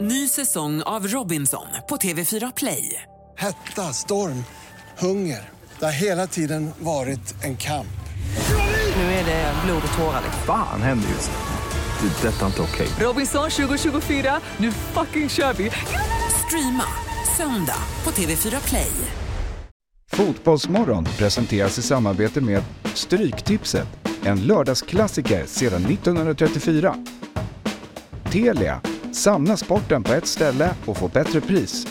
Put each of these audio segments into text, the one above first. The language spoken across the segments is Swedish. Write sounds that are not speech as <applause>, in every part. Ny säsong av Robinson på TV4 Play. Hetta, storm, hunger. Det har hela tiden varit en kamp. Nu är det blod och tårar. liksom. Fan händer just nu. Det. är Detta är inte okej. Robinson 2024, nu fucking kör vi! Streama söndag på TV4 Play. Fotbollsmorgon presenteras i samarbete med Stryktipset, en lördagsklassiker sedan 1934. Telia, samla sporten på ett ställe och få bättre pris.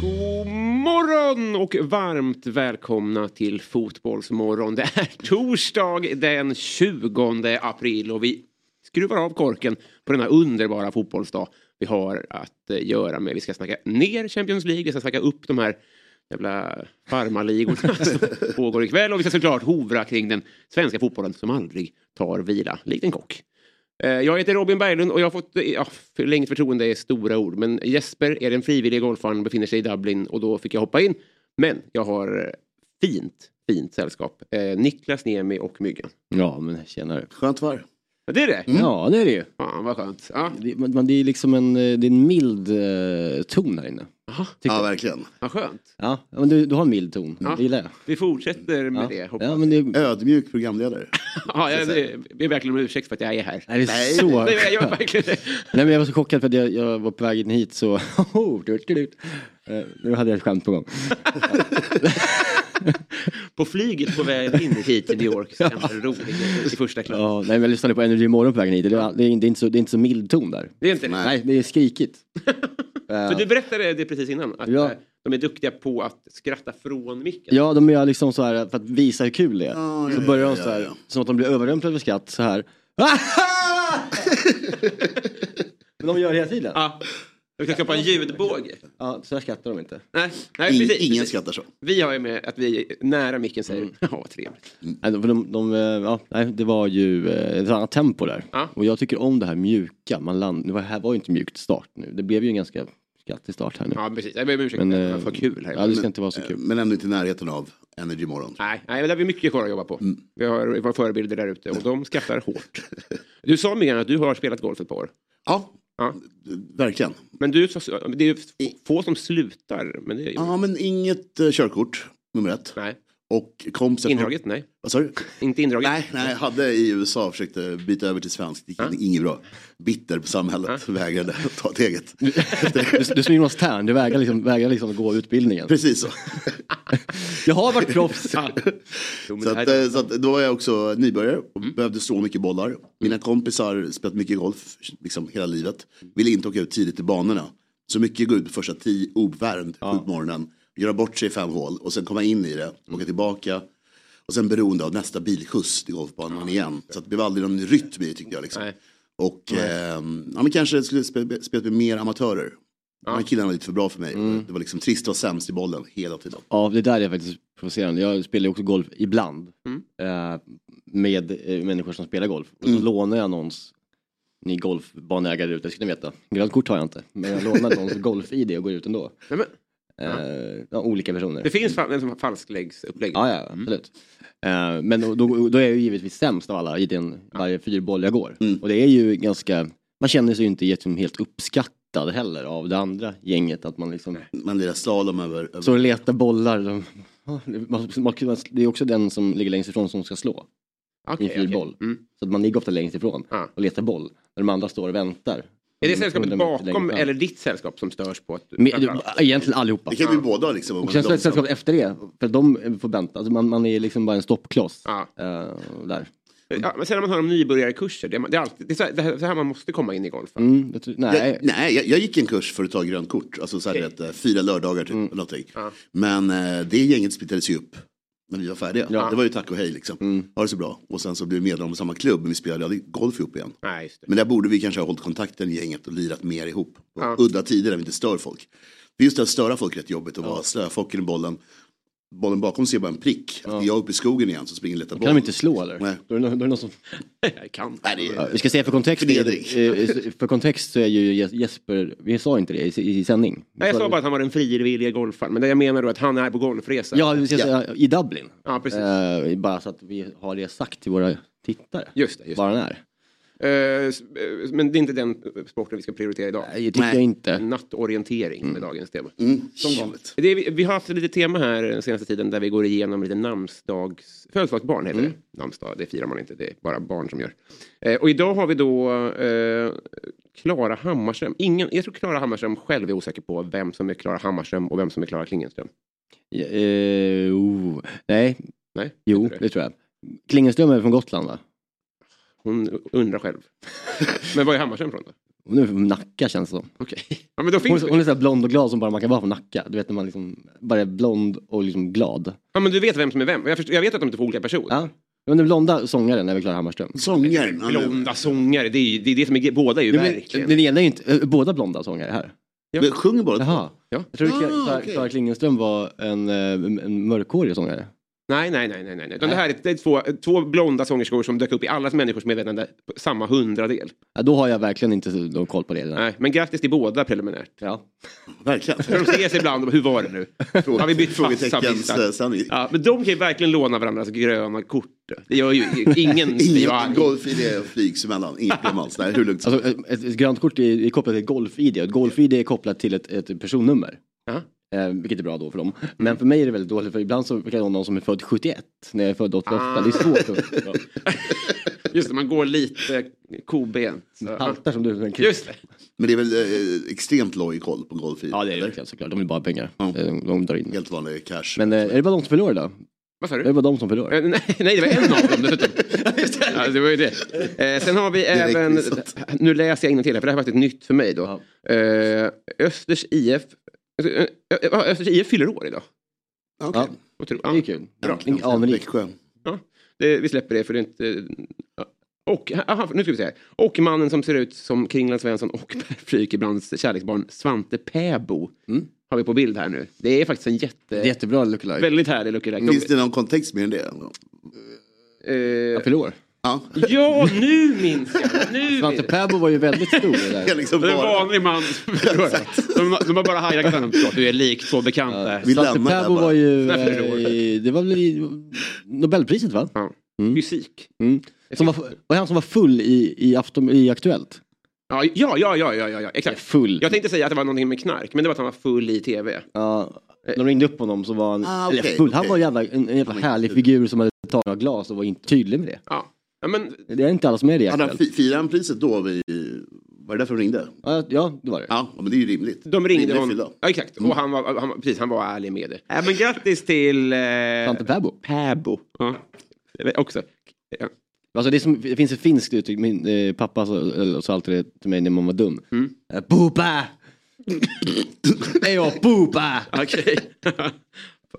God morgon och varmt välkomna till Fotbollsmorgon. Det är torsdag den 20 april och vi skruvar av korken på denna underbara fotbollsdag vi har att eh, göra med. Vi ska snacka ner Champions League, vi ska snacka upp de här jävla farmarligorna <laughs> som pågår ikväll och vi ska såklart hovra kring den svenska fotbollen som aldrig tar vila, likt en kock. Eh, Jag heter Robin Berglund och jag har fått, eh, ja, förlängt förtroende är stora ord, men Jesper är den frivilliga golfaren, befinner sig i Dublin och då fick jag hoppa in. Men jag har eh, fint, fint sällskap. Eh, Niklas Niemi och Myggan. Ja, men tjenare. Skönt var Ja, Det är det! Mm. Ja, det är det ju. Fan vad skönt. Ja, Det, men men det är liksom en, eh, det är en mild eh, ton här inne. Ja, verkligen. vad skönt. Ja, ja, men du, du har en mild ton. Ja. Det gillar jag. Vi fortsätter med Ja. det. Hoppas. Ja, men det, nej, Ödmjuk programledare. <laughs> Ja, jag jag ber verkligen om ursäkt för att jag är här. det är Nej. så Nej, men jag gör skönt. verkligen det. Nej, men jag var så chockad för att jag, jag var på väg in hit så... <laughs> Oh, dut, dut, dut. Eh, Nu hade jag ett skämt på gång. På flyget på vägen in hit till New York så hände det roliga grejer i första klass. Ja, nej, men jag lyssnade på Energy Morgon på vägen hit. Det, var- det, är, inte- det, är inte så, det är inte så mild ton där. Det är inte det. Nej. Nej, det är skrikigt. Eh, För du berättade det precis innan, att Ja. eh, de är duktiga på att skratta från micken. Ja, de gör liksom så här för att visa hur kul det är. Ja, så ja, börjar de ja, så här, ja, ja. som att de blir överrumplade över skratt så <laughs> här. Men de gör det hela tiden. Ja. Vi kan skapa en ljudbåge. Ja, så här skrattar de inte. Nej, nej Ingen, precis. ingen precis. skrattar så. Vi har ju med att vi är nära micken säger mm. Ja, vad trevligt. Nej, de, de, de, eh, ja, nej, det var ju eh, ett annat tempo där. Ja. Och jag tycker om det här mjuka. Man land, det var- här var ju inte mjukt start nu. Det blev ju en ganska skrattig start här nu. Ja, precis. Jag ber om ursäkt. Men, Det var eh, för kul här. Eh, Ja, det ska inte vara så kul. Men ändå inte i närheten av Energy Morgon. Nej, nej, där har vi mycket kvar att jobba på. Mm. Vi har våra förebilder där ute och de skrattar hårt. Du sa Myggan att du har spelat golf ett par år. Ja, Ja. verkligen. Men du, sa- det är ju få som slutar. Men det är, Ja, men inget eh, körkort, nummer ett. Nej. Och kompisar... Indraget? Nej. Vad sa du? Inte indraget? Nej, nej, jag hade i USA försökt eh, byta över till svensk. Det gick inget bra. Bitter på samhället, vägrade att ta <laughs> ett eget. <laughs> Du, du är som Jonas Tern, du vägrar liksom, vägrar liksom att gå utbildningen. Precis så. Jag har varit proffs. Jo, men Så, det Mm. här att, eh, så att då var jag också nybörjare och behövde slå mycket bollar. Mm. Mina kompisar spelat mycket golf liksom hela livet. Ville inte åka ut tidigt i banorna. Så mycket gå ut på första tio ovärmd ja. på morgonen. Göra bort sig i fem hål och sen komma in i det, Mm. åka tillbaka. Och sen beroende av nästa bilskjuts till golfbanan igen. Så att det blev aldrig någon rytm i det, tyckte jag. Liksom. Nej. Och ehm, ja, men kanske skulle spe- spela med mer amatörer. De här killarna var lite för bra för mig. Mm. Det var liksom trist att vara sämst i bollen hela tiden. Ja, det där är faktiskt provocerande. Jag spelar ju också golf ibland Mm. eh, med eh, människor som spelar golf. Och så lånar jag någons, ni golfbanägare där ute, ska ni veta. Grönt kort har jag inte, men jag lånar <laughs> någons golf-id och går ut ändå. Nej, men, Eh, ja, olika personer. det finns Mm. fa- en som har falskläggsupplägg. Ja, ja, absolut. Eh, men då, då, då är jag ju givetvis sämst av alla i den varje fyrboll jag går. Mm. Och det är ju ganska, man känner sig ju inte liksom helt uppskattad heller av det andra gänget. Att man liksom Man lirar slalom över, över Så och leta bollar. De- man- man- Det är också den som ligger längst ifrån som ska slå. Okej, I en fyrboll. okej. Mm. Så att man ligger ofta längst ifrån Ja. och letar boll. När de andra står och väntar. Är det sällskapet Hundra meter bakom längre fram. eller ditt sällskap som störs på att... Mm. Men, du, egentligen allihopa. Det kan bli båda liksom. om Och man sen är så är det långsam. ett sällskap efter det. För de får vänta. Alltså man, man är liksom bara en stoppkloss. Ja. eh, där. Ja, men sen när man hör om nybörjarkurser, det är, det är, alltid, det är så, här, det här, så här man måste komma in i golf. va? Mm, jag tror, nej. Jag, nej, jag, jag gick en kurs för att ta grönt kort, alltså så här, Okej. vet, eh, fyra lördagar typ. Mm. Eller någonting. Men eh, det gänget splittades ju upp när vi var färdiga. Det var ju tack och hej liksom. Mm. Ha det så bra. Och sen så blev vi medlemmar i samma klubb, men vi spelade aldrig golf ihop igen. Nej, just det. Men där borde vi kanske ha hållit kontakten i gänget och lirat mer ihop. På Ja. Udda tider där vi inte stör folk. För just det att störa folk är rätt jobbigt och vara slöfocken i bollen. bollen bakom ser bara en prick. Jag är uppe i skogen igen så springer och letar Kan bollen. de inte slå eller? Nej. Då är det, nå- då är det någon som... Jag kan. Nej, det Ja, är... vi ska säga för kontext, Förnedring. eh, för kontext så är ju Jes- Jesper, vi sa inte det i, i sändning. Nej, jag sa bara att han var en frivillig golfare, men det jag menar då är att han är på golfresa. Ja, vi ska Ja. säga i Dublin. Ja, precis. Eh, bara så att vi har det sagt till våra tittare. Just det, just Bara när. det. Eh, s- eh, Men det är inte den eh, sporten vi ska prioritera idag. Nej, det tycker jag inte. Nattorientering med dagens tema. Mm, som vanligt. Det är, vi- vi har haft lite tema här den senaste tiden där vi går igenom lite namnsdags... Födelsedagsbarn Mm. heter det. Namnsdag, det firar man inte, det är bara barn som gör. Eh, och idag har vi då eh, Klara Hammarström. Ingen, jag tror Klara Hammarström själv är osäker på vem som är Klara Hammarström och vem som är Klara Klingenström. Eh, oh. Nej, Nej? jo, inte det. det tror jag. Klingenström är från Gotland va? Hon undrar <laughs> själv. men var är Hammarström från då? Hon är från Nacka känns det som. Okej. Ja, men då Hon, finns hon det. är så här blond och glad som bara man kan vara från Nacka. Du vet när man liksom bara är blond och liksom glad. Ja, men du vet vem som är vem. Jag, förstår, jag vet att de är två olika personer. Ja. Men den blonda sångaren är väl Klara Hammarström? Sångaren. han är- Blonda sångare, det är ju det, är det som är, båda är ju Mm. Ja, men verkligen... Den ena är ju inte, eh, båda blonda sångare här. Men Sjunger bara Jaha. Ja. Jag trodde Kla- Ah, Kla- okej. Klara Klingenström var en, eh, en mörkhårig sångare. Nej, nej, nej, nej, nej. Utan det här är, det är två, två blonda sångerskor som dök upp i allas människors medvetande på samma hundradel. Ja, då har jag verkligen inte så- någon koll på det. Nej. Nej, men grattis till båda preliminärt. Ja. verkligen. För de ses ibland och bara, hur var det nu? Har vi bytt Frågeteckens eh, fasta sanning. Ja, men de kan ju verkligen låna varandras gröna kort. Det gör ju <laughs> ingen blir Ingen arg. golf-idé flygs emellan. Inget problem alls. Nej, hur lugnt som Alltså, ett, ett grönt kort är, är kopplat till ett golf-id. Ett golf-id är kopplat till ett, ett personnummer. Ja. Eh, vilket är bra då för dem. Men för mig är det väldigt dåligt för ibland så kan jag ha någon som är född 71 när jag är född 88. Det är svårt att... Ja. Just det, man går lite kobent. Så, ja. Haltar som du. Men Just det. Men det är väl eh, extremt låg koll på golf Ja det är det eller? verkligen såklart. De vill bara ha pengar. Ja. Eh, De, de drar in. Helt vanlig cash. Men eh, är det bara de som förlorar då? Vad sa Är det du? bara de som förlorar? Eh, Nej, nej, det var en av dem dessutom. ja, det var ju det. Eh, sen har vi Direkt även, missat. nu läser jag innantill här, för det här var faktiskt nytt för mig då. Ja. Eh, Östers alltså, IF. Ö- Ö- Ö- eh, Östers IF fyller år idag. Okej. Ja, Otro- det ja. är kul. Ingen Anrik. Växjö. Det, vi släpper det för det är inte... ja. Och, aha, nu ska vi se här. Och mannen som ser ut som Kringland Svensson och Per Frykebrands kärleksbarn Svante Pääbo. Har vi på bild här nu. Det är faktiskt en jätte... Jättebra lookalike. Väldigt härlig Lucky Like. Finns det någon kontext mer än det? Eh, Förlorar. Ja. ja, nu minns jag! Nu Svante minns jag. Pääbo var ju väldigt stor i det <laughs> Det är där. liksom Det är en bara... vanlig man som förlorar. de, de har bara hajjackat honom. Förlåt, Du är lik två bekanta. Vi Svante lämnar det här Pääbo var bara. ju, Nej, förlorar. eh, det var väl i Nobelpriset va? Mm. Ja. Musik. Som var, var han som var full i, i, afton, i Aktuellt? Ja, ja, ja, ja, ja, ja, ja, exakt. Full. Jag tänkte säga att det var någonting med knark, men det var att han var full i tv. Ja, de ringde upp honom så var han, Ah, eller okej, full, han okej. var en jävla, en, en jävla härlig figur som hade tagit några glas och var inte tydlig med det. Ja. Ja, men, Det är inte alla som är det i Hade han Aktuellt. fi- firade han priset då? Vi... Var det därför de ringde? Ja, ja, det var det. Ja, men det är ju rimligt. de ringde Rimlig honom. fylla. Ja, exakt. Och han var, han, var- precis, han var ärlig med det. Ja, men grattis till... Eh, Svante Pääbo. Päbo. Ja. Det var Också. Ja. Alltså det, är som, det finns ett finskt uttryck, min eh, pappa sa, eller, sa alltid det till mig när man var dum. Eh, Pupa! det är jag, pupa! <laughs> Okej.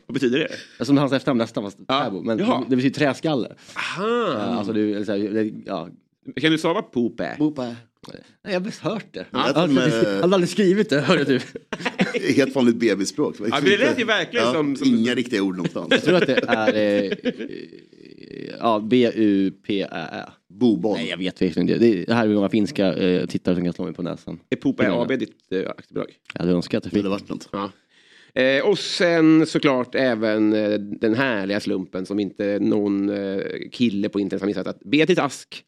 Vad betyder det? Alltså hans efternamn nästan var Pääbo, men Jaha. Ah. det betyder träskalle. Aha. Mm. Alltså du, eller så här, det, ja. Kan du stava Poopä? Bopa. Nej, jag har mest hört det. Ja, jag, men- hade aldrig skrivit det, hörde du. Helt vanligt bebisspråk. Ja, men det lät ju verkligen som- som- Inga riktiga ord någonstans. Jag tror att det är... <laughs> Eh, eh, ja, B-U-P-Ä-Ä. Boboll. Nej, jag vet verkligen inte. Det, är- det här är många finska eh, tittare som kan slå mig på näsan. Är Poopä AB ditt eh, aktiebolag? Jag hade önskat att jag Det fick. hade varit något. Ja. Eh, och sen såklart även eh, den härliga slumpen som inte någon eh, kille på internet har missat. Att Beatrice Ask,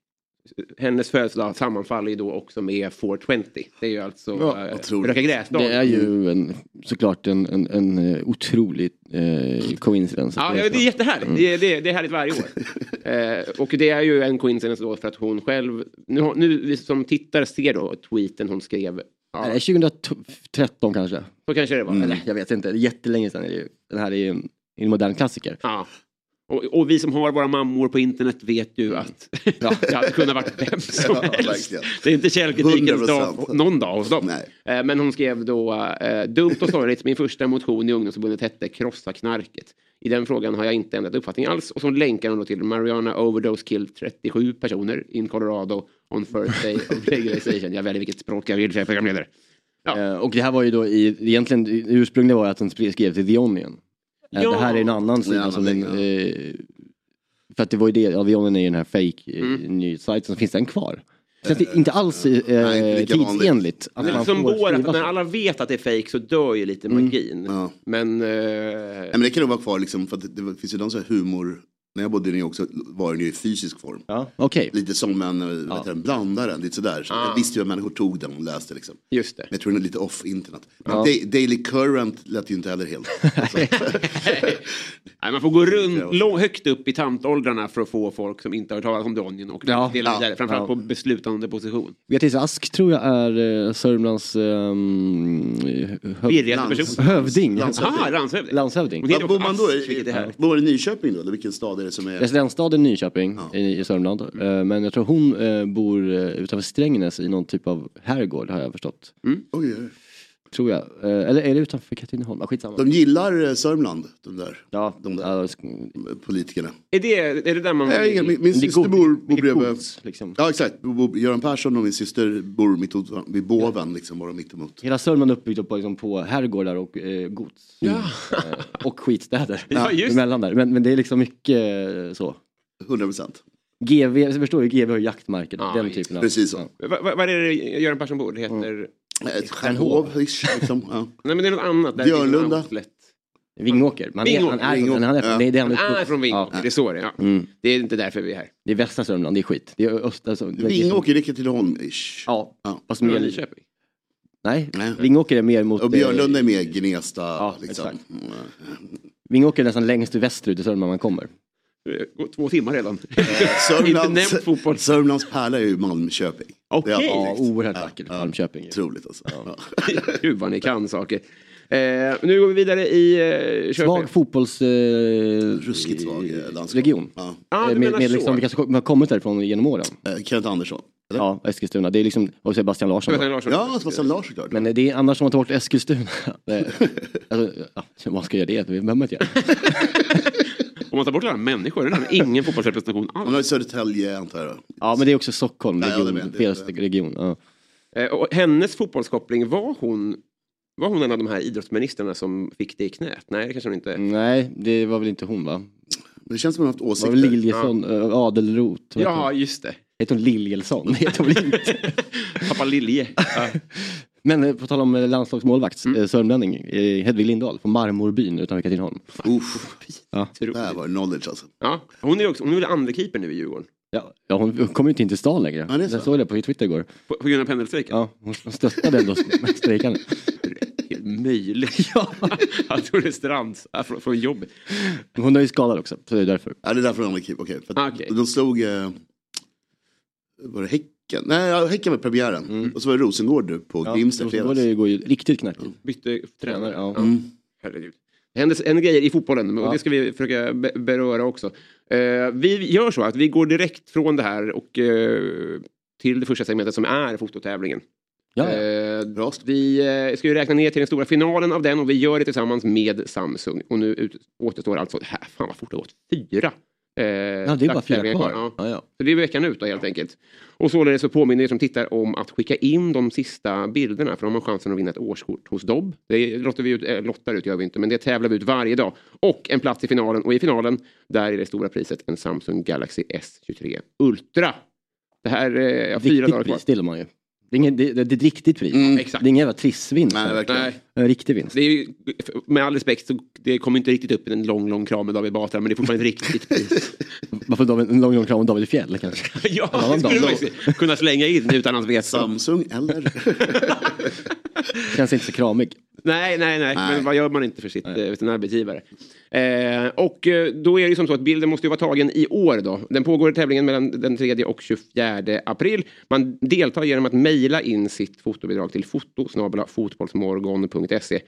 eh, hennes födelsedag sammanfaller ju då också med 420. Det är ju alltså Ja, eh, otroligt. röka gräsdag. Det är ju en, såklart en, en, en eh, otrolig eh, coincidence. Ja, ja, det är jättehärligt. Mm. Det, är- det, är- det är härligt varje <laughs> år. Eh, och det är ju en coincidence då för att hon själv, nu, har- nu vi som tittare ser då tweeten hon skrev. Nej, Mm. Ja, det är 2013 kanske. så kanske det var. Eller, jag vet inte, det är jättelänge sedan. Är det ju. Den här är ju en, en modern klassiker. Ja. Och, och vi som har våra mammor på internet vet ju att <laughs> ja, det hade kunnat varit <laughs> vem som Mm. Ja, helst. verkligen. Det är inte källkritikens 100%. dag på- någon dag hos dem. Nej. Eh, Men hon skrev då, eh, dumt och sorgligt, min första motion i ungdomsförbundet hette Krossa knarket. I den frågan har jag inte ändrat uppfattning alls. Och så länkar hon då till Mariana Overdose killed 37 personer in Colorado on first <laughs> day of legalization. Jag väljer vilket språk jag vill, för jag är programledare. Ja. Eh, och det här var ju då i, egentligen, det ursprungliga var ju att den spre- skrev till The Onion. Eh, Ja. Det här är en annan En sida annan som... länk, den, eh, för att det var ju det, avionen är ju den här fake eh, nyhetssajten, så finns den kvar? Så att det inte alls eh, nej, inte lika vanligt. tidsenligt. Att Det är man som får går att skriva när så. alla vet att det är fake så dör ju lite magin. Mm. Ja. Men... eh, Nej, men det kan nog vara kvar liksom, för att det, det finns ju någon sån här humor. När jag bodde i New York så var den ju i fysisk form. Ja, okej. Lite som en eh, vad heter den, blandaren, lite sådär. Så Jag visste ju att människor tog den och läste liksom. Just det. Men jag tror den är lite off internet. Men Da- Daily Current lät ju inte <laughs> heller helt. Alltså, Nej, man får gå runt lång, högt upp i tantåldrarna för att få folk som inte har hört talas om Donjen och Ja, dela ja, vidare. Framförallt på ja. beslutande position. Beatrice Ask tror jag är eh, Sörmlands ehm, höv- Virrigaste lands- person. hövding. landshövding. Ah, landshövding. Landshövding. Och det är Var bor man då? Ask, vilket är I, härligt. bor i Nyköping då? Eller vilken stad är det som är? Residensstaden Nyköping i, i Sörmland. Eh, Men jag tror hon eh, bor eh, utanför Strängnäs i någon typ av herrgård har jag förstått. Oj, oj, oj. Tror jag. Eh, Eller är det utanför Katrineholm? Ah, skitsamma. De gillar eh, Sörmland, de där ja, de där. ja, sk- eh, politikerna. Är det, är det där man... Nej, ingen, min min det är syster god- bor, bor det är bredvid. coolt, liksom. Ja, exakt. Bo- bo- Göran Persson och min syster bor mitt emot, varandra, vid Boven, liksom, bara mitt emot. Hela Sörmland är uppbyggt på, liksom, på herrgårdar och eh, gods. Ja. Eh, och skitstäder. Ja, just det. Emellan där. Men, men det är liksom mycket eh, så. 100 procent. GV, jag förstår ju, GV har jaktmarker. Ja, den just typen av. Precis så. Vad va, vad är det Göran Persson bor? Det heter... Ett Stjärnhov, <laughs> liksom. Ja. Nej, men det är något annat. Där Björlunda. Det är en outlet. Vingåker. Man är, Vingåker, han är, Vingåker. Han är, han Ja. är, nej, det är, han Han är uppvuxen. Ah, från Vingåker, Ja. det är så det är. Ja. Det är inte därför vi är här. Det är västra Sörmland, det är skit. Det är östra Sörmland. det är- Vingåker, det är Katrineholm-ish. Ja, Ja. fast Från mer, Nyköping. nej, Nej. Vingåker är mer mot... Och Björnlunda eh, är med Gnesta. Ja, liksom. <laughs> exakt. Mm, ja. Vingåker är nästan längst västerut i Sörmland man kommer. Det går Två timmar redan. <laughs> inte nämnt fotboll. Sörmlands, Sörmlands pärla är ju Malmköping. Okej. Det är Ja, direkt. oerhört vackert. Malmköping. ju. Otroligt alltså. Ja. <laughs> Gud vad ni kan saker. Eh, nu går vi vidare i eh, Köping. Svag fotbolls... Eh, Ruskigt svag eh, landskap. Region. Ja. ah, du med, menar med så. liksom vilka som har kommit därifrån genom åren. Eh, Kenneth Andersson. Eller? Ja, Eskilstuna. Det är liksom, och Sebastian Larsson. Sebastian då. Larsson. Ja, Sebastian Larsson såklart. Men eh, det är annars som att ta bort Eskilstuna. <laughs> Det- alltså, ja, man ska göra det, det behöver man inte göra. Om man tar bort alla människor, det är nästan ingen fotbollsrepresentation Han alls. har ju Södertälje antar jag. Ja, men det är också Stockholm, Nej, jag håller region, med. Det- fel region. Ja. Eh, och hennes fotbollskoppling, var hon, var hon en av de här idrottsministrarna som fick det i knät? Nej, det kanske hon inte Mm. Nej, det var väl inte hon va? Men det känns som att han har haft Det var väl åsikter. Liljesson, ja. Adelroth. vad heter hon? Ja, just det. Heter hon <laughs> Liljesson? Heter hon väl inte. Pappa Lilje. <laughs> Ja. Men eh, på tal om eh, landslagsmålvakt, mm. sörmlänning, eh, Hedvig Lindahl från Marmorbyn utanför Katrineholm. Uff, otroligt. där var knowledge alltså. Ja, hon är ju också, hon är väl andrekeeper nu i Djurgården? Ja, ja, hon kommer ju inte in till stan längre. Ja, det är så. jag såg det på Twitter igår. På, på grund av pendelstrejken? Ja, hon stöttade ändå strejkande. Helt <laughs> möjligt. Ja. Han trodde strands ja, från, från jobbet. Hon är ju skadad också, så det är därför. Ja, det är därför han var keep. Okej. för att Ah, okej. De slog... Eh, var det Häcken? Nej, ja, Häcken var premiären. Och så var det Rosengård på Mm. Ja, Grimsta i fredags. Mm. Rosengård går ju riktigt knackigt. Bytte tränare. Tränare, ja. Herregud. Det händer en grejer i fotbollen och det ska vi försöka be- beröra också. Eh, vi gör så att vi går direkt från det här och eh, till det första segmentet som är fototävlingen. Ja, ja. Eh, vi eh, ska ju räkna ner till den stora finalen av den och vi gör det tillsammans med Samsung. Och nu ut- återstår alltså, här, fan vad fort det har gått, fyra. Eh, ja, det är bara fyra dagstävlingar kvar. Ja. Ja, ja. Så det är veckan ut då helt enkelt. Och således så påminner vi som tittar om att skicka in de sista bilderna för de har chansen att vinna ett årskort hos Dobb. Det lottar vi ut, äh, lottar ut gör vi inte, men det tävlar vi ut varje dag. Och en plats i finalen och i finalen där är det stora priset en Samsung Galaxy S23 Ultra. Det här eh, jag har fyra dagar Riktigt kvar. pris till man ju. Det är, ingen, det, det är ett riktigt pris. Exakt. Det är ingen jävla trissvinst. Nej, här. verkligen. Nej, en riktig vinst. det är ju, med all respekt så det kommer inte riktigt upp i en lång, lång kram med David Batra, men det är fortfarande ett riktigt pris. Varför då en lång, lång kram om David Fjäll kanske? <laughs> ja, det skulle man ju kunna slänga in utan hans vetskap. Samsung eller? <laughs> Känns inte så kramig. Nej, nej, nej, Nej. men vad gör man inte för sitt, eh, sin arbetsgivare? Eh, och eh, då är det ju som så att bilden måste ju vara tagen i år då. Den pågår i tävlingen mellan den 3 och 24 april. Man deltar genom att mejla in sitt fotobidrag till fotosnabelafotbollsmorgon.se.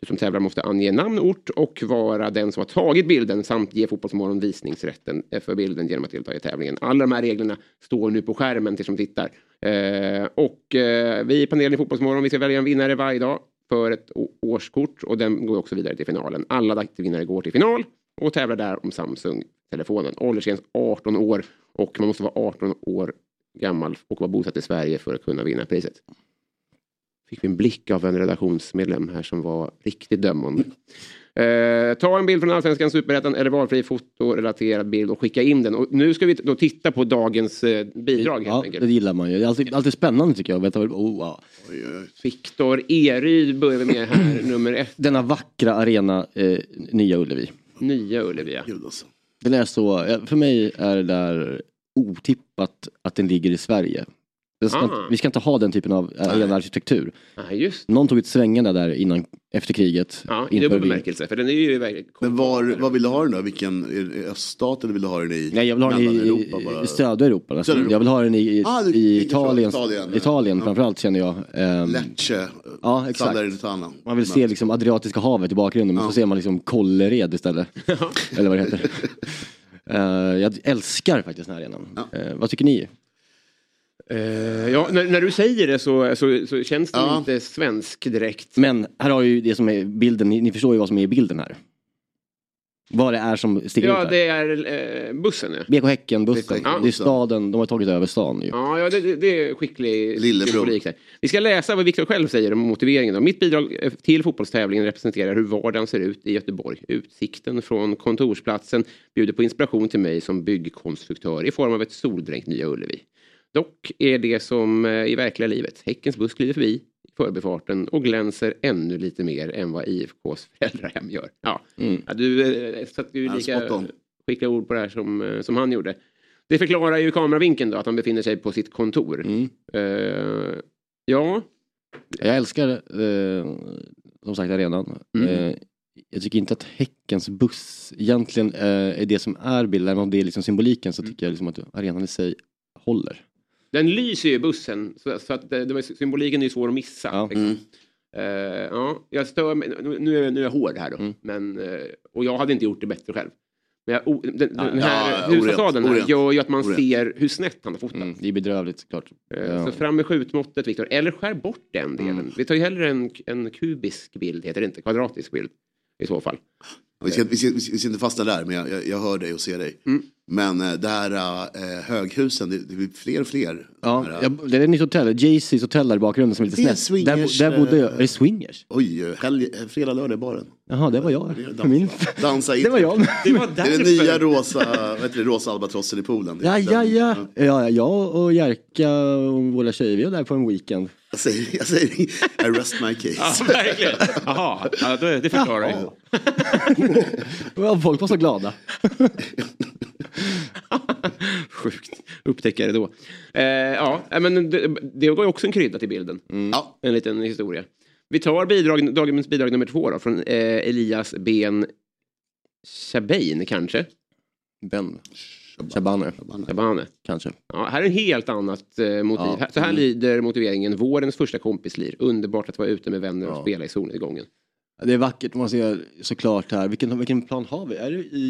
Du som tävlar måste ange namn, ort och vara den som har tagit bilden samt ge Fotbollsmorgon visningsrätten eh, för bilden genom att delta i tävlingen. Alla de här reglerna står nu på skärmen till som tittar. Eh, och eh, vi i panelen i Fotbollsmorgon, vi ska välja en vinnare varje dag för ett å- årskort och den går också vidare till finalen. Alla dagsvinnare går till final och tävlar där om Samsung-telefonen. Åldersgräns 18 år och man måste vara 18 år gammal och vara bosatt i Sverige för att kunna vinna priset. fick vi en blick av en redaktionsmedlem här som var riktigt dömande. Eh, ta en bild från Allsvenskan, Superettan eller valfri fotorelaterad bild och skicka in den. Och nu ska vi då titta på dagens eh, bidrag helt ja, det enkelt. gillar man ju. Det är alltid, alltid spännande tycker jag. att veta vad- Oh, ja. Viktor Eryd börjar vi med här, nummer ett. Denna vackra arena, eh, Nya Ullevi. Nya Ullevi. ja. Gud alltså. Den är så, eh, för mig är det där otippat att den ligger i Sverige. Den Ska, Ah. Vi ska inte ha den typen av arenaarkitektur. Ja, just det. Någon tog ett svängarna där innan, efter kriget. Ja, i inför dubbel vi- bemärkelse. För den är ju verkligen... Men var, vad vill du ha den då? Vilken, är det i öststat eller vill du ha den i Nej, jag vill ha den i, Mellaneuropa bara? i- i södra Europa. Alltså. Södra Europa. Jag vill ha den i, i, Ah, du- i tänker så, Italien, Italien. Italien, Ja. framförallt känner jag. Ehm, Lecce, Ja, exakt. Salernitana. Man vill se liksom Adriatiska havet i bakgrunden men så ser man liksom Kållered istället. Eller vad det <laughs> heter. Eh, jag älskar faktiskt den här arenan. Eh, vad tycker ni? Eh, ja, när, när du säger det så, så, så känns det Ja. inte svensk direkt. Men här har ju det som är bilden, ni, ni förstår ju vad som är i bilden här. Vad det är som sticker Ja, ut här. det är eh, bussen nu. BK Häcken-bussen. Ja. Det är staden, de har tagit över stan ju. Ja, ja det, det- det är skicklig Lillebror. symbolik där. Vi ska läsa vad Viktor själv säger om motiveringen. Då. Mitt bidrag eh, till fotbollstävlingen representerar hur vardagen ser ut i Göteborg. Utsikten från kontorsplatsen bjuder på inspiration till mig som byggkonstruktör i form av ett soldränkt Nya Ullevi. Dock är det som eh, i verkliga livet. Häckens buss glider förbi i förbifarten och glänser ännu lite mer än vad IFKs <laughs> föräldrahem gör. Ja, ja du eh, satte ju Mm. Ja, lika spot on. skickliga ord på det här som, eh, som han gjorde. Det förklarar ju kameravinkeln då, att han befinner sig på sitt kontor. Mm. Eh, ja, Jag älskar eh, som sagt arenan. Mm. Eh, jag tycker inte att Häckens buss egentligen eh, är det som är bilden, även om det är liksom symboliken Mm. så tycker jag liksom att arenan i sig håller. den lyser ju i bussen, så, så att det, det, var- symboliken är ju svår att missa. Ja. liksom. Eh, ja, jag stör mig, nu, nu, är, jag- nu är jag hård här då, Mm. men, eh, och jag hade inte gjort det bättre själv. Men jag, o, den, den Ja, här orent, husfasaden här orent, gör ju att man orent. ser hur snett han har fotat. Mm. Det är bedrövligt såklart. Eh, Ja. Så fram med skjutmåttet, Viktor. Eller skär bort den delen. Vi tar ju hellre en, en kubisk bild, heter det inte? Kvadratisk bild i så fall. Vi ska, vi, ska, vi ska vi ska inte fastna där, men jag, jag, jag hör dig och ser dig. Mm. Men eh, det här eh, höghusen, det, det blir fler och fler. Ja, De här, eh, jag, det är ett nytt hotell, JC's hotell där i bakgrunden som är lite Det är snett. där, swingers, bo- där bodde jag. eh, Är det swingers? Oj, eh, helg, eh, fredag, lördag i baren. Jaha, det var jag. Det är För min... dansa- Dansa <laughs> in. Det var jag. Det var Det är den nya rosa, vad heter det, rosa albatrossen i poolen. Ja, ja, ja. mm. Den- ja, ja. Jag och Jerka och våra tjejer, vi var där på en weekend. Jag säger, jag säger, I rest my case. verkligen. Jaha, ja, då- det förklarar ju. Och folk var så glada. Sjukt. Upptäcka det då. Eh, ja, eh, men det, det går ju också en krydda till bilden. Mm. Ja. En liten historia. Vi tar bidrag, dagens bidrag nummer två då, från eh, Elias Ben Shabain kanske. Ben Shabane, Shabane. kanske. Ja, här är en helt annat eh, motiv. Ja. Mm. Här- Så här lyder motiveringen. Vårens första kompislir. Underbart att vara ute med vänner och Ja. spela i solnedgången. Det är vackert man ser såklart här. Vilken, vilken plan har vi? Är det i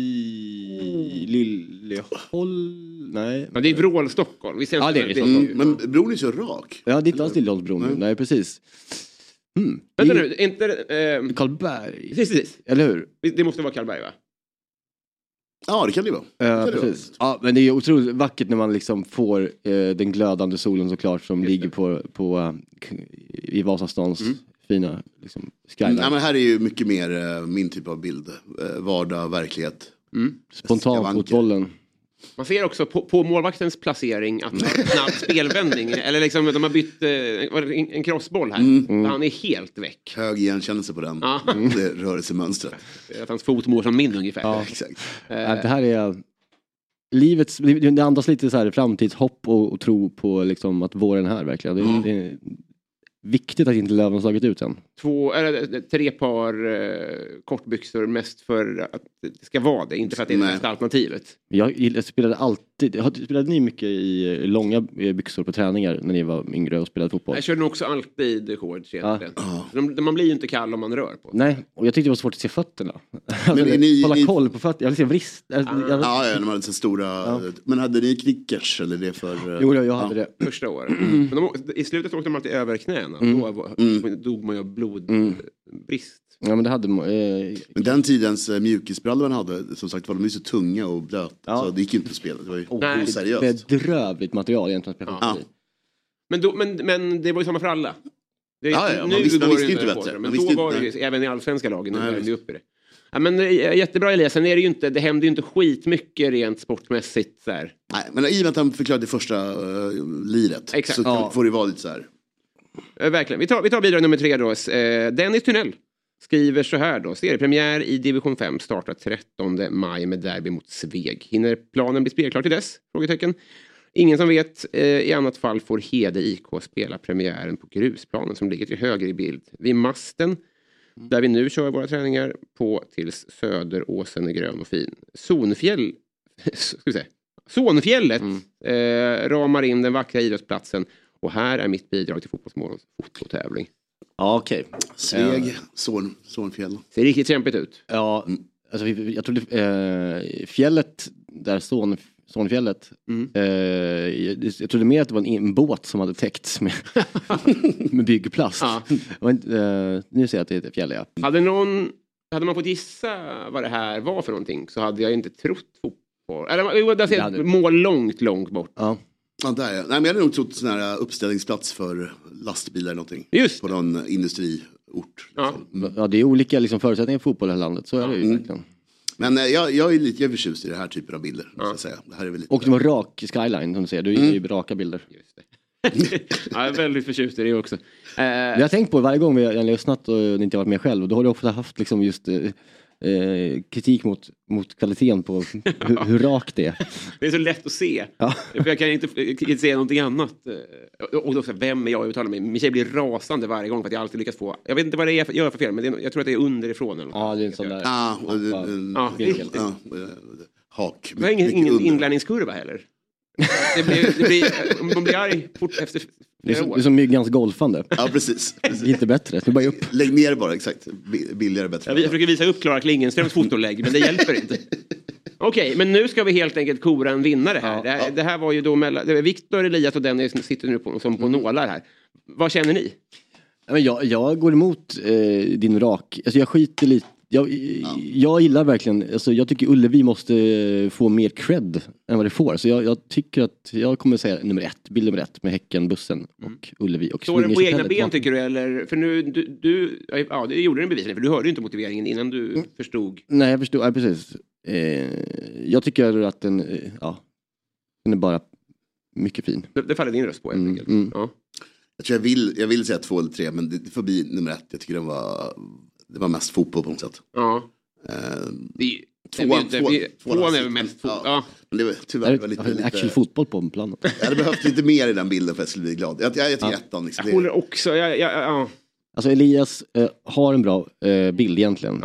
Liljeholm? Nej. Mm. Ja, det är Vrål-Stockholm. Visst Ja, det är det. Mm, men bron är så rak. Ja, det är inte alls Liljeholmsbron. nu. Nej, precis. Mm. Vänta Det är nu, är inte... Eh, Karlberg. precis, precis. Eller hur? Det måste vara Karlberg, va? Ja, det kan det vara. Ja, det kan det Eh, precis. Ja, men det är ju otroligt vackert när man liksom får eh, den glödande solen såklart som ligger på, på, eh, k- i Vasastans fina liksom, skyline. Nej, Mm. men här är ju mycket mer eh, min typ av bild. Eh, vardag, verklighet. Spontanfotbollen. Man ser också på, på målvaktens placering att han har en snabb spelvändning. Eller liksom, de har bytt eh, var det en- en crossboll här. Så Han är helt väck. Hög igenkännelse på den. Ja. Det rörelsemönstret. Att hans fot mår som min ungefär. Exakt. Eh. Ja, Eh, Det här är livets, det det andas lite så här framtidshopp och, och tro på liksom, att våren är här verkligen. Det, Mm. det är viktigt att inte löven har slagit ut än. Två, eller, eh, tre par eh, kortbyxor mest för att det ska vara det. Inte för att det är det Nej. bästa alternativet. Jag gillar- spelade alltid, har- spelade ni mycket i eh, långa eh, byxor på träningar när ni var yngre och spelade fotboll? Jag kör nog också alltid shorts egentligen. De, man blir ju inte kall om man rör på sig. Nej, och jag tyckte det var svårt att se fötterna. Men är ni- Hålla ni- Ah, koll på fötterna, jag vill se vrist. Jag, jag, Ja, ja, de hade så stora. Men hade ni knickers eller det för? eh, jo, jag, jag hade ja. det. första året. Men de, å- I slutet åkte de alltid över knäna. Då var, dog man ju av blodbrist. Ja, men det hade man, eh, Men den tidens eh, mjukisbrallor man hade, som sagt var, de är så tunga och blöta. Ja. Så det gick ju inte att spela. Det var ju Nej. oseriöst. Ah. bedrövligt material egentligen. att spela Ja. fotboll i. Ja. Men, då, men, men det var ju samma för alla. Det, Ja, ja, man nu visste- man går visste det inte på bättre. det, Man Men visste då inte- var det ju, nej. även i allsvenska lagen, när Nej, vi vände visst. upp i det. Ja, men, eh, jättebra Elias, sen är det ju inte, det händer ju inte skitmycket rent sportmässigt. Så här. Nej, men i och med att han förklarade det första uh, liret Exakt. så Ja. får det vara lite så här. Eh, Verkligen. Vi tar, vi tar bidrag nummer tre då. Eh, Dennis Tunnell skriver så här då. Seriepremiär i division 5 startar 13 maj med derby mot Sveg. Hinner planen bli spelklar till dess? Frågetecken. Ingen som vet. Eh, I annat fall får Hede IK spela premiären på grusplanen som ligger till höger i bild. Vid masten där vi nu kör våra träningar på tills Söderåsen är grön och fin. Zonfjäll, <laughs> ska vi säga, Sonfjället Mm. eh, ramar in den vackra idrottsplatsen och här är mitt bidrag till Fotbollsmorgons fototävling. Ja, okej. Sveg, Sorn, Sornfjäll. Ser riktigt kämpigt ut. Ja, alltså vi- vi- jag trodde eh, fjället, där Son, Sonfjället, Mm. eh, jag, jag trodde mer att det var en, en båt som hade täckts med, <laughs> med byggplast. Ja. Det var inte, eh, nu ser jag att det heter fjäll, ja. Hade, någon, hade man fått gissa vad det här var för någonting så hade jag inte trott fotboll. Eller, jo, där ser Det jag hade- ett mål långt, långt bort. <laughs> ja. Ja, där, ja. Nej, men jag hade nog trott sån här eh, uppställningsplats för lastbilar eller någonting. Just På någon industriort. Ja. ja, det är olika liksom, förutsättningar för fotboll i det här landet, så är det ju Mm. verkligen. Men eh, jag, jag är lite jag är förtjust i den här typen av bilder. Måste jag säga. Det här är väl lite... Och det var rak skyline, som du säger, du gillar ju raka bilder. ja, jag är väldigt förtjust i det också. Eh, Jag har tänkt på varje gång vi har jag har lyssnat och inte varit med själv, och då har du ofta haft liksom just eh, eh, kritik mot, mot kvaliteten <laughs> på hur, hur rakt det är. Det är så lätt att se. Ja. För jag kan inte, inte se någonting annat. Eh, Och då, så här, vem är jag att uttala mig? Min tjej blir rasande varje gång för att jag alltid lyckas få... Jag vet inte vad det är för, jag gör för fel, men det är, jag tror att det är underifrån. Eller något. Ja, det är en sån där... Ja, och, eh, eh, Ja, riktigt. ja, eh, hak. Det var ingen, Mycket ingen under. inlärningskurva heller. Det blir, det blir, man blir arg fort efter Det är, flera som, år. det är som myggans golfande. Ja, <laughs> precis. Det är inte bättre, det är bara upp. Lägg ner bara, exakt. Bi- Billigare, bättre. Ja, vi- Jag försöker visa upp Klara <laughs> Klingenströms fotolägg, men det hjälper inte. Okej, men nu ska vi helt enkelt kora en vinnare här. det, här det här var ju då mellan... det är Viktor, Elias och Dennis som sitter nu på, som på Mm. nålar här. Vad känner ni? Ja, Men jag, jag går emot eh, din rak, alltså jag skiter lite. Jag, eh, jag gillar verkligen, alltså jag tycker Ullevi måste eh, få mer cred än vad det får. Så jag, jag tycker att, jag kommer säga nummer ett, bild nummer ett med Häcken, bussen och Ullevi. Och Mm. Står den på egna swingershotellet. ben tycker du eller? För nu, du, du ja det gjorde den bevisligen för du hörde ju inte motiveringen innan du Mm. förstod. Nej, jag förstår. Ja, precis. Eh, jag tycker att den, eh, ja, den är bara mycket fin. Det, det faller din röst på Mm, helt enkelt. Ja. Jag tror jag vill, jag vill säga två eller tre, men det, det får bli nummer ett. Jag tycker den var, det var mest fotboll på något sätt. ja. Eh, Det är ju- Tvåan, det är ju inte- tvåan, vi- tvåan Tvåan är väl sitter. mest fot. Ja. Ja. men det var, Där tyvärr är var lite, en actual lite, fotboll på planen. jag hade behövt lite mer i den bilden för att jag skulle bli glad. Jag, jag, jag tycker ettan, liksom, Jag det, håller också, jag, jag, ja. Alltså Elias eh, har en bra eh, bild egentligen.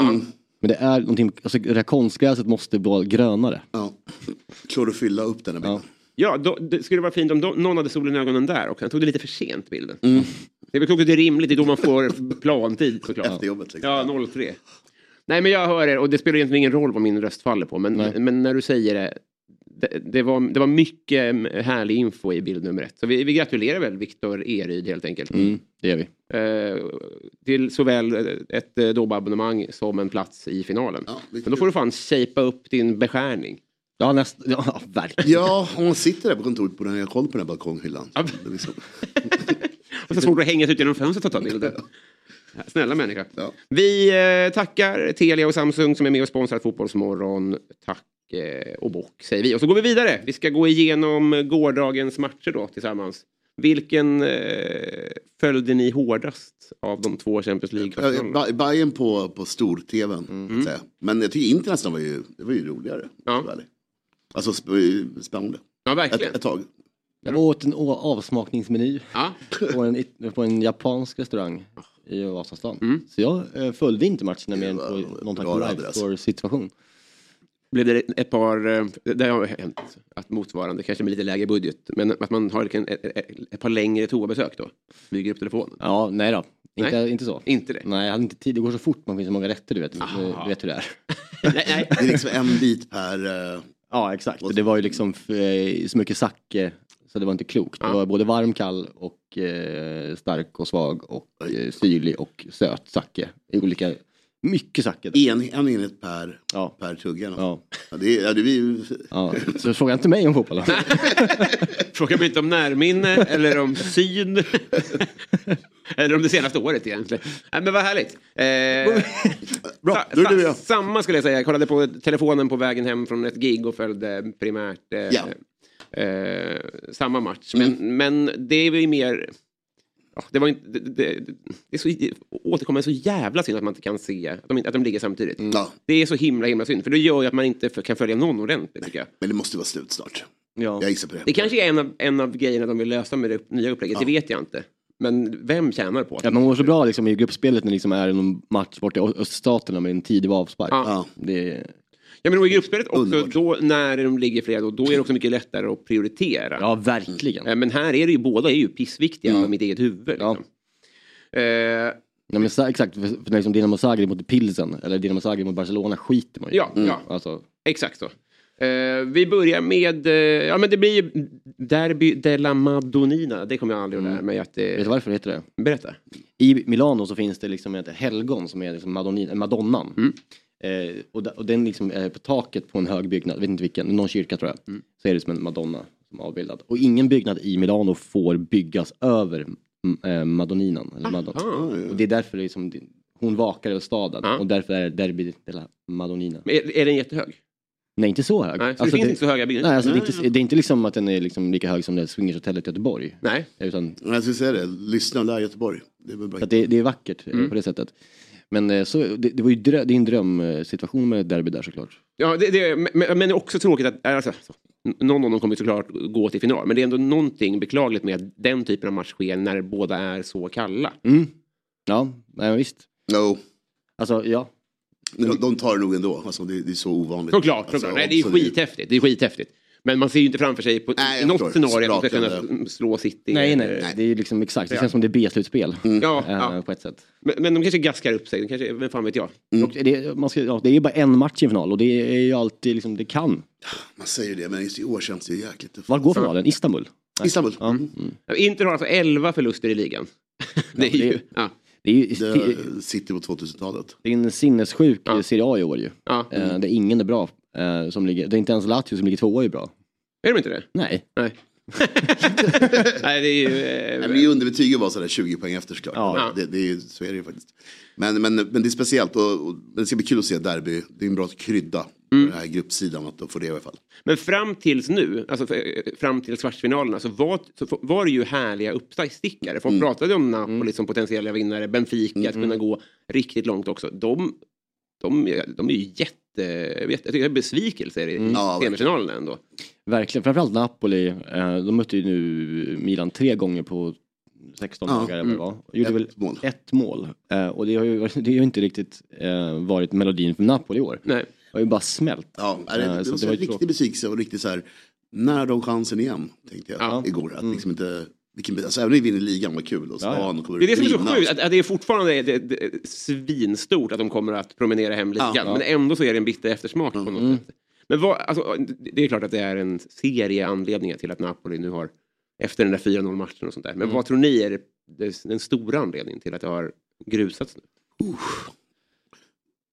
Men det är någonting, alltså det här konstgräset måste vara grönare. ja, klorofylla upp den här bilden. Ja, då, det skulle vara fint om då, någon hade solen i ögonen där också. Han tog det lite för sent bilden. Mm. Det är väl klokt att det är rimligt, det är då man får plantid såklart. Efter jobbet liksom. Ja, 03. Nej, men jag hör er och det spelar egentligen ingen roll vad min röst faller på, men, men när du säger det, det, det, var, det var mycket mm, härlig info i bild nummer ett. Så vi, vi gratulerar väl Viktor Eryd helt enkelt. Mm. Det gör vi. Eh, till såväl ett eh, dobbabonnemang som en plats i finalen. Ja, vilket men då får du fan shapea upp din beskärning. Ja, näst, ja <laughs> verkligen. Ja, om man sitter där på kontoret borde han ha koll på den här balkonghyllan. Det är liksom, Och så svårt att hänga sig ut genom fönstret och ta bilder. Snälla människa. Ja. Vi eh, tackar Telia och Samsung som är med och sponsrar Fotbollsmorgon. Tack eh, och bock säger vi. Och så går vi vidare. Vi ska gå igenom gårdagens matcher då tillsammans. Vilken eh, följde ni hårdast av de två Champions Ja, League-kvartsfinalerna? Ba- Bayern på, på stor-tvn. så att säga. Men jag tycker internationellt var ju, det var ju roligare. Ja. tyvärr. Alltså sp- spännande. Ja, Ett, verkligen. ett tag. Jag åt en å- avsmakningsmeny Ja. på en, it- på en japansk restaurang i Vasastan. Så jag eh, följde inte matcherna mer än Det var på någon bra slags adress. livescore-situation. Blev det ett par, eh, det har hänt, att motsvarande, kanske med lite lägre budget, men att man har ett, ett, ett par längre toabesök då? Smyger upp <laughs> telefonen? Ja, nej då. Inte, inte så. Inte det? Nej, jag hade inte tid. Det går så fort, man finns så många rätter du vet. Du vet hur det är. nej, nej. Det är liksom en bit per... eh, Ja, exakt. Det var ju liksom eh, så mycket sake så det var inte klokt. Det var både varm, kall och eh, stark och svag och eh, syrlig och söt sake i olika Mycket sacker. där. En, en enhet per, Ja. per tugga. eller något. Ja. Ja, det, är- ja, det är ju... Ja. Så fråga inte mig om fotboll. alltså? <laughs> Frågar mig inte om närminne eller om syn. eller om det senaste året egentligen. Nej, men vad härligt. Eh, Bra, då är det du och jag. Samma skulle jag säga. Jag kollade på telefonen på vägen hem från ett gig och följde primärt eh, eh, samma match. Men, Mm. men det är ju mer... Ja, det, var inte, det, det, det är så, återkommer så jävla synd att man inte kan se att de, inte- att de ligger samtidigt. Mm, Ja, Det är så himla himla synd, för det gör ju att man inte f- kan följa någon ordentligt. Tycker jag. men det måste vara slut snart. Ja. Jag gissar på det. Det kanske är en av, en av grejerna de vill lösa med det nya upplägget, det vet jag inte. Men vem tjänar på det? Ja, man mår så bra liksom, i gruppspelet när det liksom är någon match borta i Ö- öststaterna med en tidig avspark. Ja. Ja. Det är... Ja, men då i gruppspelet också, Underbart. då, när de ligger flera, då, då är det också mycket lättare att prioritera. ja, verkligen. Eh, Men här är det ju, båda är ju pissviktiga för mitt eget huvud. Liksom. Eh, Nej, men, sa- exakt, för, för liksom Dinamo Zagreb mot Pilsen eller Dinamo Zagreb mot Barcelona skiter man ju i. Ja, ja. Alltså, exakt så. Eh, vi börjar med, eh, ja men det blir ju Derby della Madonnina, det kommer jag aldrig att lära mig att Vet du eh, varför det heter det? berätta. I Milano så finns det liksom ett helgon som är liksom Madonnin, madonnan. Mm. Eh, och, da- och den liksom är på taket på en hög byggnad, vet inte vilken, någon kyrka tror jag. Mm. Så är det som en madonna som är avbildad. Och ingen byggnad i Milano får byggas över mm, eh, madonninan. Ah. Eller madonna. Och det är därför liksom det är som, hon vakar över staden Ja. och därför är Derby della Madonnina. Ah. Men Är, är den jättehög? Nej, inte så hög. Nej, så det finns inte så höga Ah. byggnader? Nej, alltså, det, är inte, det är inte liksom att den är liksom lika hög som det swingershotellet i Göteborg. Nej. Utan Men Jag skulle säga det, lyssna där i Göteborg. Det är väl bra. Så att det, det är vackert Mm. eh, på det sättet. Men eh, så, det, det var ju drö, det är en drömsituation med ett derby där såklart. Ja, det, det, men, men det är också tråkigt att alltså, någon av dem kommer såklart gå till final. Men det är ändå någonting beklagligt med att den typen av match sker när båda är så kalla. Mm. Ja, nej, men visst. No. Alltså ja, De, de tar det nog ändå. Alltså, det, det är så ovanligt. Såklart, Alltså, såklart. Nej, det är absolut. skithäftigt. Det är skithäftigt. Men man ser ju inte framför sig på Nej, jag något förstår. scenario att de ska Sprakande. kunna slå City. Eh, nej, nej, eller- Det är ju liksom exakt, det känns som det är B-slutspel. Mm. Ja, eh, ja. På ett sätt. Men, men de kanske gaskar upp sig. De kanske, vem fan vet jag? Och det, man ska, ja, det är ju bara en match i en final och det är ju alltid liksom, det kan. Man säger det, men i år känns det jäkligt tufft. Var går finalen? Istanbul? Istanbul. Ja. Mm. Inter har alltså 11 förluster i ligan. <laughs> det är det ju... är- Ja, Det är ju Det är City på 2000-talet. det är en sinnessjuk Ja. eh, Serie A i år ju. ja. Eh, Där ingen är bra. eh, Som ligger, det är inte ens Lazio som ligger tvåa är bra. Är de inte det? Nej. Nej. <laughs> Nej, det är ju... eh, Nej, men det är underbetyg att vara sådär 20 poäng efter såklart. Ja. Det, det är, ju- så är det ju faktiskt. Men, men, men det är speciellt och, och det ska bli kul att se derby. Det är en bra krydda på Mm. den här gruppsidan att de får det i alla fall. Men fram tills nu, alltså för, eh, fram till kvartsfinalerna, så var, så f- var det ju härliga uppstickare. Folk Mm. pratade om Napoli som potentiella vinnare, Benfica, att kunna gå riktigt långt också. De, de, är- de är ju jätte... Jag vet- jag tycker det är besvikelser i i Mm. Ja, verkligen. semifinalen ändå. Verkligen, framförallt Napoli. eh, De mötte ju nu Milan tre gånger på 16 Ja, dagar. Mm. Gjorde Ett väl mål. ett mål. Eh, Och det har ju, varit- det har ju inte riktigt eh, varit melodin för Napoli i år. Nej. Det har ju bara smält. Ja, är det, Eh, det, så var det så var en ju riktig tråkigt. besvikelse och riktigt så här, när de chansen igen? Tänkte jag Ja. Mm. igår. Att liksom inte, vilken, alltså, även om vi vinner ligan, vad kul. Och Ja, ja. stan kommer Det är det som är så brinna. sjukt, att, att det är fortfarande är det, det, svinstort att de kommer att promenera hem ligan. Ja. Men ändå så är det en bitter eftersmak på något sätt. Men vad, alltså, det är klart att det är en serie anledningar till att Napoli nu har, efter den där 4-0-matchen och sånt där. Men vad tror ni är det- det, den stora anledningen till att det har grusats nu?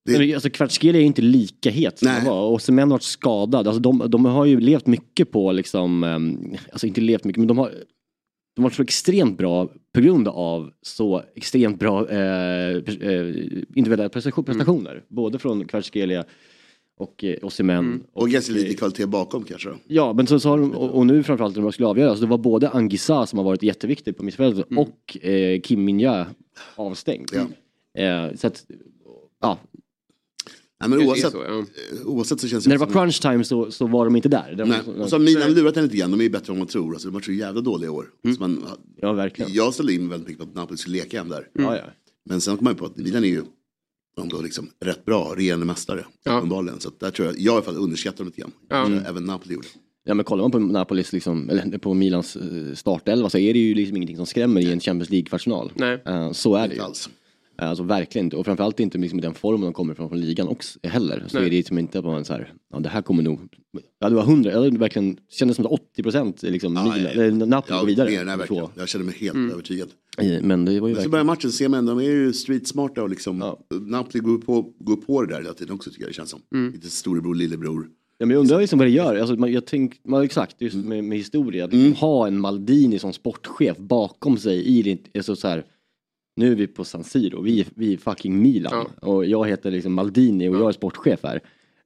Det- Men Alltså Kvartskheli är ju inte lika het som Nej. han var. Och Semen har varit skadad. Alltså, de, de har ju levt mycket på liksom, eh, alltså inte levt mycket, men de har de har varit så extremt bra på grund av så extremt bra eh, pers- eh, individuella prestation- prestationer. Mm. Både från Kvartskelia och eh, Osimhen. Och ganska lite kvalitet bakom kanske. då. Ja, men så, så har de, och, och nu framförallt när de skulle avgöra, så det var både Angissa som har varit jätteviktig på mittfältet Mm. och eh, Kim Minja avstängd. Eh, så att, ja, Nej, men Det är oavsett, eh, så, ja. oavsett så känns det när det var Typ som- crunch time så, så var de inte där. De, Nej. de- Och så har Milan lurat en lite grann, de är ju bättre än man tror. Alltså, de har varit så jävla dåliga i år. Mm. Så man, ja, verkligen. jag ställde in väldigt mycket på att Napoli skulle leka hem där. Ja, ja. Men sen kom man ju på att Milan är ju ändå liksom rätt bra regerande mästare. Ja. Uppenbarligen. Så att där tror jag, jag i alla fall underskattar dem lite grann. Kanske Mm. Även Napoli gjorde. ja, men kollar man på Napolis, liksom, eller på Milans eh, startelva så är det ju liksom ingenting som skrämmer i en Champions League-kvartsfinal. Nej. Eh, så är det ju. Inte alls. Alltså verkligen inte. Och framförallt inte liksom i den formen de kommer från, från ligan också, heller. Så Nej. är det liksom inte att man så här, ja det här kommer nog... Ja det var 100, ja, det verkligen kändes som att 80 procent liksom, Ja, Milan- ja, eller Napoli Ja, går vidare. mer, nej, verkligen. Så. Jag känner mig helt övertygad. I- Men det var ju Men så verkligen... börjar matchen, ser man ändå, de är ju streetsmarta och liksom, Ja. Napoli går på, går på det där hela tiden också tycker jag det känns som. Mm. Lite storebror, lillebror. Ja, men jag undrar liksom vad det gör. Alltså, man, jag tänk, man, exakt, just Mm. med, med historia. Att liksom ha en Maldini som sportchef bakom sig i det, alltså, så här, nu är vi på San Siro, vi, är- vi är fucking Milan och jag heter liksom Maldini och jag är sportchef här.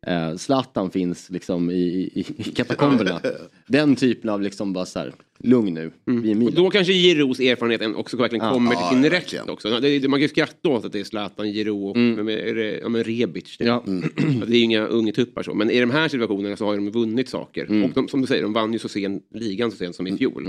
Eh, Zlatan finns liksom i, i, i <laughs> katakomberna. Den typen av liksom bara så här, lugn nu, vi är Mm. Och Milan. då kanske Giroud erfarenheten också verkligen Ja. kommer Ja, till sin ja, rätt verkligen. också. Det, är- man kan ju skratta åt att det är Zlatan, Giroud och men är det, ja, men Rebic. Det, Mm. Ja. Att det är ju inga unga tuppar så. Men i de här situationerna så har ju de vunnit saker. Mm. Och de, som du säger, de vann ju så sen, ligan så sent som i fjol.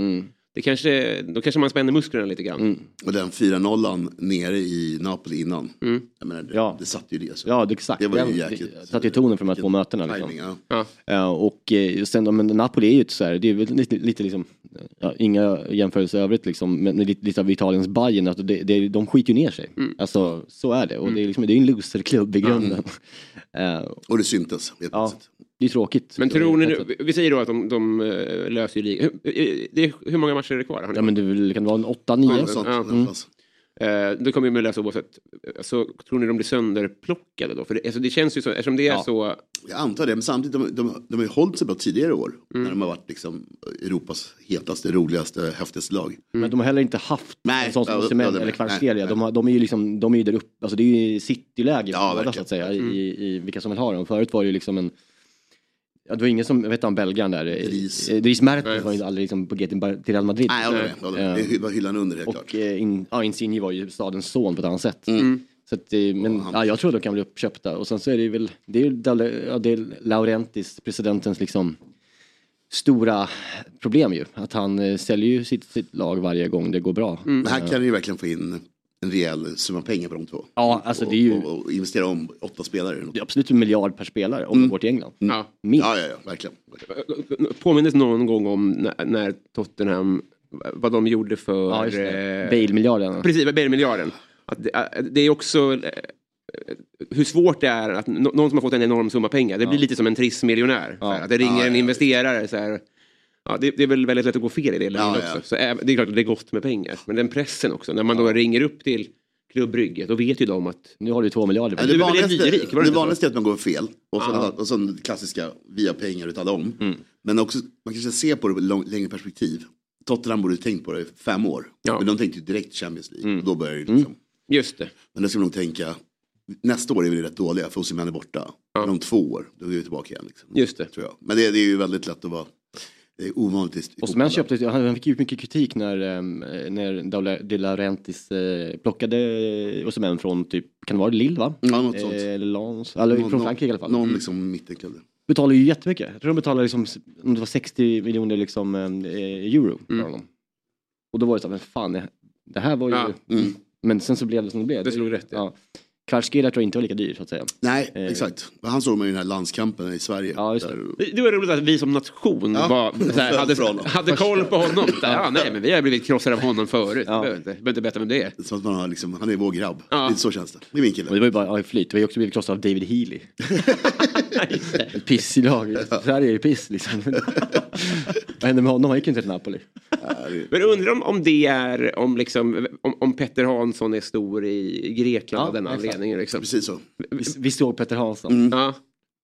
Det kanske, då kanske man spänner musklerna lite grann. Mm. Och den 4-0 nere i Napoli innan. Jag menar, det, Mm. Ja. det satte ju det. Så. Ja, det, exakt. Det var ju Den- jäkligt- det satte ju tonen för de här två mötena. Liksom. Timing, ja. Ja. Eh, och eh, sen, ja, men Napoli är ju ett så här, det är väl lite, lite liksom, ja, inga jämförelser i övrigt liksom, men lite, lite av Italiens Bayern att det, det, de skiter ju ner sig. Mm. Alltså, så är det. Och det är liksom, det är ju en loserklubb i grunden. Eh, Och det syntes <laughs> helt ja, plötsligt. det är tråkigt. Men tror ni, det? nu- vi säger då att de, de eh, löser ju ligan. Hur, eh, det är- hur många matcher är det kvar? Har ni- Ja, men det är väl- kan det vara en Ja, 8-9? sånt, Ja. någonstans. Eh, det kommer ju med lösa oavsett. Så tror ni de blir sönderplockade då? För det, alltså det känns ju så, eftersom det är Ja. Mm. så... Jag antar det, men samtidigt, de, de, de har ju hållit sig bra tidigare år. Mm. När de har varit liksom, Europas hetaste, roligaste, häftigaste lag. Men de har heller inte haft Nej, en sån som ja, Osimhen ja, det- eller nej, Kvaratskhelia. nej. De, har- de är ju liksom, de är ju där uppe, alltså det är ju cityläge Ja, ja, båda så verkligen. Mm. att säga, i, i, i vilka som vill ha dem. Förut var det ju liksom en, ja, det var ingen som, vet han belgaren där, Dries. eh, Dries Nej. Mertens var ju aldrig liksom på GT till Real Madrid. Nej, jag håller med. jag håller med. Det var hyllan under helt klart. Och eh, in, ja, Insigne var ju stadens son på ett annat sätt. Så att, eh, men Mm. han- ja, jag tror att de kan bli uppköpta och sen så är det ju väl, det är ju Dale- ja, det är Laurentis, presidentens liksom stora problem ju. Att han eh, säljer ju sitt, sitt lag varje gång det går bra. Men här kan du ju verkligen få in en rejäl summa pengar på de två. Ja, alltså och, det är ju och, och investera om åtta spelare. eller något. det är absolut en miljard per spelare om det går till England. Ja. Minst. Ja, ja, ja, verkligen. Påminnes någon gång om när, när Tottenham, vad de gjorde för... Ja, just det. eh, Bale-miljarden. Precis, Bale-miljarden. Att det, eh, det är också eh, hur svårt det är att nå- någon som har fått en enorm summa pengar, det blir lite som en trissmiljonär. Ja. Att det ringer en investerare så här. Ja, det, det är väl väldigt lätt att gå fel i det läget Ja, också. ja. Så även- det är klart att det är gott med pengar. Men den pressen också, när man då ringer upp till klubbrygget, då vet ju de att... Nu har du två miljarder. Ja, du var Det väl helt vanligaste, lyrik, var det det inte så? vanligaste är att man går fel. Och sen, och sen det klassiska, vi har pengar och alla om. Mm. Men också, man kanske ser på det i lång, längre perspektiv. Tottenham borde ha tänkt på det i fem år. Ja. Men de tänkte ju direkt Champions League. Mm. Och då börjar det liksom. Just det. Men då ska de tänka, nästa år är vi rätt dåliga för Osimhen är borta. Men om två år, då är vi tillbaka igen. Liksom, Just det. tror jag. Men det, det är ju väldigt lätt att vara, det är ovanligt. i- i Och Smen fotbollen. köpte, han fick ju mycket kritik när, ehm, när Daula- De Laurentiis eh, plockade Osimhen från typ, kan det vara Lille va? Ja, något Eh, sånt. Eller Lens, eller Någon- från Frankrike i alla fall. Mm. Någon liksom mittenklubb. Betalar ju jättemycket. Jag tror de betalade liksom, om det var 60 miljoner liksom, eh, euro för honom. Och då var det så här, men fan, det här var ju... Ja. Men sen så blev det som det blev. Det slog rätt, ja. Ja. Kvarskelia tror jag inte var lika dyr så att säga. Nej, exakt. Men Han såg man ju i den här landskampen i Sverige. Eh. Ja, just det. Där- Det var roligt att vi som nation Ja. var, så här, Föll för honom. hade, hade koll på honom. Så här, ja, nej, men vi har blivit krossade av honom förut. Ja. Behöver inte, behöver inte berätta vem det är. Det är Som att man har liksom, han är vår grabb. Ja. Lite så känns det. Det är min Och det kille. var ju bara ja, i flyt, vi har ju också blivit krossade av David <laughs> Healy. <laughs> Ett pisslag, Sverige är ju <laughs> piss liksom. Vad hände med honom? Han gick ju inte till Napoli. Men undrar om, om det är om, liksom, om, om Petter Hansson är stor i Grekland Ja, av den exakt. anledningen. Liksom. Precis så. Vi, vi såg Petter Hansson. Ja.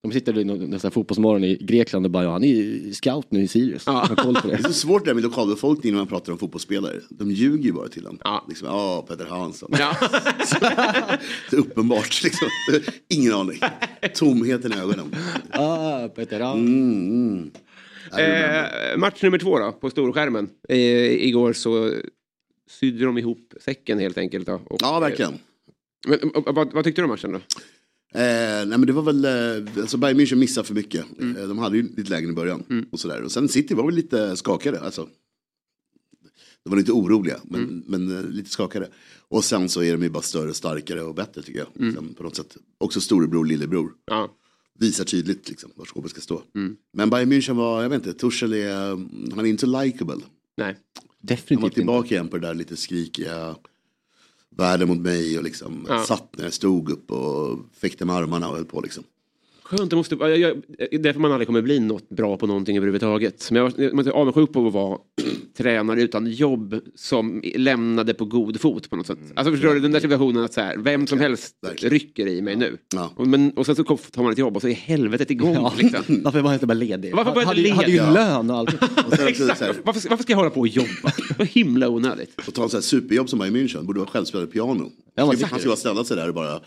De sitter i någon- nästan fotbollsmorgon i Grekland och bara ja, han är ju scout nu i Sirius. Ja. Han har koll <laughs> på Det är så det. svårt det här med lokalbefolkningen när man pratar om fotbollsspelare. De ljuger ju bara till en. Ja. Liksom, ja, Peter Hansson. Ja. <laughs> Det är uppenbart liksom. <laughs> <laughs> Ingen aning. Tomheten i ögonen. Mm, Ah, Petter Hansson. Mm. eh, match nummer två då, på storskärmen. Eh, igår så sydde de ihop säcken helt enkelt. Då, och, Ja, verkligen. Men, och, och, vad, vad tyckte du om matchen då? Eh, nej men det var väl, eh, alltså Bayern München missade för mycket. Eh, de hade ju lite lägen i början. Och, sådär. och sen City var väl lite skakade. Alltså, de var inte oroliga, men, men eh, lite skakade. Och sen så är de ju bara större, starkare och bättre tycker jag. Sen, på något sätt. Också storebror, lillebror. Ja. Visar tydligt liksom, var skåpet ska stå. Men Bayern München var, jag vet inte, Tuchel är, eh, han är inte så likable. Nej. Han var Definitivt inte. tillbaka igen på det där lite skrikiga. världen mot mig och liksom Ja. satt när jag stod upp och fäktade med armarna och höll på liksom. Skönt, det måste, jag, jag, det är därför man aldrig kommer bli något bra på någonting överhuvudtaget. Men jag var jag var avundsjuk på att vara <clears throat> tränare utan jobb som lämnade på god fot på något sätt. Alltså förstår du, den där situationen att så här, vem som helst verkligen. rycker i mig nu. Ja. Och, men, och sen så kom- tar man ett jobb och så är helvetet igång. Ja. <laughs> Liksom. Varför var jag inte bara ledig? Varför var jag inte hade, ju- ledig? hade ju Ja. lön och <laughs> allt. Och sen också Exakt, så här, varför, varför ska jag hålla på och jobba? <laughs> Vad himla onödigt. och ta en så här superjobb som var i München, borde vara självspelande piano. Ja, men Han skulle- exakt. han skulle ha ställt sig där och bara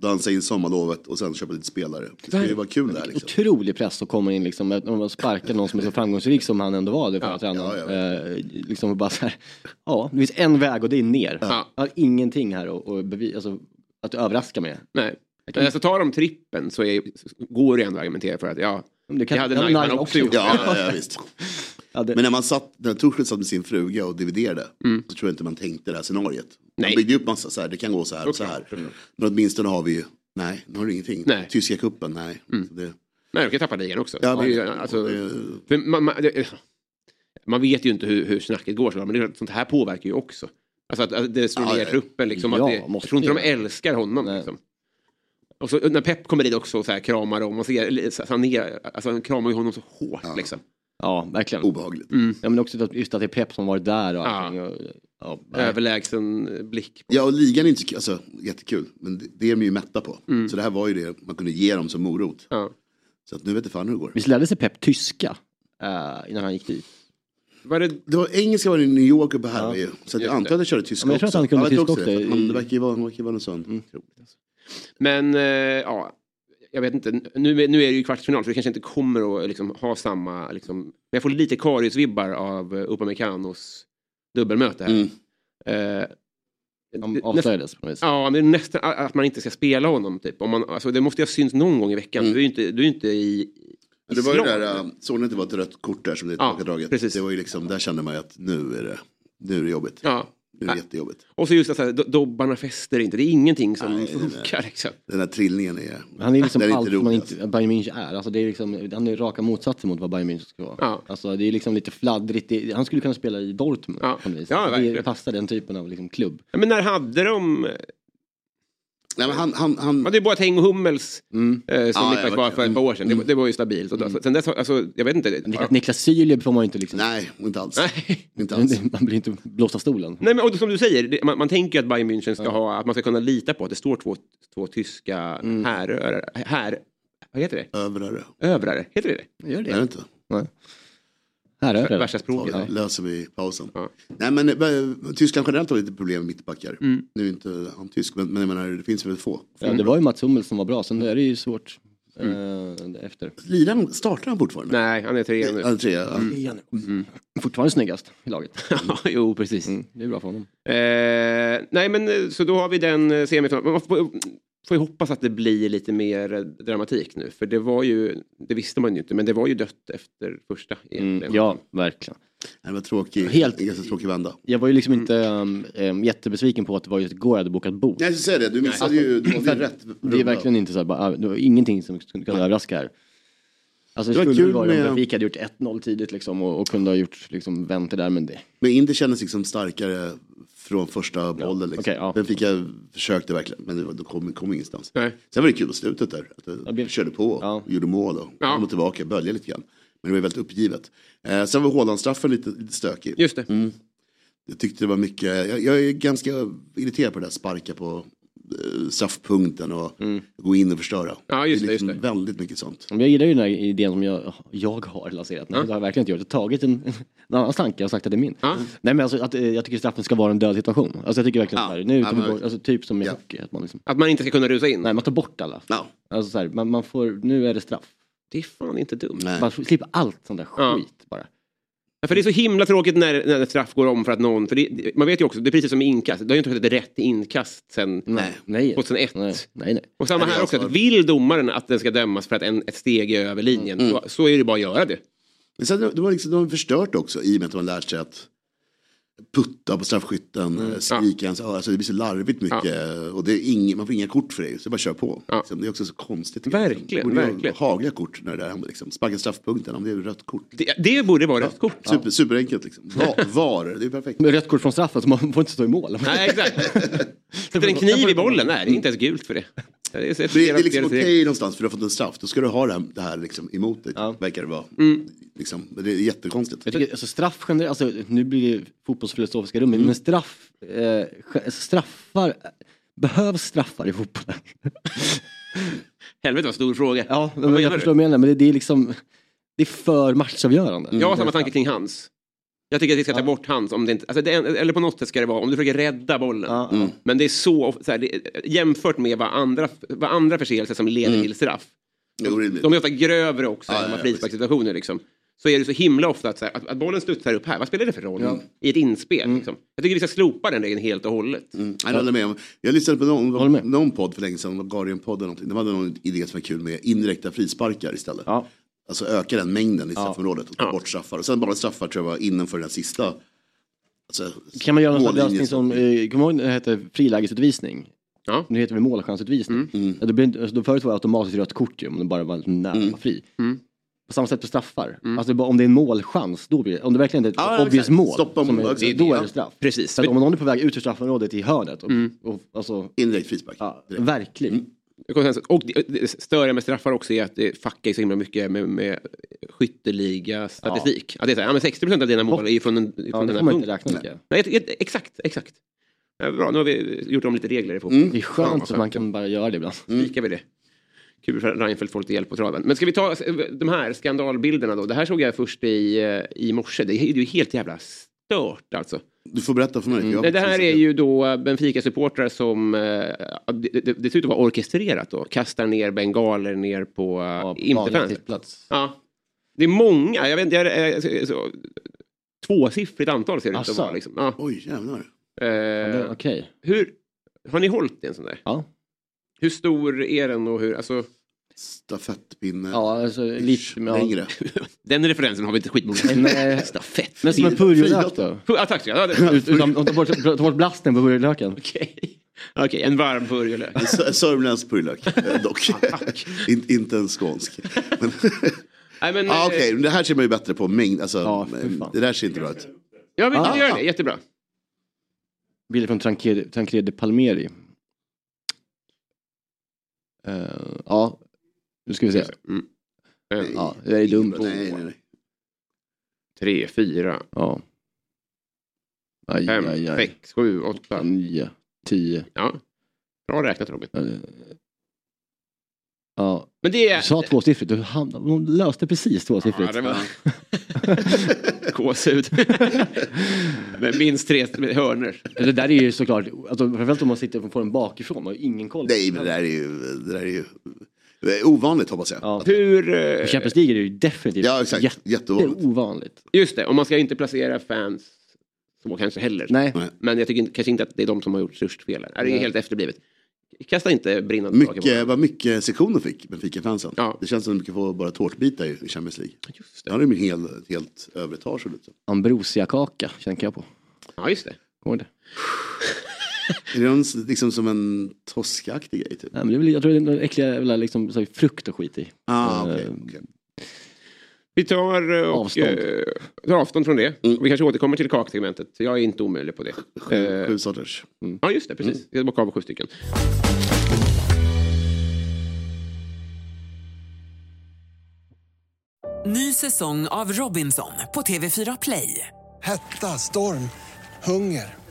dansa in sommarlovet och sen köpa lite spelare. Det skulle ju vara kul där liksom. Otrolig press att komma in liksom, om man sparkar någon som är så framgångsrik som han ändå var, det förra ja, tränaren. jag eh, liksom och bara så här, ja, det finns en väg och det är ner. Ja. Jag har ingenting här och, och bevi, alltså, att överraska med. Nej. Men alltså tar de trippen så är, går det ändå att argumentera för att ja, Men det det, kan- hade ja, Nagman Nagman också också gjort. Ja, ja, ja visst. Ja, det, Men när man satt, när Torsten satt med sin fruga och dividerade så tror jag inte man tänkte det här scenariet. Mm. Nej. Man byggde upp massa så här, det kan gå så här och så här. Men åtminstone har vi ju, nej, nu har du ingenting. Nej. Tyska kuppen, nej. Så det, Nej, du kan tappa ligan också. Ja, det är ju, men- alltså, det- för man, man, det, eh, man vet ju inte hur, hur snacket går, såklart, men det, är klart, sånt här påverkar ju också. Alltså att, att det slår Ja, ner ja. truppen, liksom, Ja, att det, jag måste tror inte de ju. älskar honom. Nej. Liksom. Och så när Pep kommer dit också och så här, kramar dem, och ser, så han, ner, alltså, han kramar ju honom så hårt. Liksom. ja, verkligen. Mm. obehagligt. Ja, men också att- just att det är Pep som varit där och Ja. allting. Och, ja, nej. Överlägsen eh, blick. Ja, och ligan är inte så kul, alltså, jättekul, men det, det är de ju mätta på. Mm. Så det här var ju det man kunde ge dem som morot. Ja. Så att nu vet jag fan hur det går. Visst lärde sig Pep tyska eh, innan han gick dit? Var det, Det var engelska var det i New York uppe här, ja. så att Just jag antar att han körde tyska Ja, men jag tror att också. han kunde jag vet tyska det, också. Mm. för att Han, det verkar ju vara, han verkar ju vara någon sån. men eh, ja, jag vet inte. Nu, nu är det ju kvartsfinal så det kanske inte kommer att liksom, ha samma... Liksom, men jag får lite Karius-vibbar av eh, Upamecanos dubbelmöte här. Mm. Eh, Han det- avslöjades på något vis. Ja, men nästan a- att man inte ska spela honom. Typ. Om man, alltså, det måste ju ha synts någon gång i veckan. Du är ju inte, du är ju inte i... i Men Mm. Det var ju slag. det där, äh, såg ni att det var ett rött kort där som blev Ja, tillbakadraget? precis. Det var ju liksom, där kände man ju att nu är det, nu är det jobbigt. Ja. Nu är det jättejobbigt. Och så just att så här, do- dobbarna fäster inte. Det är ingenting som funkar. Liksom. Den där trillningen är... Han är liksom den allt rolig, man alltså. inte, Bayern München är. Alltså det är liksom, han är raka motsatsen mot vad Bayern München ska vara. Ja. Alltså det är liksom lite fladdrigt. Det, han skulle kunna spela i Dortmund. Ja. på något vis. Alltså, Ja, verkligen. det passar den typen av liksom klubb. Ja, Men när hade de... Nej, men han, han, han, Man, det är bara Teng och Hummels eh, som Mm. Ja, mittback ja, var verkligen. för ett par år sedan. Mm. Det, det var ju stabilt. Och, då- Sen dess, har- alltså, jag vet inte. Men Att Niklas Syleb får man ju inte liksom... nej, inte alls. Nej. <laughs> Inte alls. Man blir inte blåst av stolen. <laughs> Nej, men och som du säger, det, man, man tänker ju att Bayern München ska ha, att man ska kunna lita på att det står två, två tyska Mm. härörare, här, vad heter det? Övrare. Övrare, heter det det? Gör Är det inte? Här är det. Värsta språket. Ja, löser vi i pausen. Ja. Nej, men eh, Tyskland generellt har lite problem med mittbackar. Mm. Nu är inte han tysk, men, men jag menar, det finns väl få. Ja, det var ju Mats Hummels som var bra, sen är det ju svårt Mm. eh, efter. Lirar han, startar han fortfarande? Nej, han är trea nu. Han är trea, ja. Mm. Fortfarande snyggast <laughs> i laget. Mm, jo, precis. Det är bra för honom. Eh, nej, men eh, så då har vi den eh, semifinalen. Man får, får ju hoppas att det blir lite mer eh, dramatik nu, för det var ju, det visste man ju inte, men det var ju dött efter första. Mm, egentligen. Ja, verkligen. Nej, Det var tråkigt. Helt- En ganska tråkig vända. Jag var ju liksom Mm. inte um, um, jättebesviken på att det var just igår jag hade bokat bord. Nej, jag ska säga det. Du missade ju, du hade ju rätt. alltså, Det är verkligen inte så här, bara, ah, det var ingenting som skulle kunna överraska här. Alltså det, Det var skulle kul kul vara om med- Benfica hade gjort 1-0 tidigt liksom och, och kunde ha gjort liksom vänt det där men det. Men Inter kändes liksom starkare från första bollen. Liksom. okej, ja. Den fick jag, försökte verkligen, men det var, de kom, kom ingenstans. Nej. Sen var det kul på slutet där. Att de Det blev- körde på, Ja. gjorde mål och Ja. kom tillbaka, böljade lite grann. Men det var väldigt uppgivet. Eh, sen var Haaland-straffen lite, lite stökig. Just det. Jag tyckte det var mycket, jag, jag är ganska irriterad på det där sparka på eh, straffpunkten och gå in och förstöra. Mm. Ja, just är liksom det, just det. Väldigt mycket sånt. Men jag gillar ju den här idén som jag, jag har lanserat. Nej, det har jag verkligen inte gjort. Jag har tagit en, en annans tanke och sagt att det är min. Ja. Nej men alltså att, eh, jag tycker straffen ska vara en död situation. Alltså jag tycker verkligen Ja. så här, nu Ja, tar vi men- bort, alltså typ som i Ja. hockey. Att man liksom, Att man inte ska kunna rusa in. nej man tar bort alla. Ja. Alltså så här, man, man får, nu är det straff. Det är fan inte dumt. Nej. Man slipper allt sånt där Ja. skit bara. Ja, För det är så himla tråkigt när, när ett straff går om för att någon, för det, man vet ju också, det är precis som med inkast, det har ju inte varit ett rätt inkast sen Nej. Nej. 2001. Nej, nej. nej. Och samma Nej, det är här också, alltså- att vill domaren att den ska dömas för att en, ett steg är över linjen, Mm. så, så är det bara att göra det. Men sen, de, har liksom, de har förstört också i och med att de har lärt sig att putta på straffskytten, mm. skrika i hans öra. Alltså det blir så larvigt mycket. Och det är ing, man får inga kort för det. Så jag bara kör på. Liksom. Det är också så konstigt. tycker jag. Verkligen, Liksom. Borde ju verkligen. Hagliga kort när det där händer. Liksom. Sparka straffpunkten om det är rött kort. Det, det borde vara rött kort. Super, Superenkelt liksom. Va- <laughs> VAR, det är perfekt. Med rött kort från straffen så man får inte stå i mål. <laughs> Nej, exakt. Sätter en kniv i bollen? Nej, det är inte ens gult för det. Det är, det Det är, det är liksom okej någonstans för du har fått en straff. Då ska du ha det här, det här liksom emot dig. Verkar det vara. Liksom. Det är jättekonstigt. <laughs> Mm. Jag tycker, alltså straff generellt, alltså, nu blir det fotbollsfilosofiska rummet, men straff, eh, ge- alltså, straffar, behövs straffar i <laughs> fotbollen? Helvete vad stor fråga. ja, Vad men, menar jag du? förstår vad du menar, men det, det är liksom, det är för matchavgörande. Mm. Jag har samma tanke kring hans. Jag tycker att vi ska ta bort hans. Om det inte, alltså det, är- eller på något sätt ska det vara om du försöker rädda bollen. Ja, Mm. Men det är så, så här, det, jämfört med vad andra, vad andra förseelser som leder till straff. Det är orimligt. De är ofta grövre också Mm. Ja, än ja, vad ja, frisparkssituationer liksom. Så är det så himla ofta att, så här, att, att bollen studsar upp här. Vad spelar det för roll i ett inspel? Mm. Liksom. Jag tycker vi ska slopa den regeln helt och hållet. Mm. Jag håller med om. Jag lyssnade på Håller med. någon, någon podd för länge sedan, Guardian-podden, eller någonting. de hade någon idé som var kul med indirekta frisparkar istället. Ja. Alltså öka den mängden i straffområdet och ta Ja. bort straffar. Och sen bara straffar tror jag var innanför den sista. Alltså, Kan man göra en sån mållinjen. lösning som, eh, kommer du ihåg när det hette frilägesutvisning? Ja. Nu heter det målchansutvisning. Ja, då blir, det- alltså, då förut var det automatiskt rött kort ju, om det bara var nära mm. fri. På samma sätt på straffar. Alltså bara om det är en målchans, då blir det, om det verkligen inte är ett Ja, obvious exakt. mål, Stoppa som mål, är, exakt. då är Ja. det straff. Precis. Så att om någon är på väg ut ur straffområdet i hörnet, och, och, alltså, Indirekt frispark. ja, Direkt. verkligen. Konsensus. Och det- det störiga med straffar också är att det fuckar så himla mycket med, med skytteliga statistik. Ja. Att det är så här, ja, men 60 procent av dina mål är ju från den, från Ja, det den får här man inte punkten. räkna mycket. Nej, jag- jag- exakt, exakt. Ja, bra, nu har vi gjort om lite regler i fotboll. Det Fan, är skönt vad att man kan bara göra det ibland. Spikar vi det. Kul för Reinfeldt får lite hjälp på traven. Men ska vi ta eh, de här skandalbilderna då? Det här såg jag först i, eh, i morse. Det är det är ju helt jävla stört alltså. Du får berätta för mig. Mm. jag har Nej, det här precis- är ju då Benfica-supportrar som, eh, det, det, det ser ut att vara orkestrerat då, kastar ner bengaler ner på ja, Ja, typ. vanlig Interfans. sittplats. Ja. Det är många, jag vet inte, jag är, eh, så, tvåsiffrigt antal ser det ut att Asså? vara. Liksom. Ja. Oj, jävlar. Det- Eh, Okej. hur, har ni hållit i en sån där? Ja. Hur stor är den och hur, alltså, <laughs> Stafettpinne. ja, alltså Ish, lite... Ja. Längre. den referensen har vi inte skitmånga. Men, eh, <laughs> Stafett. men som en purjolök då? Ja, tack ska jag <laughs> ha. Ut- Utan, ta, bort, ta bort blasten på purjolöken. Okej, Okej, en varm purjolök. Sö- Sörmländsk purjolök, eh, dock. <laughs> In, inte en skånsk. Men, Nej, men, ah, eh, Okej, men det här ser man ju bättre på. Mängd, alltså, Ja, fy fan. det där ser inte bra ut. Ja, vi kan Ah. göra det. Jättebra. Bilder från Tancred- Tancred de Palmeri. Eh, ja, nu ska vi se. Mm. En, Ja, det är dumt. Nej, nej, nej. tre, fyra, Ja. Aj, fem, aj, aj. sex, sju, åtta. Nio, tio. Ja. Bra räknat Robin. eh, Ja, Men det du är... sa tvåsiffrigt. Du hamnade- De löste precis Ja, tvåsiffrigt. det var... <laughs> Gåshud. Men minst tre hörnor. Det där är ju såklart, alltså, framförallt om man sitter på den bakifrån och ingen koll. Nej, men det där är ju, det där är ju det är ovanligt hoppas jag. Ja, Ja. Hur... eh, På Champions League är det ju definitivt exakt. jätte- Jätteovanligt. ovanligt. Just det, och man ska inte placera fans så kanske heller. Nej, Nej. Men jag tycker inte- kanske inte att det är de som har gjort störst fel. här. Det är Nej. helt efterblivet. Kasta inte brinnande saker på Mycket, vad mycket sektioner fick Benfica-fansen. Ja. Det känns som att de brukar få bara tårtbitar i i Champions League. Just Det har de ju en hel, ett helt övertage. och lite. ambrosiakaka tänker jag på. Ja, just det. Kommer det? Är det någon, s- liksom som en toskaktig grej? Typ? Nej, men det är väl, jag tror det är några äckliga jävla, liksom, så här, frukt och skit i. Ah, Eh, okej. okej. Vi tar, eh, och, Avstånd. Mm. eh, tar avstånd från det. Vi kanske återkommer till kaksegmentet. Jag är inte omöjlig på det. Sju, Eh, sju sorters. Ja, just det. Precis. Mm. Jag ska bocka av sju stycken. Ny säsong av Robinson på TV4 Play. Hetta, storm, hunger.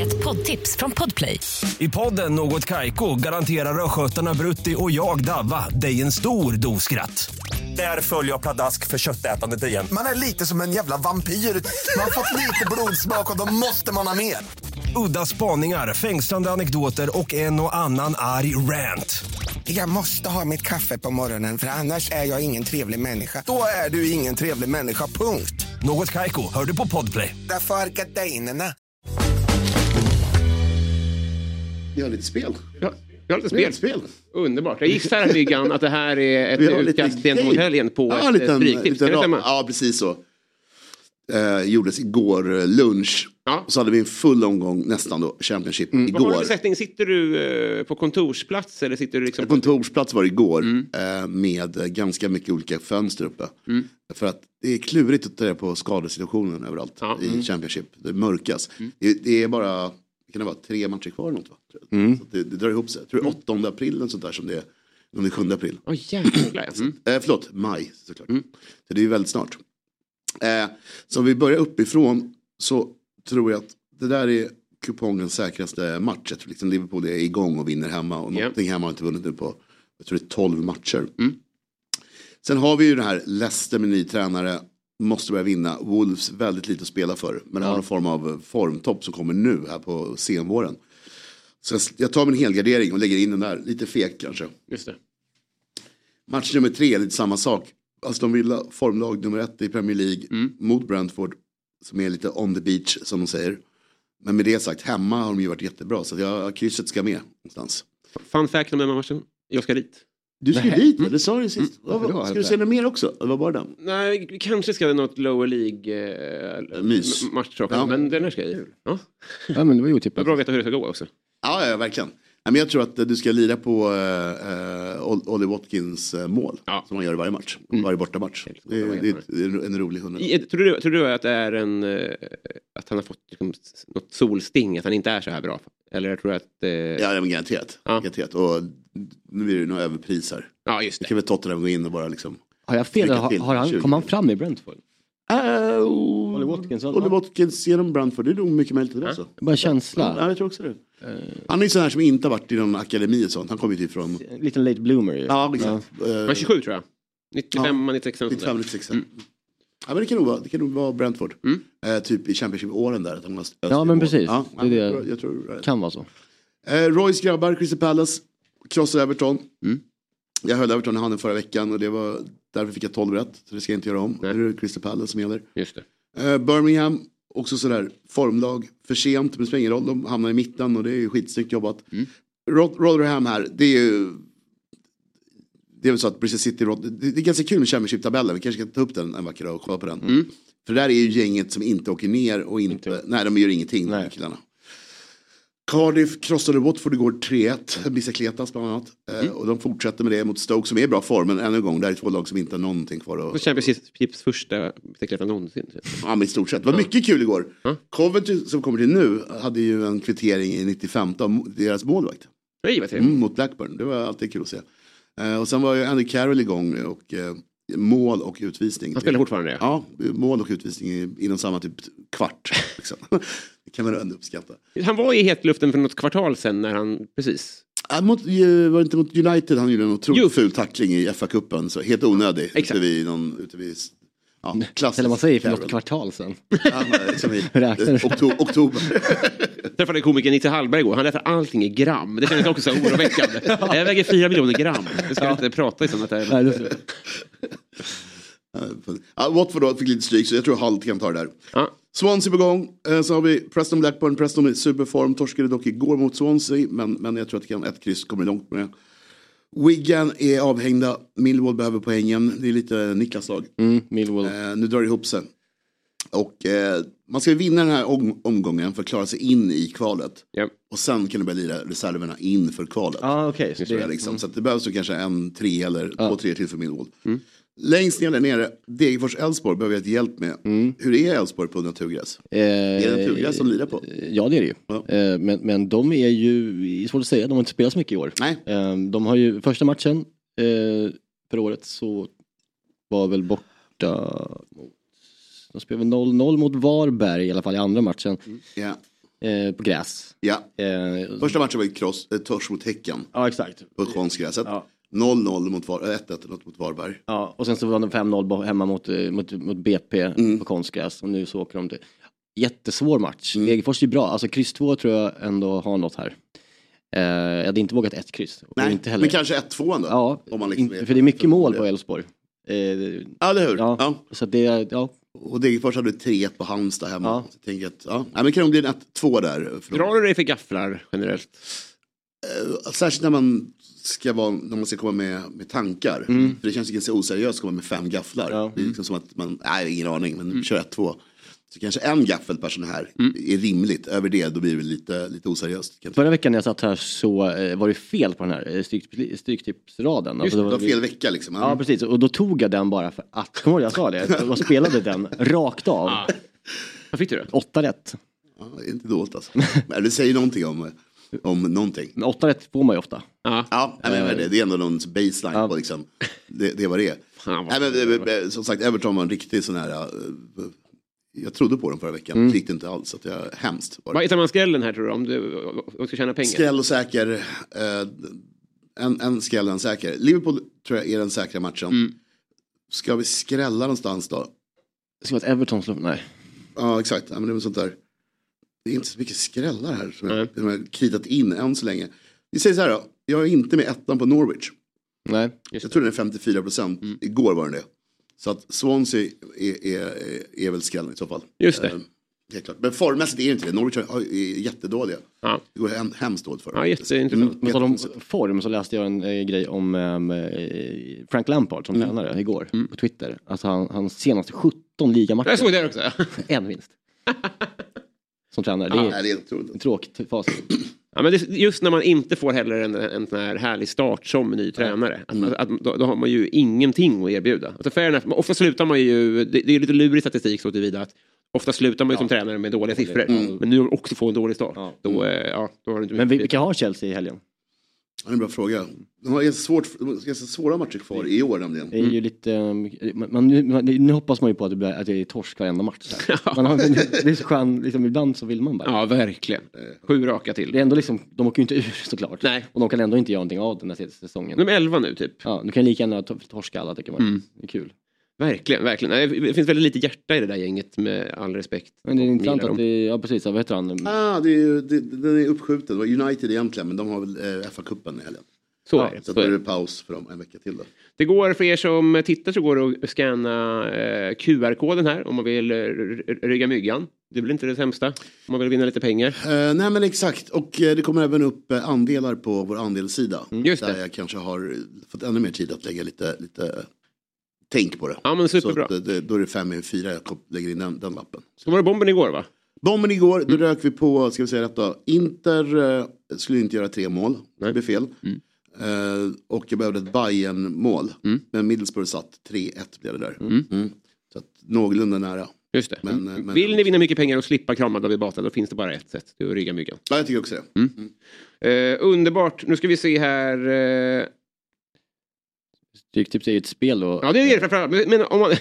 Ett poddtips från Podplay. I podden Något Kaiko garanterar östgötarna Brutti och jag, Davva, dig en stor dos skratt. Där följer jag pladask för köttätandet igen. Man är lite som en jävla vampyr. Man har fått lite blodsmak och då måste man ha mer. Udda spaningar, fängslande anekdoter och en och annan arg rant. Jag måste ha mitt kaffe på morgonen för annars är jag ingen trevlig människa. Då är du ingen trevlig människa, punkt. Något Kaiko, hör du på Podplay. Därför arkadeinerna. Vi har lite spel. Ja, Vi har lite Vi har spel. lite spel. Underbart. Jag gissar, Myggan, att det här är <laughs> ett utkast gentemot game. helgen på ja, ett eh, liten- liten, stryktips. Kan liten det ram- stämma? Ja, precis så. Eh, gjordes igår eh, lunch. Ja. Mm. Och så hade vi en full omgång nästan då, Championship, Vad har du igår. för sättning? Sitter du eh, på kontorsplats eller sitter du liksom... Kontorsplats var det igår Mm. eh, med eh, ganska mycket olika fönster uppe. För att det är klurigt att ta reda på skadesituationen överallt Ja. Mm. i Championship. Det mörkas. Det, det är bara kan det vara, tre matcher kvar eller något, va? Tror jag. Mm. Så att det, det drar ihop sig. Jag tror det är 8 april eller sånt där som det är. Om det är 7 april. Åh jäklar. Mm. Eh, förlåt, maj såklart. Mm. Så det är ju väldigt snart. Eh, så om vi börjar uppifrån så tror jag att det där är kupongens säkraste match. Jag tror liksom Liverpool är igång och vinner hemma och Ja. Nottingham hemma har inte vunnit nu på, jag tror det är 12 matcher. Sen har vi ju den här Leicester med ny tränare, måste börja vinna. Wolves väldigt lite att spela för, men har någon form av formtopp som kommer nu här på senvåren. Så jag- jag tar min helgardering och lägger in den där, lite fegt kanske. Just det. Match nummer tre är lite samma sak. Alltså, Aston Villa, formlag nummer ett i Premier League mot Brentford. Som är lite on the beach som de säger. Men med det sagt, hemma har de ju varit jättebra. Så att jag, krysset ska med någonstans. Fun fact om den här matchen. Jag ska dit. Du ska dit, eller? Det sa du sist. Vad- Varför då, ska du Albert? säga något mer också? Det var bara den. Nej, vi kanske ska det något lower League eh, Mys. m- match tror jag. Ja. men den här ska jag i. Ja. Ja, men det var ju otippat. Det är bra att veta hur det ska gå också. Ja, ja, verkligen. Nej, Men jag tror att eh, du ska lira på eh, eh, Ol- Ollie Watkins eh, mål. Ja. Som han gör i varje match. Varje bortamatch. Det, är- det, är- det är en rolig hundra. I, eh, tror, du, tror du att det är en... Eh, att han har fått liksom, s- något solsting, att han inte är så här bra? Eller tror du att... Eh, ja. Ja, ja, men garanterat. Ja. garanterat. Och nu är det ju några överpris här. just Nu det. kan väl Tottenham gå in och bara liksom Har jag fel? Lycka Har, till. har han, 20. kom han fram i Brentford? Uh, Ollie Watkins, va? Ollie Watkins genom Brandford, det är nog mycket möjligt. Äh? Alltså. Bara Ja, känsla. jag tror också det. Eh. Han är ju sån här som inte har varit i någon akademi och sånt. Han kommer ju typ från... En liten late bloomer ju. Ja, exakt. Eh, Men 27 tror jag. 95, 96. sånt där. 95, 96. Mm. Ja, men det kan nog vara, det kan nog vara Brentford. Eh, typ i Championship-åren där. Att de har öst- Ja, men mål. precis. Ja, Det är det. jag, tror- jag tror det. Kan vara så. Eh, Royce grabbar, Crystal Palace, krossar Everton. Mm. Jag höll Everton i handen förra veckan och det var därför fick jag 12 rätt. Så det ska jag inte göra om. Nu är det Crystal Palace som gäller. Just det. Eh, Birmingham, också sådär formlag, för sent, men det spelar ingen roll, de hamnar i mitten och det är ju skitsnyggt jobbat. Rot- Rotherham här, det är ju... Det är väl så att Bristol City, Rot- det det är ganska kul med Championship-tabellen, vi kanske kan ta upp den en vacker dag och kolla på den. För där är ju gänget som inte åker ner och Mm. inte, nej de gör ingenting, de killarna. Cardiff krossade Watford igår <laughs> 3-1, Bicicletas bland annat. Eh, Och de fortsätter med det mot Stoke som är i bra form, men ännu en gång, det här är två lag som inte har någonting kvar att Och Championships första betecknat någonsin. typ. Ja, men i stort sett. Det var mycket kul igår. Coventry, som kommer till nu, hade ju en kvittering i 95 av deras målvakt. Nej, vad trevligt. Mm, mot Blackburn. Det var alltid kul att se. Eh, och sen var ju Andy Carroll igång och eh, mål och utvisning. Han spelar fortfarande, ja. Ja, mål och utvisning i- inom samma typ kvart. Liksom. <laughs> det kan man ändå uppskatta. Mm. Han var i hetluften för något kvartal sen när han, precis. Äh, mot, ju- var det inte mot United han gjorde en otroligt Jo. ful tackling i FA-cupen? så Helt onödig. Exakt. Ute vid någon, ute vid, ja, klassisk Eller vad säger för Carroll. något kvartal sen. Ja, som i, Räknar du? eh, okto- oktober. Träffade komikern Nisse Hallberg igår, han räknar allting i gram. Det kändes också så <laughs> oroväckande. Jag väger fyra miljoner gram. Det ska inte prata i sådana Nej, termer. det- Ja, Watford då fick lite stryk så jag tror Halt kan ta det där. Ja. Swansea på gång, eh, så har vi Preston Blackburn, Preston i superform, torskade dock igår mot Swansea men, men jag tror att det kan, ett kryss kommer långt med. Wigan är avhängda, Millwall behöver poängen, det är lite Niklas lag. <laughs> Mm, Millwall. Eh, nu drar det ihop sig. Och eh, man ska ju vinna den här om- omgången för att klara sig in i kvalet. Ja. Och sen kan du börja lira reserverna inför kvalet. Ja, okej. så Tror det- mm. jag, liksom. Så att det behövs ju kanske en tre eller två tre till för Millwall. Mm. Längst ner där nere, Degerfors-Elfsborg behöver jag ett hjälp med. Mm. Hur är Elfsborg på naturgräs? är det naturgräs som lirar på? Eh, Ja, det är det ju. Ja. Eh, Men, men de är ju, det är svårt att säga, de har inte spelat så mycket i år. Nej. Eh, De har ju, första matchen eh, för året så var väl borta mot, de spelade väl 0-0 mot Varberg i alla fall i andra matchen Ja. Mm. eh, på gräs. ja. Eh, Första matchen var ju kross, eh, tors mot Häcken Ja, exakt. på Skånsgräset. Ja. 0-0 mot, Var- eh, 1-1 eller något mot Varberg. Ja, och sen så var de 5-0 bo- hemma mot, eh, mot, mot BP Mm. på konstgräs och nu så åker de till jättesvår match. Mm. Degerfors är ju bra, alltså kryss 2 tror jag ändå har något här. Eh, jag hade inte vågat ett kryss. Och Nej, inte heller. men kanske 1-2 då. Ja, om man liksom inte- för det är mycket mål på Ja, Elfsborg. Eh, eller hur. ja, Ja. Så att det, är- ja, Och Degerfors hade 3-1 på Halmstad hemma. Ja. Så jag tänker att, ja. Nej, men det kan nog bli en 1-2 där. för dem. Drar du dig för gafflar generellt? eh, särskilt när man ska, vara, när man ska komma med, med tankar. För det känns ju ganska oseriöst att komma med fem gafflar. Mm. Ja. Mm. Det är liksom som att man, nej ingen aning, men kör ett, två. Så kanske en gaffel per sån här är rimligt. Över det, då blir det lite, lite oseriöst. Kan jag tycka. Förra veckan när jag satt här så eh, var det fel på den här eh, stryktip- stryktipsraden. Just det det, var- det var fel vecka liksom. Ja, precis. Och då tog jag den bara för att, kommer du ihåg jag sa det? Jag spelade den rakt av. Vad fick du då? Åtta rätt. Ja, det är inte dåligt alltså. Men det säger någonting om, om någonting. Men åtta rätt får man ju ofta. Ja, nej, men vad är det? det är ändå någons baseline på liksom, det, det var det. Fan, vad- nej, men, eh, eh, som sagt, Everton var en riktig sån här, eh, jag trodde på dem förra veckan, Mm. det gick det inte alls. Så att jag, hemskt var Vad det. hittar man skrällen här tror du? Om du om du ska tjäna pengar? Skräll och säker, eh, en, en skräll och en säker. Liverpool tror jag är den säkra matchen. Mm. Ska vi skrälla någonstans då? Ska vara ett Everton slår... Nej. Ja, exakt. Ja, men det är väl sånt där. Det är inte så mycket skrällar här som jag, som jag kritat in än så länge. Vi säger så här då, jag är inte med ettan på Norwich. Nej. Jag tror den är 54 procent, Mm. igår var den det. Så att Swansea är, är, är väl skrällen i så fall. Just det. Eh, helt klart. Men formmässigt är det inte det, Norwich har- är jättedåliga. Ja. Det går hem, hemskt dåligt för dem. Mm. Ja, jätteintressant. På tal om form så läste jag en eh, grej om ehm, eh, Frank Lampard som Mm. tränare igår på Twitter. Alltså han, hans senaste 17 ligamatcher. Jag såg det här också. En <laughs> vinst. som tränare. Det Nej, är det är otroligt. en tråkigt facit. Ja, men det, just när man inte får heller en, en sån här härlig start som ny tränare. Att, Mm. att, då, då har man ju ingenting att erbjuda. Alltså fair enough, men ofta slutar man ju, det, det är lite lurig statistik så tillvida att ofta slutar man ju som tränare med dåliga siffror. Men nu har man också fått en dålig start. Ja. Då, eh, ja, då har du inte Men vi- mycket- vilka har Chelsea i helgen? Ja, det är en bra fråga. De har ganska, svårt, de har ganska svåra matcher kvar i år nämligen. Det är Mm. ju lite, ehm, man, man, man- nu hoppas man ju på att det, blir, att det är torsk varenda match. så <laughs> här. Man har, det är så skön, liksom, ibland så vill man bara. Ja, verkligen. Eh. Sju raka till. Det är ändå liksom, de åker ju inte ur såklart. Nej. Och de kan ändå inte göra någonting av den här säsongen. De är elva nu typ. Ja, du kan lika gärna to- torska alla tycker man. Det är kul. Verkligen, verkligen. Nej, Det finns väldigt lite hjärta i det där gänget med all respekt. Men det är Och intressant gillar att dem. det, ja precis, ja, vad heter han? Ah, det är, ju- det, den är uppskjuten. Det var United egentligen, men de har väl eh, FA-cupen i helgen. Så är det. Så att Så då är är det. det paus för dem en vecka till. Då. Det går för er som tittar så går det att scanna eh, QR-koden här om man vill eh, r- r- rygga myggan. Det blir inte det sämsta om man vill vinna lite pengar. Eh, nej men exakt, och eh, det kommer även upp eh, andelar på vår andelssida. Mm, just där det. jag kanske har eh, fått ännu mer tid att lägga lite, lite eh, tänk på det. Ja, men superbra. Så att, eh, det, då är det fem i fyra jag kom- lägger in den, den lappen. Så var det bomben igår va? Bomben igår, då rök vi på, ska vi säga detta, Inter eh, skulle inte göra tre mål, det blev fel. Eh, och jag behövde ett bayern mål men Middlesbrough satt 3-1 blev det där. Mm. Så att, någorlunda nära. Just det. Men, eh, men- Vill ni vinna mycket pengar och slippa krama David Batra då finns det bara ett sätt. Det är att rygga myggan. Ja, jag tycker också det. Eh, underbart. Nu ska vi se här. Eh... Stryktips är ju typ ett spel då. Ja, det är det framförallt. Men- Men om man... <laughs>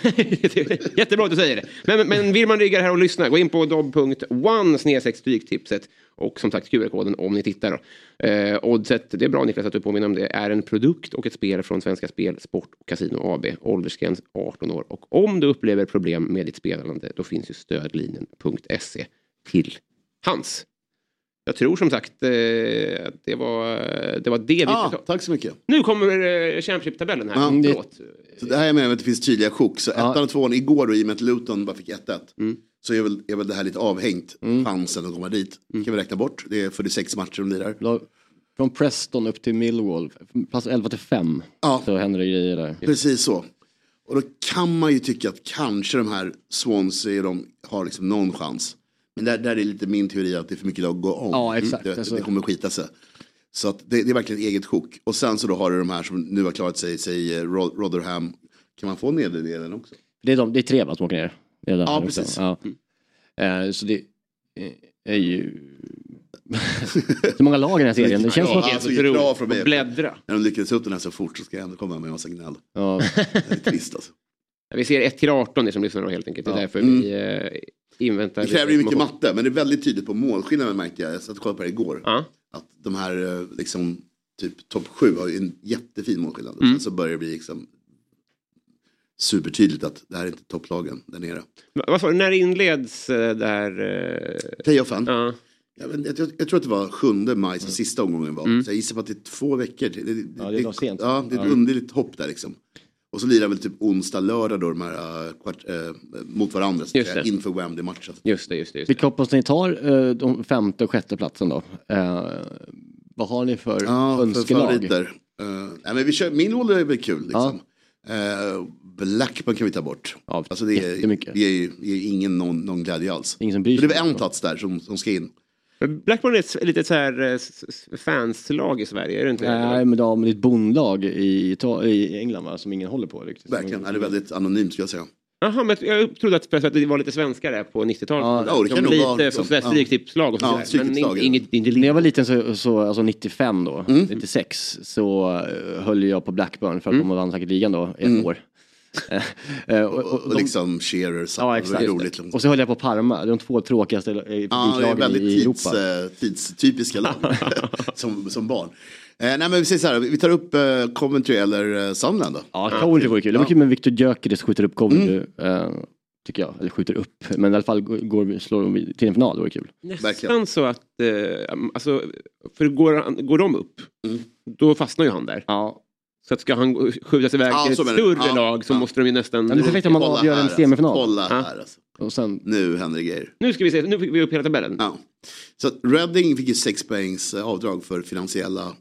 Jättebra att du säger det. Men, men vill man rygga här och lyssna, gå in på dob.one snedstreck stryktipset. Och som sagt QR-koden om ni tittar. Då. Eh, oddset, det är bra Niklas att du påminner om det, är en produkt och ett spel från Svenska Spel, Sport och Casino AB. Åldersgräns 18 år. Och om du upplever problem med ditt spelande, då finns ju stödlinjen.se till hands. Jag tror som sagt eh, att det var det, var det vi... Ah, tack så mycket. Nu kommer eh, Championship-tabellen här. Ja, det- Förlåt. Så det här är med att det finns tydliga sjok. Så ettan och tvåan igår då, i och med att Luton bara fick 1-1. Så är väl, är väl det här lite avhängt chansen att komma dit. kan vi räkna bort. Det är 46 matcher de lirar. Lag- Från Preston upp till Millwall, plats 11 till 5. Ja. Så händer det grejer där. Precis så. Och då kan man ju tycka att kanske de här Swansea de har liksom någon chans. Men där, där är lite min teori att det är för mycket lag att gå om. Ja, exakt. Du vet, Alltså- Det kommer skita sig. Så att det, det är verkligen ett eget sjok. Och sen så då har du de här som nu har klarat sig, säg eh, Ro- Rotherham. Kan man få nederdelen också? Det är, de, det är tre va, som åker ner? Det är där Ja, också. precis. Ja. Eh, så det eh, är ju... <laughs> så många lag i den här serien. Det känns som att... Ja, alltså, Helt otroligt. bra från mig. Och Bläddra. När de lyckades upp den här så fort så ska jag ändå komma med en massa gnäll. Ja, Det är trist alltså. Vi ser 1 till 18 ni som lyssnar då helt enkelt. Det är därför vi eh, inväntar. Mm. Det kräver ju mycket matte, men det är väldigt tydligt på målskillnaden märkte jag. Jag satt och kollade på det igår. Ja. Att de här, eh, liksom, typ topp sju har ju en jättefin målskillnad. Mm. Och Sen så börjar det bli liksom supertydligt att det här är inte topplagen där nere. Va- Vad sa du, när inleds eh, det här? eh, Playoffen, Ja, Mm. jag, vet inte, jag, jag tror att det var 7 maj som sista omgången var. Så jag gissar på att det är två veckor. till. Det, det, Ja, det är nog sent. Ja, det är ett underligt hopp där liksom. Och så lirar väl typ onsdag, lördag då de här äh, kvart, eh, mot varandra, så att Just säga, det. inför Wembley-matchen. just det, just det. Just det. vilka hoppas ni tar eh, de femte och sjätte platsen då? Eh, Vad har ni för Ja, för önskelag? favoriter. Eh, nej, men vi kör, min ålder är väl kul. Liksom. Eh, Blackburn kan vi ta bort. Ja, alltså det är, jättemycket. ger ju ger ju ingen någon, någon glädje alls. Ingen som bryr Men det sig. är väl en plats där som, som ska in. Blackburn är ett s- litet så här eh, s- s- fanslag i Sverige, är det inte? Nej, men, ja, men det är ett bondlag i, Ita- i England va, som ingen håller på riktigt. Verkligen. Som- Är det är väldigt anonymt skulle jag säga. Jaha, men jag trodde att, att det var lite svenskar där på 90-talet. Ja, ja, det kan De nog vara, lite liksom. sådär Ja. stryktipslag och Ja, sådär. men stryktipslag, in- ja. inget, inte När jag lite. var liten, så, så, alltså 95 då, Mm. 96, så eh, höll jag på Blackburn för att de vann säkert ligan då, ett Mm. år. <laughs> Eh, och, Och, och de- liksom Shearer, så ja, det exakt. är roligt. Liksom. Och så höll jag på Parma, de två tråkigaste eh, Ja, det är publiklagen väldigt i tids, Europa. eh, tidstypiska <laughs> lag som, som barn. Eh, nej, men vi säger så här, vi tar upp eh, Coventry eller eh, Mm. Sunderland då. Ja, Coventry vore kul. Det var kul med Victor Gyökeres skjuter upp Coventry, eh, tycker jag. Eller skjuter upp, men i alla fall går, slår de vid- till en final, det vore kul. verkligen. Nästan så att, eh, alltså, för går, han- går de upp, Mm. då fastnar ju han där. Ja. Så att ska han gå- skjutas iväg Ja, till så ett menar du. större Ja, lag så ja. måste de ju nästan... Ja, men perfekt om man Kolla avgör här, en alltså. semifinal. Kolla Ja. här alltså. Och sen, Nu händer det grejer. Nu ska vi se, nu fick vi upp hela tabellen. Ja. Så att Reading fick ju sex poängs eh, avdrag för finansiella,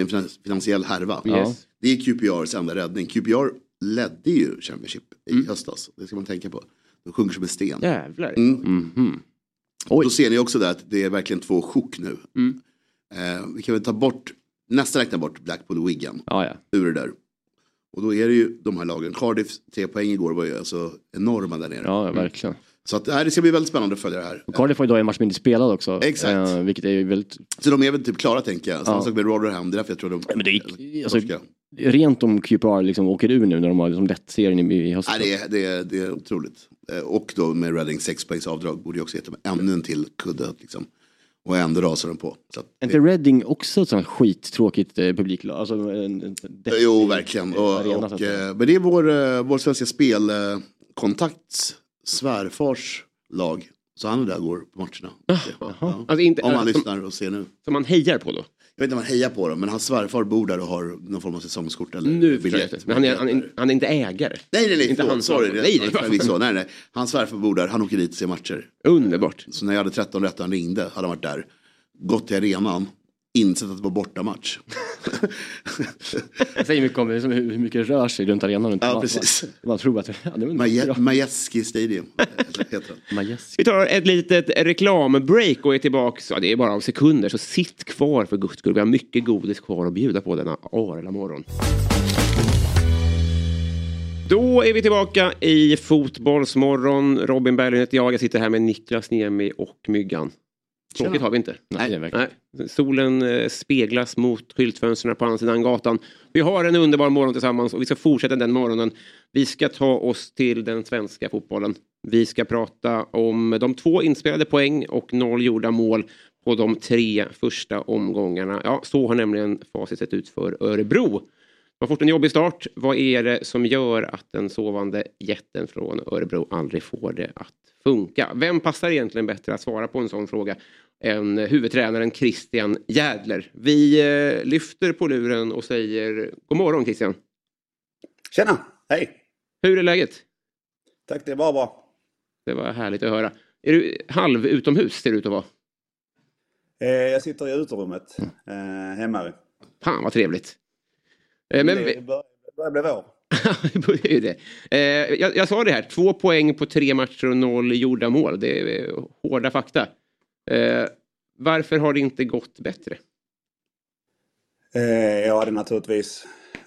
en finans- finansiell härva. Yes. Det är QPRs enda räddning. QPR ledde ju Championship i Mm. höstas. Det ska man tänka på. De sjunker som en sten. Jävlar. Mm. Oj. Mm. Då ser ni också där att det är verkligen två sjok nu. Eh, vi kan väl ta bort, nästan räkna bort Blackpool och Wigan ja, ja. ur det där. Och då är det ju de här lagen. Cardiff tre poäng igår var ju alltså enorma där nere. ja, ja verkligen. Så att, nej, det ska bli väldigt spännande att följa det här. Och Cardiff var idag en match mindre spelad också. Exakt. eh, vilket är ju väldigt Så de är väl typ klara tänker jag. Samma Ja. sak med Rotherham, det är därför jag tror de... men det gick- alltså- torska. rent om QPR liksom åker ur nu när de har liksom lett serien i, i höst. Nej, det, är, det, är, det är otroligt. Eh, Och då med Reading sex poängs avdrag borde ju också gett dem ännu en till kudde. Liksom. Och ändå rasar de på. Så att, Är inte Reading också ett sånt skittråkigt eh, publiklag? Alltså, en, en, jo, verkligen. Och, arena, så att och, säga. eh, men det är vår, eh, vår svenska spelkontakts svärfars lag. Så han är där och går på matcherna. Ja. Alltså inte, Om han som, lyssnar och ser nu. som man hejar på då. Jag vet inte om han hejar på dem, men hans svärfar bor där och har någon form av säsongskort eller Nu förstår jag det. Men han är, han, Biljetter. är, han är inte ägare. Nej, nej, nej, Inte inte han han, som- sorry. Nej, Nej, nej, nej, vad fan. nej, nej, nej. Hans svärfar bor där, han åker dit och ser matcher. Underbart. Så när jag hade 13 rätt och han ringde hade han varit där, gått till arenan, insett att det var bortamatch. <laughs> Det säger mycket om liksom, hur, hur mycket det rör sig runt arenan. Ja, man, precis. Man, man tror att ja, det var en bra Maje- Majeski Stadium eh, heter den. Majesk. Vi tar ett litet reklambreak och är tillbaka. Ja, det är bara om sekunder, så sitt kvar för guds skull. Vi har mycket godis kvar att bjuda på denna arla morgon. Då är vi tillbaka i Fotbollsmorgon. Robin Berglund heter jag. Jag sitter här med Niklas Niemi och Myggan. Tråkigt har vi inte. Nej, verkligen. Nej. Solen eh, speglas mot skyltfönstren på andra sidan gatan. Vi har en underbar morgon tillsammans och vi ska fortsätta den morgonen. Vi ska ta oss till den svenska fotbollen. Vi ska prata om de två inspelade poäng och noll gjorda mål på de tre första omgångarna. Ja, så har nämligen facit sett ut för Örebro. De har fått en jobbig start. Vad är det som gör att den sovande jätten från Örebro aldrig får det att funka? Vem passar egentligen bättre att svara på en sån fråga än eh, huvudtränaren Christian Jädler? Vi eh, lyfter på luren och säger god morgon Christian. Tjena! Hej! Hur är läget? Tack, det var bra. Det var härligt att höra. Är du halv utomhus ser det ut att vara. Eh, jag sitter i uterummet eh, hemma. Eh, Fan vad trevligt. Eh, Men vi- det börjar det börjar bli vår. <laughs> det är ju det. Eh, jag, jag sa det här, två poäng på tre matcher och noll gjorda mål. Det är eh, hårda fakta. Eh, varför har det inte gått bättre? Eh, jag hade naturligtvis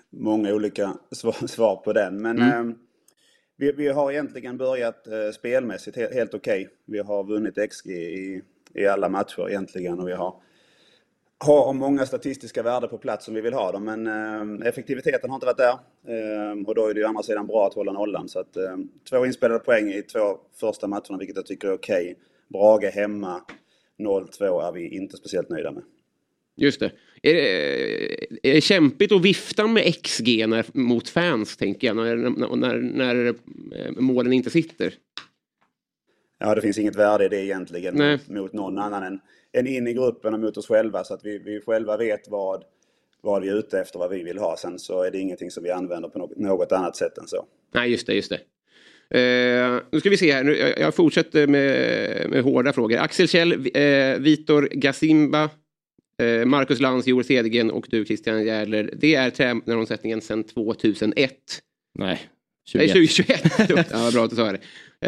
många olika svar, <laughs> svar på den. Men eh, vi, vi har egentligen börjat eh, spelmässigt helt, helt okej. Vi har vunnit XG i, i alla matcher egentligen och vi har, har många statistiska värden på plats som vi vill ha dem. Men eh, effektiviteten har inte varit där. Eh, och då är det ju å andra sidan bra att hålla nollan. Så att, eh, två inspelade poäng i två första matcherna, vilket jag tycker är okej. Brage hemma, 0-2 är vi inte speciellt nöjda med. Just det. Är det, är det kämpigt att vifta med XG när, mot fans, tänker jag, när, när, när, när eh, målen inte sitter? Ja, det finns inget värde i det egentligen Nej. mot, mot någon annan än, än in i gruppen och mot oss själva. Så att vi, vi själva vet vad, vad vi är ute efter, vad vi vill ha. Sen så är det ingenting som vi använder på något, något annat sätt än så. Nej, just det, just det. Eh, nu ska vi se här, nu, jag, jag fortsätter med, med hårda frågor. Axel Kjell, eh, Vitor Gasimba, Eh, Marcus Lantz, Joel Cedergren och du Christian Järler. Det är tränaromsättningen sedan 2001. Nej, Nej, 21. 2021. ja, bra att du sa det.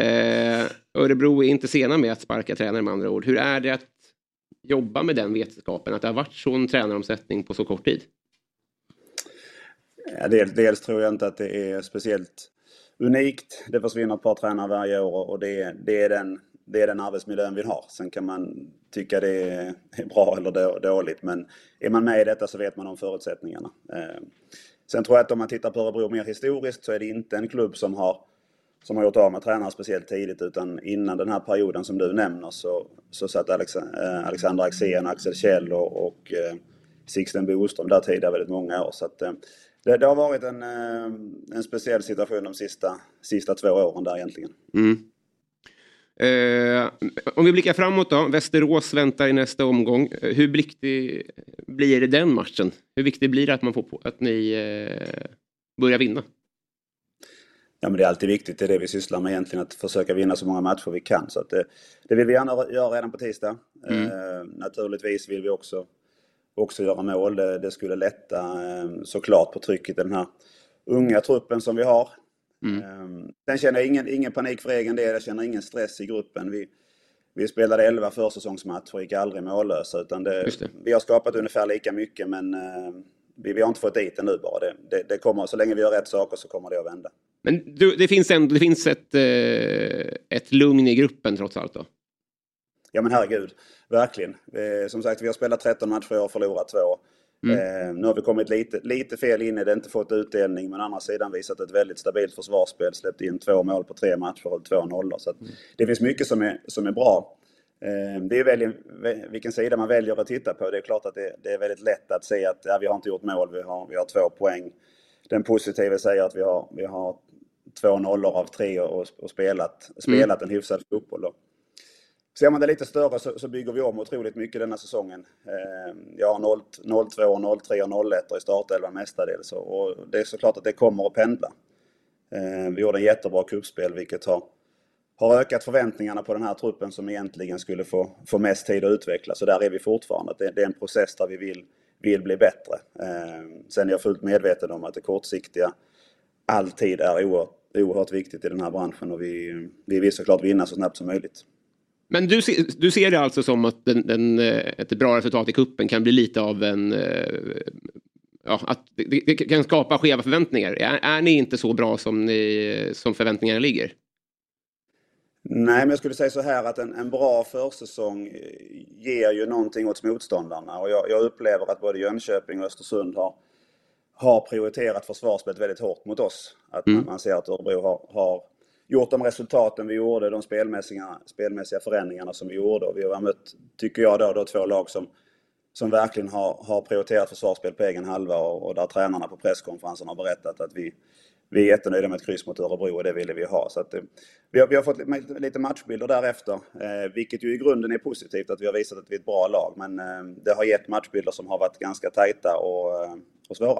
Eh, Örebro är inte sena med att sparka tränare med andra ord. Hur är det att jobba med den vetskapen att det har varit sån tränaromsättning på så kort tid? Ja, dels, dels tror jag inte att det är speciellt unikt. Det försvinner ett par tränare varje år och det, det, är den, det är den arbetsmiljön vi har. Sen kan man tycka det är bra eller då- dåligt men är man med i detta så vet man om förutsättningarna. Eh, Sen tror jag att om man tittar på Örebro mer historiskt så är det inte en klubb som har som har gjort av med tränare speciellt tidigt utan innan den här perioden som du nämner så, så satt Alex, eh, Alexander Axén, Axel Kjell och, och eh, Sixten Boström där tidigare väldigt många år. Så att, eh, det, det har varit en, eh, en speciell situation de sista, sista två åren där egentligen. Mm. Eh, om vi blickar framåt då. Västerås väntar i nästa omgång. Eh, Hur viktig blir den matchen? Hur viktig blir det att, man får på, att ni eh, börjar vinna? Ja, men det är alltid viktigt, det är det vi sysslar med egentligen, att försöka vinna så många matcher vi kan. Så att det, det vill vi gärna göra redan på tisdag. Mm. Eh, naturligtvis vill vi också, också göra mål. Det, det skulle lätta eh, såklart på trycket i den här unga truppen som vi har. Mm. Eh, sen känner jag ingen, ingen panik för egen del, jag känner ingen stress i gruppen. Vi, vi spelade 11 försäsongsmatcher och gick aldrig mållösa. Utan det, Just det. Vi har skapat ungefär lika mycket men eh, vi, vi har inte fått dit det nu bara. Det, det, det kommer, så länge vi gör rätt saker så kommer det att vända. Men du, det finns, ändå, det finns ett, eh, ett lugn i gruppen trots allt då? Ja men herregud, verkligen. Eh, som sagt, vi har spelat 13 matcher i år och förlorat två. Eh, nu har vi kommit lite, lite fel in i det, inte fått utdelning, men å andra sidan visat ett väldigt stabilt försvarsspel. Släppt in två mål på tre matcher och två nollor. Så att det finns mycket som är, som är bra. Eh, det är väl vä- vilken sida man väljer att titta på. Det är klart att det, det är väldigt lätt att se att ja, vi har inte gjort mål, vi har, vi har två poäng. Den positiva säger att vi har, vi har två nollor av tre och, och spelat, spelat en hyfsad fotboll. Och, Ser man det lite större så, så bygger vi om otroligt mycket denna säsongen. Eh, jag har 0, 02, 03 och 01 i startelvan mestadels. Och och det är såklart att det kommer att pendla. Eh, vi gjorde en jättebra cupspel vilket har, har ökat förväntningarna på den här truppen som egentligen skulle få, få mest tid att utvecklas. Så där är vi fortfarande. Det, det är en process där vi vill, vill bli bättre. Eh, sen är jag fullt medveten om att det kortsiktiga alltid är oerhört, oerhört viktigt i den här branschen och vi, vi vill såklart vinna så snabbt som möjligt. Men du, se- du ser det alltså som att den, den, eh, ett bra resultat i kuppen kan bli lite av en... eh, Ja, att det, det- det kan skapa skeva förväntningar. Är, är ni inte så bra som, ni, som förväntningarna ligger? Nej, men jag skulle säga så här att en, en bra försäsong eh, ger ju någonting åt motståndarna och jag, jag upplever att både Jönköping och Östersund har, har prioriterat försvarsspelet väldigt hårt mot oss. Att man, man ser att Örebro har, har gjort de resultaten vi gjorde, de spelmässiga, spelmässiga förändringarna som vi gjorde. Och vi har mött, tycker jag, då, då två lag som, som verkligen har, har prioriterat försvarsspel på egen halva och, och där tränarna på presskonferensen har berättat att vi, vi är jättenöjda med ett kryss mot Örebro och det ville vi ha. Så att, eh, vi, har, vi har fått li- lite matchbilder därefter, eh, vilket ju i grunden är positivt att vi har visat att vi är ett bra lag. Men eh, det har gett matchbilder som har varit ganska tajta och, eh, och svåra.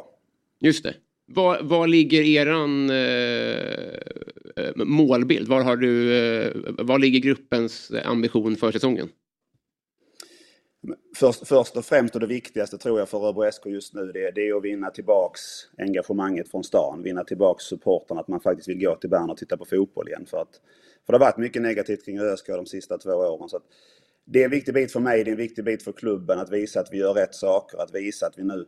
Just det. Var, var ligger eran eh, eh, målbild? Var, har du, eh, var ligger gruppens ambition för säsongen? Först, först och främst och det viktigaste tror jag för Örebro SK just nu det, är- det är att vinna tillbaks engagemanget från stan. Vinna tillbaks supporten att man faktiskt vill gå till Bern och titta på fotboll igen. För, att, för det har varit mycket negativt kring ÖSK de sista två åren. Så att det är en viktig bit för mig, det är en viktig bit för klubben att visa att vi gör rätt saker. Att visa att vi nu,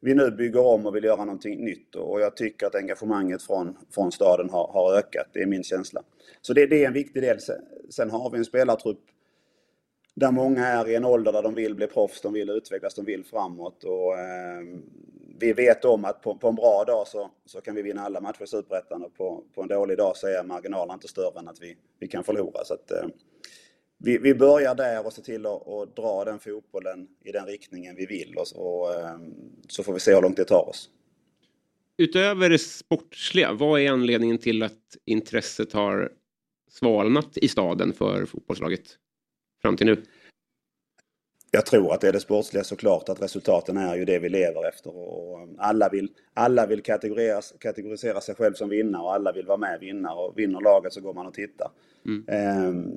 vi nu bygger om och vill göra någonting nytt. Och jag tycker att engagemanget från, från staden har, har ökat. Det är min känsla. Så det, det är en viktig del. Sen, sen har vi en spelartrupp där många är i en ålder där de vill bli proffs, de vill utvecklas, de vill framåt. Och, eh, vi vet om att på, på en bra dag så, så kan vi vinna alla matcher i Superettan och på, på en dålig dag så är marginalen inte större än att vi, vi kan förlora. Så att, eh, vi, vi börjar där och ser till att, att dra den fotbollen i den riktningen vi vill och, och eh, så får vi se hur långt det tar oss. Utöver det sportsliga, vad är anledningen till att intresset har svalnat i staden för fotbollslaget fram till nu? Jag tror att det är det sportsliga såklart, att resultaten är ju det vi lever efter. Och och alla vill, alla vill kategoriseras, kategorisera sig själv som vinnare och alla vill vara med vinnare. Och vinner laget så går man och tittar. Mm. Ehm,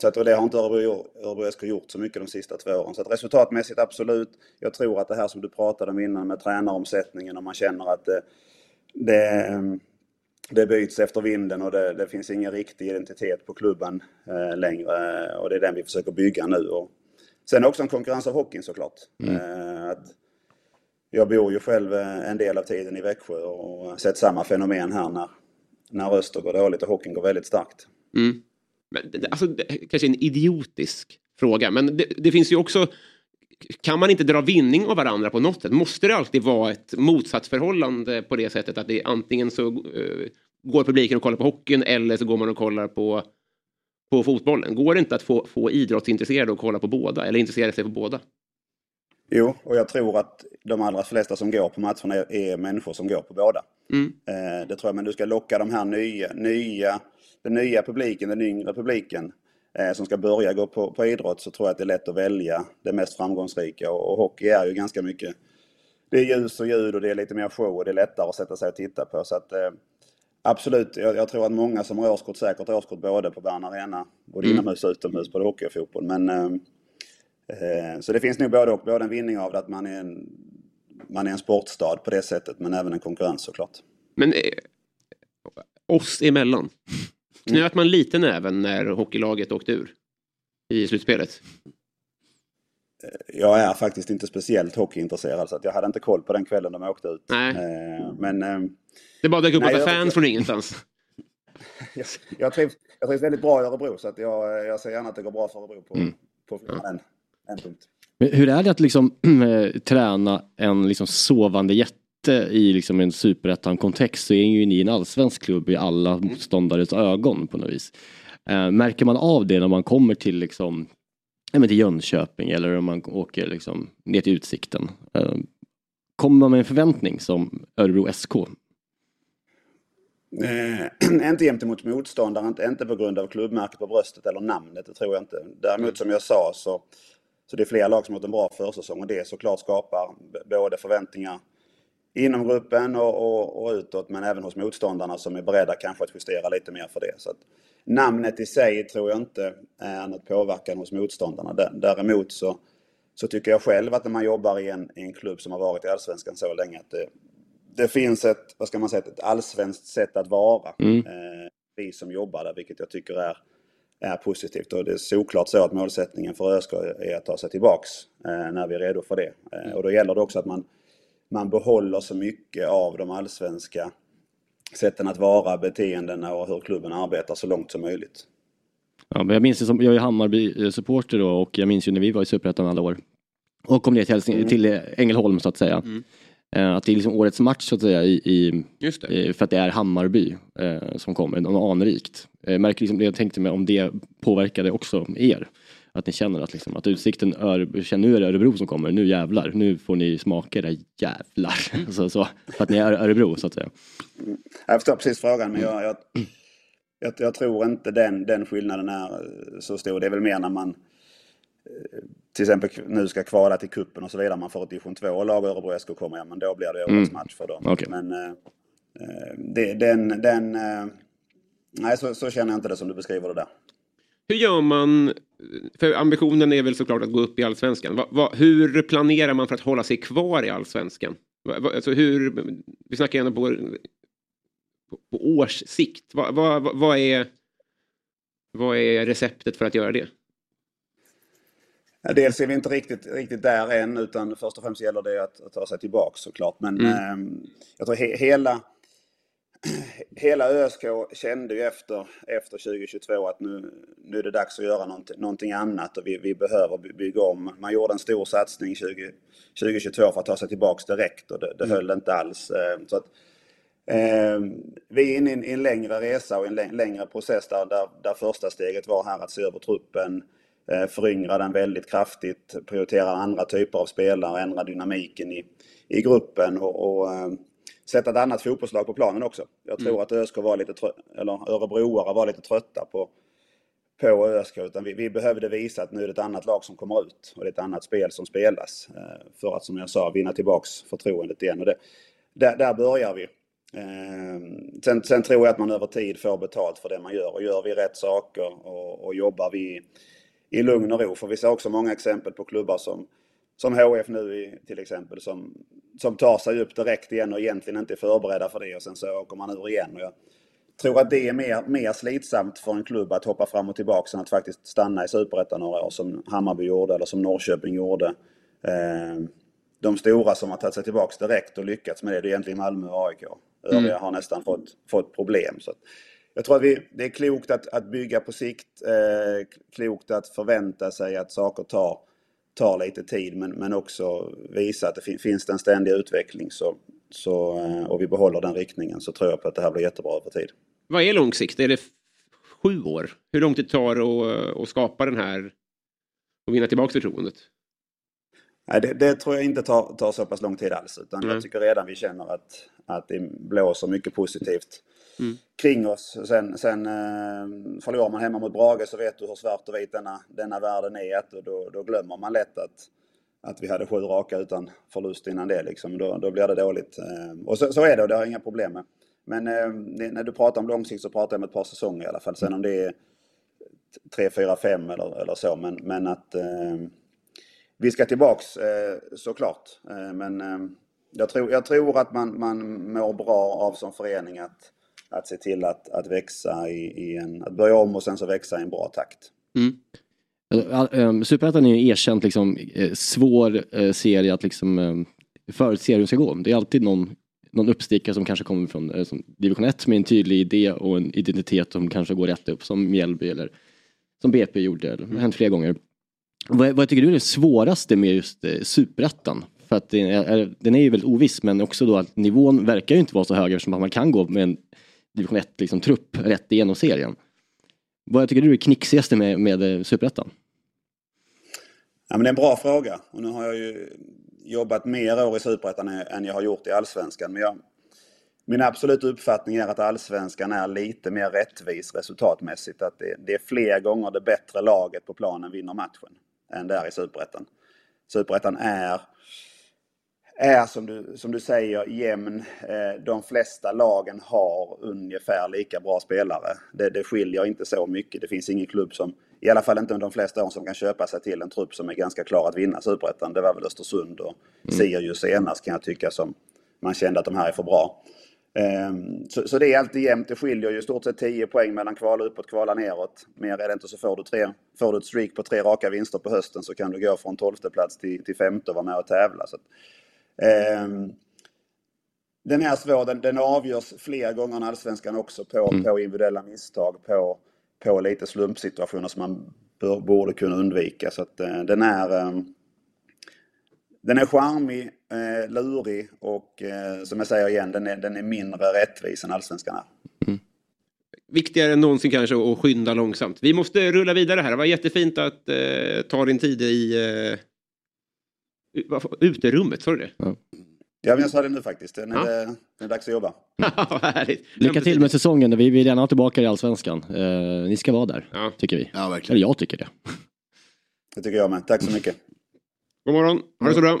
Så att, och det har inte Örebro, gjort- Örebro SK gjort så mycket de sista två åren. Så att resultatmässigt absolut. Jag tror att det här som du pratade om innan med tränaromsättningen och man känner att det, det, det byts efter vinden och det, det finns ingen riktig identitet på klubben eh, längre. Och det är den vi försöker bygga nu. Och sen också en konkurrens av hockeyn såklart. Eh, att, jag bor ju själv eh, en del av tiden i Växjö och har sett samma fenomen här när, när Öster går dåligt och hockeyn går väldigt starkt. Mm. Men, det- det- alltså, det, kanske en idiotisk fråga, men det, det finns ju också... Kan man inte dra vinning av varandra på något sätt? Måste det alltid vara ett motsatsförhållande på det sättet att det är antingen så eh, går publiken och kollar på hockeyn eller så går man och kollar på, på fotbollen? Går det inte att få, få idrottsintresserade att kolla på båda eller intressera sig för båda? Jo, och jag tror att de allra flesta som går på matcherna är, är människor som går på båda. Mm. Eh, det tror jag, men du ska locka de här nya, nya, den nya publiken, den yngre publiken eh, som ska börja gå på, på idrott så tror jag att det är lätt att välja det mest framgångsrika och, och hockey är ju ganska mycket det är ljus och ljud och det är lite mer show och det är lättare att sätta sig och titta på. Så att, eh, absolut, jag, jag tror att många som har årskort säkert har årskort både på Bern Arena, både Mm. inomhus och utomhus, både hockey och fotboll. Men, eh, eh, så det finns nog både och, både en vinning av det att man är en, man är en sportstad på det sättet, men även en konkurrens såklart. Men eh, oss emellan, Mm. knöt man lite näven när hockeylaget åkte ur i slutspelet? Jag är faktiskt inte speciellt hockeyintresserad så att jag hade inte koll på den kvällen de åkte ut. Nej. Eh, Men eh, Det bara dök upp Nej, massa jag- fans från ingenstans. <laughs> jag, jag, trivs, jag trivs väldigt bra i Örebro så att jag, jag ser gärna att det går bra för Örebro på, på en, en punkt. Men hur är det att liksom <clears throat> eh, träna en liksom sovande jätte i liksom en superettan-kontext så är ju ni en allsvensk klubb i alla Mm. motståndares ögon på något vis. Eh, märker man av det när man kommer till liksom ja, men till Jönköping eller om man åker liksom ner till Utsikten? Eh, kommer man med en förväntning som Örebro SK? Eh, <clears throat> inte gentemot motståndaren, inte, inte på grund av klubbmärket på bröstet eller namnet, det tror jag inte. Däremot som jag sa så, så det är flera lag som har gjort en bra försäsong och det såklart skapar b- både förväntningar inom gruppen och, och, och utåt men även hos motståndarna som är beredda kanske att justera lite mer för det. Så att, namnet i sig tror jag inte är något påverkan hos motståndarna. Dä- Däremot så, så tycker jag själv att när man jobbar i en, i en klubb som har varit i Allsvenskan så länge att det, det finns ett, vad ska man säga, ett allsvenskt sätt att vara. Eh, vi som jobbar där, vilket jag tycker är, är positivt. Och det är såklart så att målsättningen för ÖSK är att ta sig tillbaks eh, när vi är redo för det. Eh, och då gäller det också att man, man behåller så mycket av de allsvenska sätten att vara, beteendena och hur klubben arbetar så långt som möjligt. Ja, men jag minns ju som, jag är Hammarby-supporter då och jag minns ju när vi var i Superettan alla år. Och kom ner till, Mm. Helsing- till eh, Ängelholm så att säga. Eh, Att det är liksom årets match så att säga i, i, Just det. eh, för att det är Hammarby eh, som kommer, någon anrikt. Eh, märker liksom, jag tänkte mig om det påverkade också er. Att ni känner att, liksom, att utsikten, Örebro, känner, nu är det Örebro som kommer, nu jävlar, nu får ni smaka era jävlar. <laughs> så, så, för att ni är Örebro så att säga. Jag förstår precis frågan, men jag, jag, jag, jag tror inte den, den skillnaden är eh, så stor. Det är väl mer när man eh, till exempel k- nu ska kvala till kuppen och så vidare. Man får ett division 2-lag och Örebro SK kommer, ja men då blir det årets match för dem. Okej. Men eh, eh, det, den, den, eh, nej så, så känner jag inte det som du beskriver det där. Hur gör man? För ambitionen är väl såklart att gå upp i allsvenskan. Va, va, hur planerar man för att hålla sig kvar i allsvenskan? Va, va, alltså hur, vi snackar gärna på, på, på års sikt. Va, va, va, vad, är, vad är receptet för att göra det? Ja, Dels är vi inte riktigt, riktigt där än, utan först och främst gäller det att, att ta sig tillbaka såklart. Men ehm, jag tror he, hela, <clears throat> hela ÖSK kände ju efter, efter 2022 att nu, nu är det dags att göra någonting, någonting annat och vi, vi behöver by- bygga om. Man gjorde en stor satsning 20, 2022 för att ta sig tillbaka direkt och det, det höll inte alls. Ehm, Så att, ehm, vi är inne i en, i en längre resa och en läng- längre process där, där, där första steget var här att se över truppen, eh, föryngra den väldigt kraftigt, prioritera andra typer av spelare, ändra dynamiken i, i gruppen och, och eh, sätta ett annat fotbollslag på planen också. Jag tror att ÖSK var lite trö- eller örebroare var lite trötta på, på ÖSK utan vi, vi behövde visa att nu är det ett annat lag som kommer ut och det är ett annat spel som spelas eh, för att som jag sa vinna tillbaks förtroendet igen. Och det, där, där börjar vi. Eh, Sen, sen tror jag att man över tid får betalt för det man gör och gör vi rätt saker och, och jobbar vi i lugn och ro. För vi ser också många exempel på klubbar som, som HF nu i, till exempel som, som tar sig upp direkt igen och egentligen inte är förberedda för det och sen så åker man ur igen. Och jag tror att det är mer, mer slitsamt för en klubb att hoppa fram och tillbaka än att faktiskt stanna i Superettan några år som Hammarby gjorde eller som Norrköping gjorde. Eh, de stora som har tagit sig tillbaka direkt och lyckats med det, det är egentligen Malmö och AIK. Övriga har nästan fått, fått problem. Så att jag tror att vi, det är klokt att, att bygga på sikt, eh, klokt att förvänta sig att saker tar, tar lite tid, men, men också visa att det fin, finns det en ständig utveckling så, så, eh, och vi behåller den riktningen så tror jag på att det här blir jättebra över tid. Vad är lång sikt? Är det f- sju år? Hur långt det tar att, att skapa den här och vinna tillbaka förtroendet? Nej, det, det tror jag inte tar, tar så pass lång tid alls. Utan Nej. jag tycker redan vi känner att, att det blåser mycket positivt kring oss. Sen, sen eh, förlorar man hemma mot Brage så vet du hur svart och vit denna, denna världen är. Att, och då, då glömmer man lätt att, att vi hade sju raka utan förlust innan det. Liksom. Då, då blir det dåligt. Eh, och så, så är det och det har jag inga problem med. Men eh, det- när du pratar om långsikt så pratar jag om ett par säsonger i alla fall. Sen om det är tre, fyra, fem eller, eller så. Men, men att... Eh, vi ska tillbaks eh, såklart. Eh, men eh, jag, tror, jag tror att man, man mår bra av som förening att, att se till att, att växa i, i en, att börja om och sen så växa i en bra takt. Alltså, eh, eh, Superettan är ju en erkänt liksom, eh, svår eh, serie att liksom, eh, förutse hur den ska gå. Det är alltid någon, någon uppstickare som kanske kommer från eh, som division 1 med en tydlig idé och en identitet som kanske går rätt upp, som Mjällby eller som BP gjorde. eller- Det har hänt flera gånger. Vad, vad tycker du är det svåraste med just eh, Superettan? För att den är, den är ju väldigt oviss, men också då att nivån verkar ju inte vara så hög eftersom att man kan gå med en division 1-trupp liksom, trupp rätt igenom serien. Vad tycker du är det knixigaste med, med eh, Superettan? Ja, men det är en bra fråga. Och nu har jag ju jobbat mer år i Superettan än- än jag har gjort i Allsvenskan. Men jag, min absoluta uppfattning är att Allsvenskan är lite mer rättvis resultatmässigt. Att det, det är fler gånger det bättre laget på planen vinner matchen än där i Superettan. Superettan är, är som, du, som du säger jämn. Eh, De flesta lagen har ungefär lika bra spelare. Det, det skiljer inte så mycket. Det finns ingen klubb som, i alla fall inte under de flesta åren, som kan köpa sig till en trupp som är ganska klar att vinna Superettan. Det var väl Östersund och Sirius senast kan jag tycka som man kände att de här är för bra. Ehm, Så, så det är alltid jämnt. Det skiljer ju i stort sett 10 poäng mellan kvala uppåt och kvala neråt. Mer är det inte så får du, tre, får du ett streak på tre raka vinster på hösten så kan du gå från 12 plats till, till femte och vara med och tävla. Så att, ehm, den här svår, den, den avgörs fler gånger än allsvenskan också på, på individuella misstag, på, på lite slumpsituationer som man bör, borde kunna undvika. Så att, eh, den är... ehm, den är charmig, eh, lurig och eh, som jag säger igen, den är, den är mindre rättvis än allsvenskan är. Viktigare än någonsin kanske att skynda långsamt. Vi måste rulla vidare här. Det var jättefint att eh, ta din tid i eh, u- vad fa- uterummet. Sa du det? Mm. <laughs> Ja, men jag sa det nu faktiskt. Den är, den är dags att jobba. Härligt. Lycka till med säsongen. Vi vill gärna ha tillbaka i Allsvenskan. Eh, ni ska vara där, Ja. tycker vi. Ja, verkligen. Eller jag tycker det. Det tycker jag med. Tack så mycket. God morgon. Ha det så bra.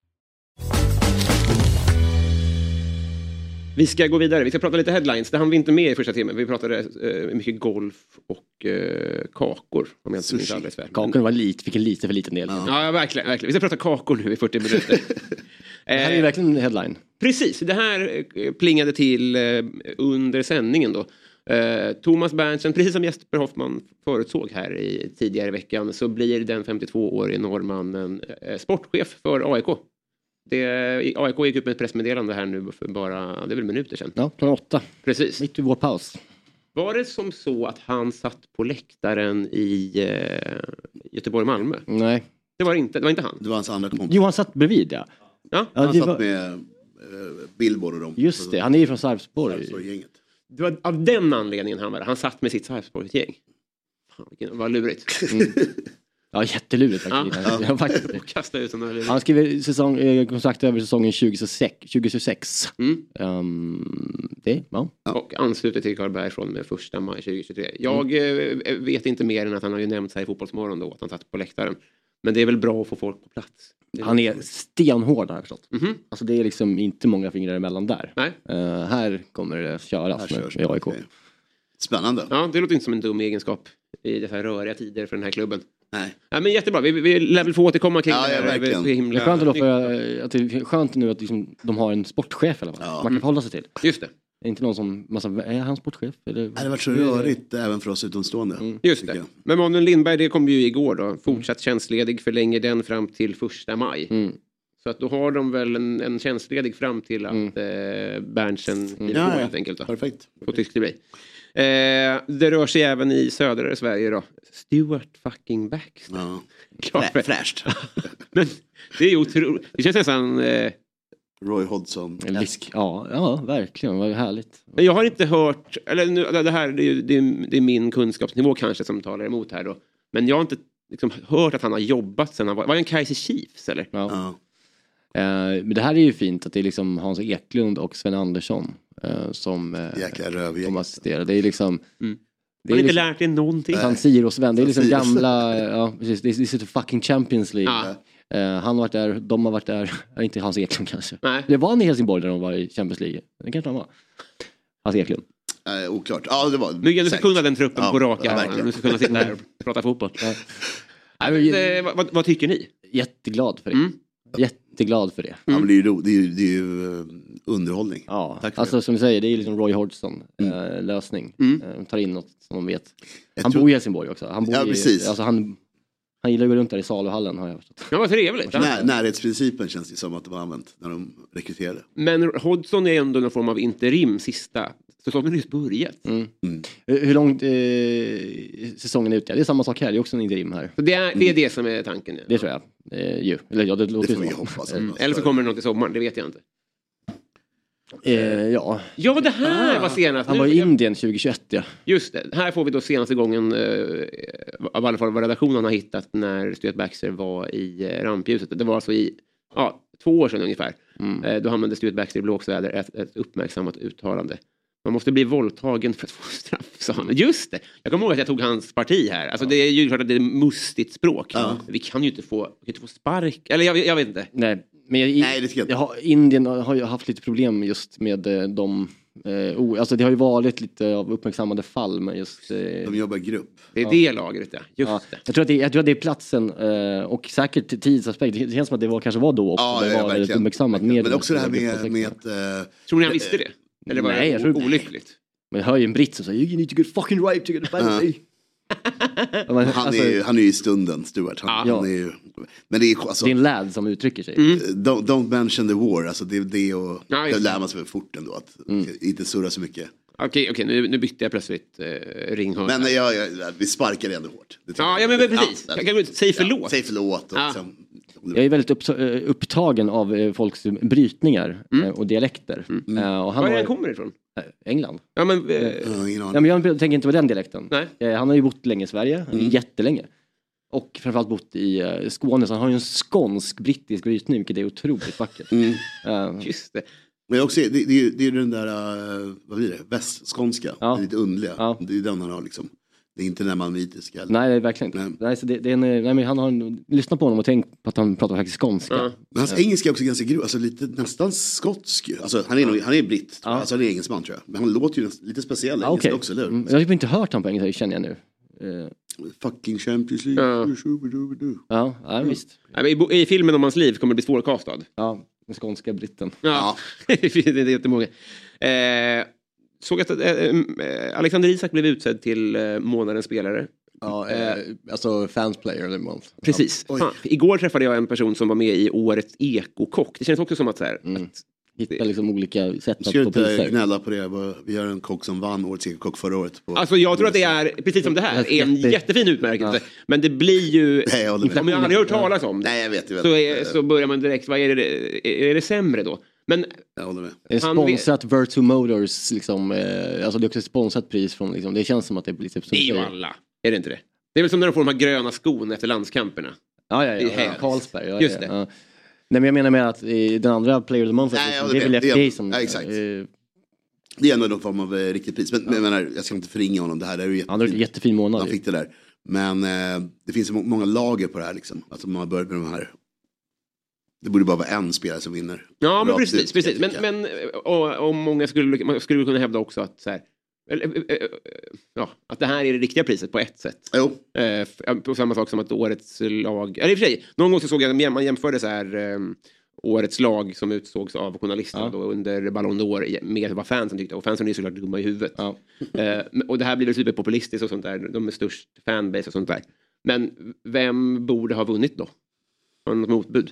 Vi ska gå vidare. Vi ska prata lite headlines. Det hann vi inte med i första timmen. Vi pratade eh, mycket golf och eh, kakor. Om jag inte minns Sushi. alldeles fel. Kakan var lit, fick en lite för liten del. Ja, ja, verkligen, verkligen. Vi ska prata kakor nu i 40 minuter. <laughs> Det här är ju eh, verkligen en headline. precis, det här eh, plingade till eh, under sändningen då. Eh, Thomas Berntsen, precis som Jesper Hoffman förutsåg här i, tidigare i veckan så blir den 52-årige norrmannen eh, sportchef för AIK. Det, AIK gick ut med ett pressmeddelande här nu för bara, det är väl minuter sedan. Ja, klockan åtta. Precis. Mitt i vår paus. Var det som så att han satt på läktaren i eh, Göteborg-Malmö? Nej. Det var, inte, det var inte han? Det var hans andra kompis. Jo, han satt bredvid ja. Ja, Ja, han det satt var- med eh, Billboard och dem. Just det, han är ju från Sarpsborg. Sarpsborg-gänget. Det var av den anledningen han var där. Han satt med sitt Sarpsborgsgäng. Fan, vilken- vad lurigt. Ja, jättelurigt Ja. faktiskt. Ja, faktiskt. Och <laughs> kasta ut honom. Han skriver säsong, eh, kontrakt över säsongen 2026. 2026. Mm. Ehm, det, ja. Mm. Och ansluter till Karlberg från med första maj 2023. Jag eh, vet inte mer än att han har ju nämnt sig i Fotbollsmorgon då, att han satt på läktaren. Men det är väl bra att få folk på plats. Det Han är stenhård har jag förstått. Mhm. Alltså det är liksom inte många fingrar emellan där. Nej. Eh, här kommer det köras Här nu körs med AIK. det. Spännande. Ja, det låter inte som en dum egenskap i dessa röriga tider för den här klubben. Nej. Ja, men jättebra, vi, vi lär väl få återkomma kring Ja, det ja, här. verkligen. Det är himla Det är skönt, ändå för, eh, att det är skönt nu att liksom, de har en sportchef i alla fall. Ja. Man Mm. kan förhålla sig till. Just det. Det är Inte någon som, massa, är han sportchef? Eller? Det hade varit så rörigt även för oss utomstående. Mm. Just tycker det. Mm, jag. Men Manuel Lindberg, det kom ju igår då. Fortsatt tjänstledig, förlänger den fram till första maj. Mm. Så att då har de väl en, en tjänstledig fram till att Mm. eh, Berntsen skriver Ja, på ja. helt enkelt. Då. Perfekt. På tysk det blir. Eh, det rör sig även i södra Sverige då. Stuart fucking Baxter. Ja. Klart Frä- för- Fräscht. <laughs> Men det är ju otroligt. Det känns nästan... Eh, Roy Hodgson. Lisk. Ja, ja, verkligen. Vad härligt. Men jag har inte hört, eller nu, det här det är, ju- det är, det är min kunskapsnivå kanske som talar emot här då. Men jag har inte liksom, hört att han har jobbat sen han var, var det en Kaiser Chiefs eller? Ja. Ja. Eh, men det här är ju fint att det är liksom Hans Eklund och Sven Andersson eh, som eh, Jäkla de rövgäng. assisterar. Det är liksom... Mm. Det Har är inte liksom lärt dig någonting? San Siro-Sven. Det är liksom San Siro. gamla... eh, Ja, precis. Det är, det är sitt fucking Champions League. Ja. Eh, han har varit där, de har varit där. <laughs> Ja, inte Hans Eklund kanske. Nej. Det var han i Helsingborg när de var i Champions League. Det kanske han var. Hans Eklund. Nej, oklart. Ja, det var Nu, du ska säkert. kunna den truppen Ja, på rak ja, arm. verkligen. du ska kunna sitta här och prata fotboll. Nej, men, jag är Eh, vad- vad, vad tycker ni? jätteglad för det. Mm. Jätteglad för det. Ja, men det är ju, ro- det är ju, det är ju eh, underhållning. Ja, Tack för alltså det. som du säger, det är liksom Roy Hodgson eh, lösning. Mm. Eh, tar in något som de vet. Jag Han tror- bor i Helsingborg också. Han bor Ja, i, precis. Alltså han, han gillar att gå runt där i saluhallen har jag förstått. Ja, vad trevligt. Ja. När, närhetsprincipen känns det som att de har använt när de rekryterade. Men Hodgson är ändå någon form av interim sista. Säsongen har just börjat. Eh, Hur långt eh, säsongen är ute? Ja, Det är samma sak här, det är också en interim här. Så det är, det är det som är tanken. ja. Det tror jag. Eh, ju. Eller ja, det låter Det ju får vi så. hoppas. Mm. Eller så kommer det något i sommar, det vet jag inte. Eh, ja, Ja, det här var senast. han Nu- var i jag- Indien 2021 ja. Just det, här får vi då senaste gången, eh, av alla fall vad redaktionen har hittat när Stuart Baxter var i eh, rampljuset. Det var alltså i ja, två år sedan ungefär. Mm. Eh, då använde Stuart Baxter i blåsväder ett, ett uppmärksammat uttalande. Man måste bli våldtagen för att få straff, sa han. Just det! Jag kommer ihåg att jag tog hans parti här. Alltså, Det är ju klart att det är mustigt språk. Ja. Vi kan ju inte få, vi kan inte få spark. Eller jag, jag vet inte. Nej, men jag, Nej, det tycker jag inte. jag har, Indien har ju haft lite problem just med eh, de eh, o, alltså det har ju varit lite av uppmärksammade fall med just eh, De jobbar i grupp. Det är det lagret, ja. Just ja, det. jag, tror att det, jag tror att det är platsen eh, och säkert tidsaspekt. Det känns som att det var, kanske var då också. det var väldigt uppmärksammat. med Men de också det här med, 2016. med att... eh, Tror ni han visste det? Eller var Nej, jag det tror o- inte. olyckligt? Men jag hör ju en britt som säger You need to get fucking right to get Ja. <laughs> back man, Han, alltså, är ju, han är ju i stunden, Stuart. Han, Ja. han är ju, men det är alltså, Det är en lad som uttrycker sig. Mm. don't, don't mention the war, alltså det, det, är och, Ja, just det det. lär man sig väl fort ändå. Att inte surra så mycket. Okej, okej, nu, nu bytte jag plötsligt eh, ringhörna. Men jag, jag, vi sparkar ändå hårt. Det tycker Ja, jag. ja, men precis. Ja, Jag kan gå ut, säg förlåt. Ja, säg förlåt. Och, Ja. sen, Jag är väldigt upp, upptagen av eh, folks brytningar Mm. eh, och dialekter. Eh, och han Var är har- han kommer ifrån? eh, England. Ja, men, eh, Ja, ingen aning. Ja, men jag tänker inte på den dialekten. Nej. Eh, Han har ju bott länge i Sverige, jättelänge. Och framförallt bott i eh, Skåne, så han har ju en skånsk-brittisk brytning, vilket är otroligt vackert. Eh, just det. Men också, det, det, är ju- det är ju den där, eh, vad blir det, västskånska, Ja. den lite underliga. Ja. Det är ju den han har liksom. Det är inte den man vitiska. Eller. nej, det är verkligen Nej. inte. Nej, så det, det är en, eh, nej, men han har en, lyssna på honom och tänk på att han pratar faktiskt skånska. Ja. Men hans engelska är också ganska grov, alltså lite nästan skotsk. ju. Alltså, han, är nog, han är britt, tror jag. alltså, han är engelsman tror jag. Men han låter ju nästan, lite speciell Ah, engelska okej. också, eller hur? Mm, Jag har typ inte hört honom på engelska, känner jag nu. Eh, Fucking Champions League. Ja. ja, ja, visst. Nej, men i, bo- I filmen om hans liv kommer det bli svårkastad. <laughs> Ja, den skånska britten. Ja. det är jättemånga. Eh, Såg att eh, eh, Alexander Isak blev utsedd till eh, månadens spelare. Ja, eh, alltså fans player of the month. Precis. Ja. Oj. Fan. Igår träffade jag en person som var med i årets Ekokock. Det känns också som att så här... Att, Hitta liksom olika sätt Ska du inte gnälla på det? Jag bara- Vi har en kock som vann Årets Ekokock förra året. På... Alltså jag tror att det är, precis som det här, är en Jätte- jättefin utmärkelse. Men det blir ju, Nej, jag håller med. om jag aldrig hört talas om det, Nej, jag vet. Jag vet. så, är, så börjar man direkt, vad är det, är det sämre då? Men Jag håller med. Det är Han vet- sponsrat Virtu Motors, liksom, eh, alltså det är också ett sponsrat pris från, liksom, det känns som att det blir typ som det är ju säger- alla, är det inte det? Det är väl som när de får de här gröna skorna efter landskamperna. Ja, ja, I ja, ja. Häls. Carlsberg. Ja, Just ja, det. Ja. Nej men jag menar med att eh, den andra Player of the Month, Nej, jag liksom, håller det är väl med. FDA Det är- som... Eh, ja, exakt. Det är ändå någon form av eh, riktigt pris. Men, men jag, menar, jag ska inte förringa honom, det här är ju jättefint. Han har en jättefin månad. Han fick det där. Men eh, det finns så må- många lager på det här liksom. Alltså man har börjat med de här. Det borde bara vara en spelare som vinner. typ, Ja, men Rakt precis. ut, precis. kan Men, jag tycka. men eh, och, och många skulle, man skulle kunna hävda också att, så här, eller, eh, eh, ja, att det här är det riktiga priset på ett sätt. Eh, f- ja, På samma sak som att årets lag, eller i och för sig, någon gång så såg jag, att man jämförde så här, eh, årets lag som utsågs av journalisterna Ja. då under Ballon d'Or med vad fansen tyckte. Och fansen är ju såklart dumma i huvudet. Eh, men- och det här blir väl superpopulistiskt och sånt där. De är störst fanbase och sånt där. Men vem borde ha vunnit då? Har du något motbud?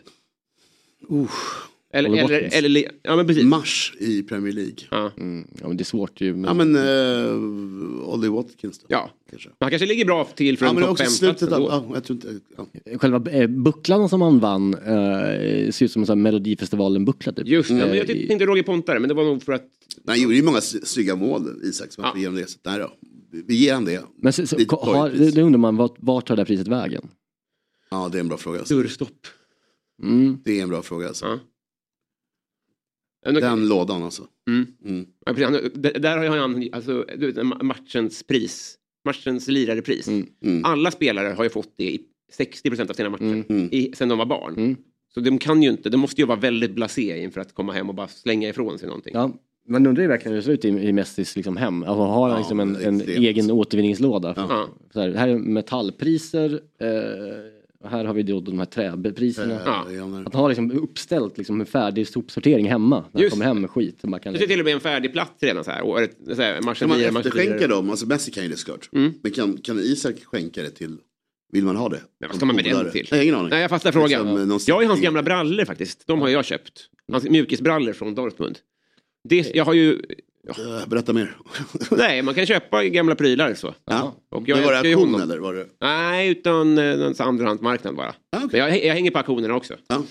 Eller, Oliver eller, Watkins. eller, li- ja, men precis. Mars i Premier League. Ja. Mm, ja men det är svårt ju. Ja, men eh, Ollie Watkins då. Ja. Kanske. Han kanske ligger bra till för Ja, en men det är topp också 5 slutet av... Ja, jag tror inte... Ja. Själva eh, bucklan som han vann eh, ser ut som en sån här Melodifestivalen-buckla typ. Just det, Eh, men jag i- tänkte Roger Pontare, men det var nog för att... Men han gjorde ju många s- snygga mål, Isak. Så varför ger honom det? Så, nej då. Vi vi ger han det. Men så, så, Det är ett har, torgpris. då undrar man, vart, vart tar det här priset vägen? Ja, det är en bra fråga. Alltså. Dörrstopp. Mm. Det är en bra fråga. Alltså. Ja, nu- Den lådan alltså. Mm. Mm. Ja, precis. Han- d- Där har ju han, alltså, du vet, ma- matchens pris, matchens lirarepris. Mm, Alla spelare har ju fått det i 60 procent av sina matcher Mm, i, sen de var barn. Så de kan ju inte, de måste ju vara väldigt blasé inför att komma hem och bara slänga ifrån sig någonting. Ja, man undrar ju verkligen hur det ser ut i, i Messis liksom hem. Alltså, har han Ja, liksom en, det är en extremt. egen återvinningslåda? Ja. Så här, här är metallpriser, eh, här har vi då de här träpriserna. Ja. Att han har liksom uppställt liksom en färdig sopsortering hemma. När han Just kommer hem med skit. Man kan, Det är till och med en färdig plats redan så här. Och, ett- så här matchen Kan man lirare, matchen efterskänka lirare. dem? Alltså Messi kan ju det såklart. Mm. Men kan, kan Isak skänka det till... Vill man ha det? Vad ska man med Odlare? den till? Nej, ingen aning. Liksom, Nej, jag fattar frågan. jag har ju hans gamla brallor faktiskt. De har jag köpt. Hans mjukisbrallor från Dortmund. Det, jag har ju... Ja. Äh, Berätta mer. Nej, man kan köpa gamla prylar så. Ja. Och jag Men <laughs> var det älskar ju auktion honom. eller? Var det... Nej, utan eh, någon sån andrahandsmarknad bara. Men jag, jag hänger på auktionerna också. Eh,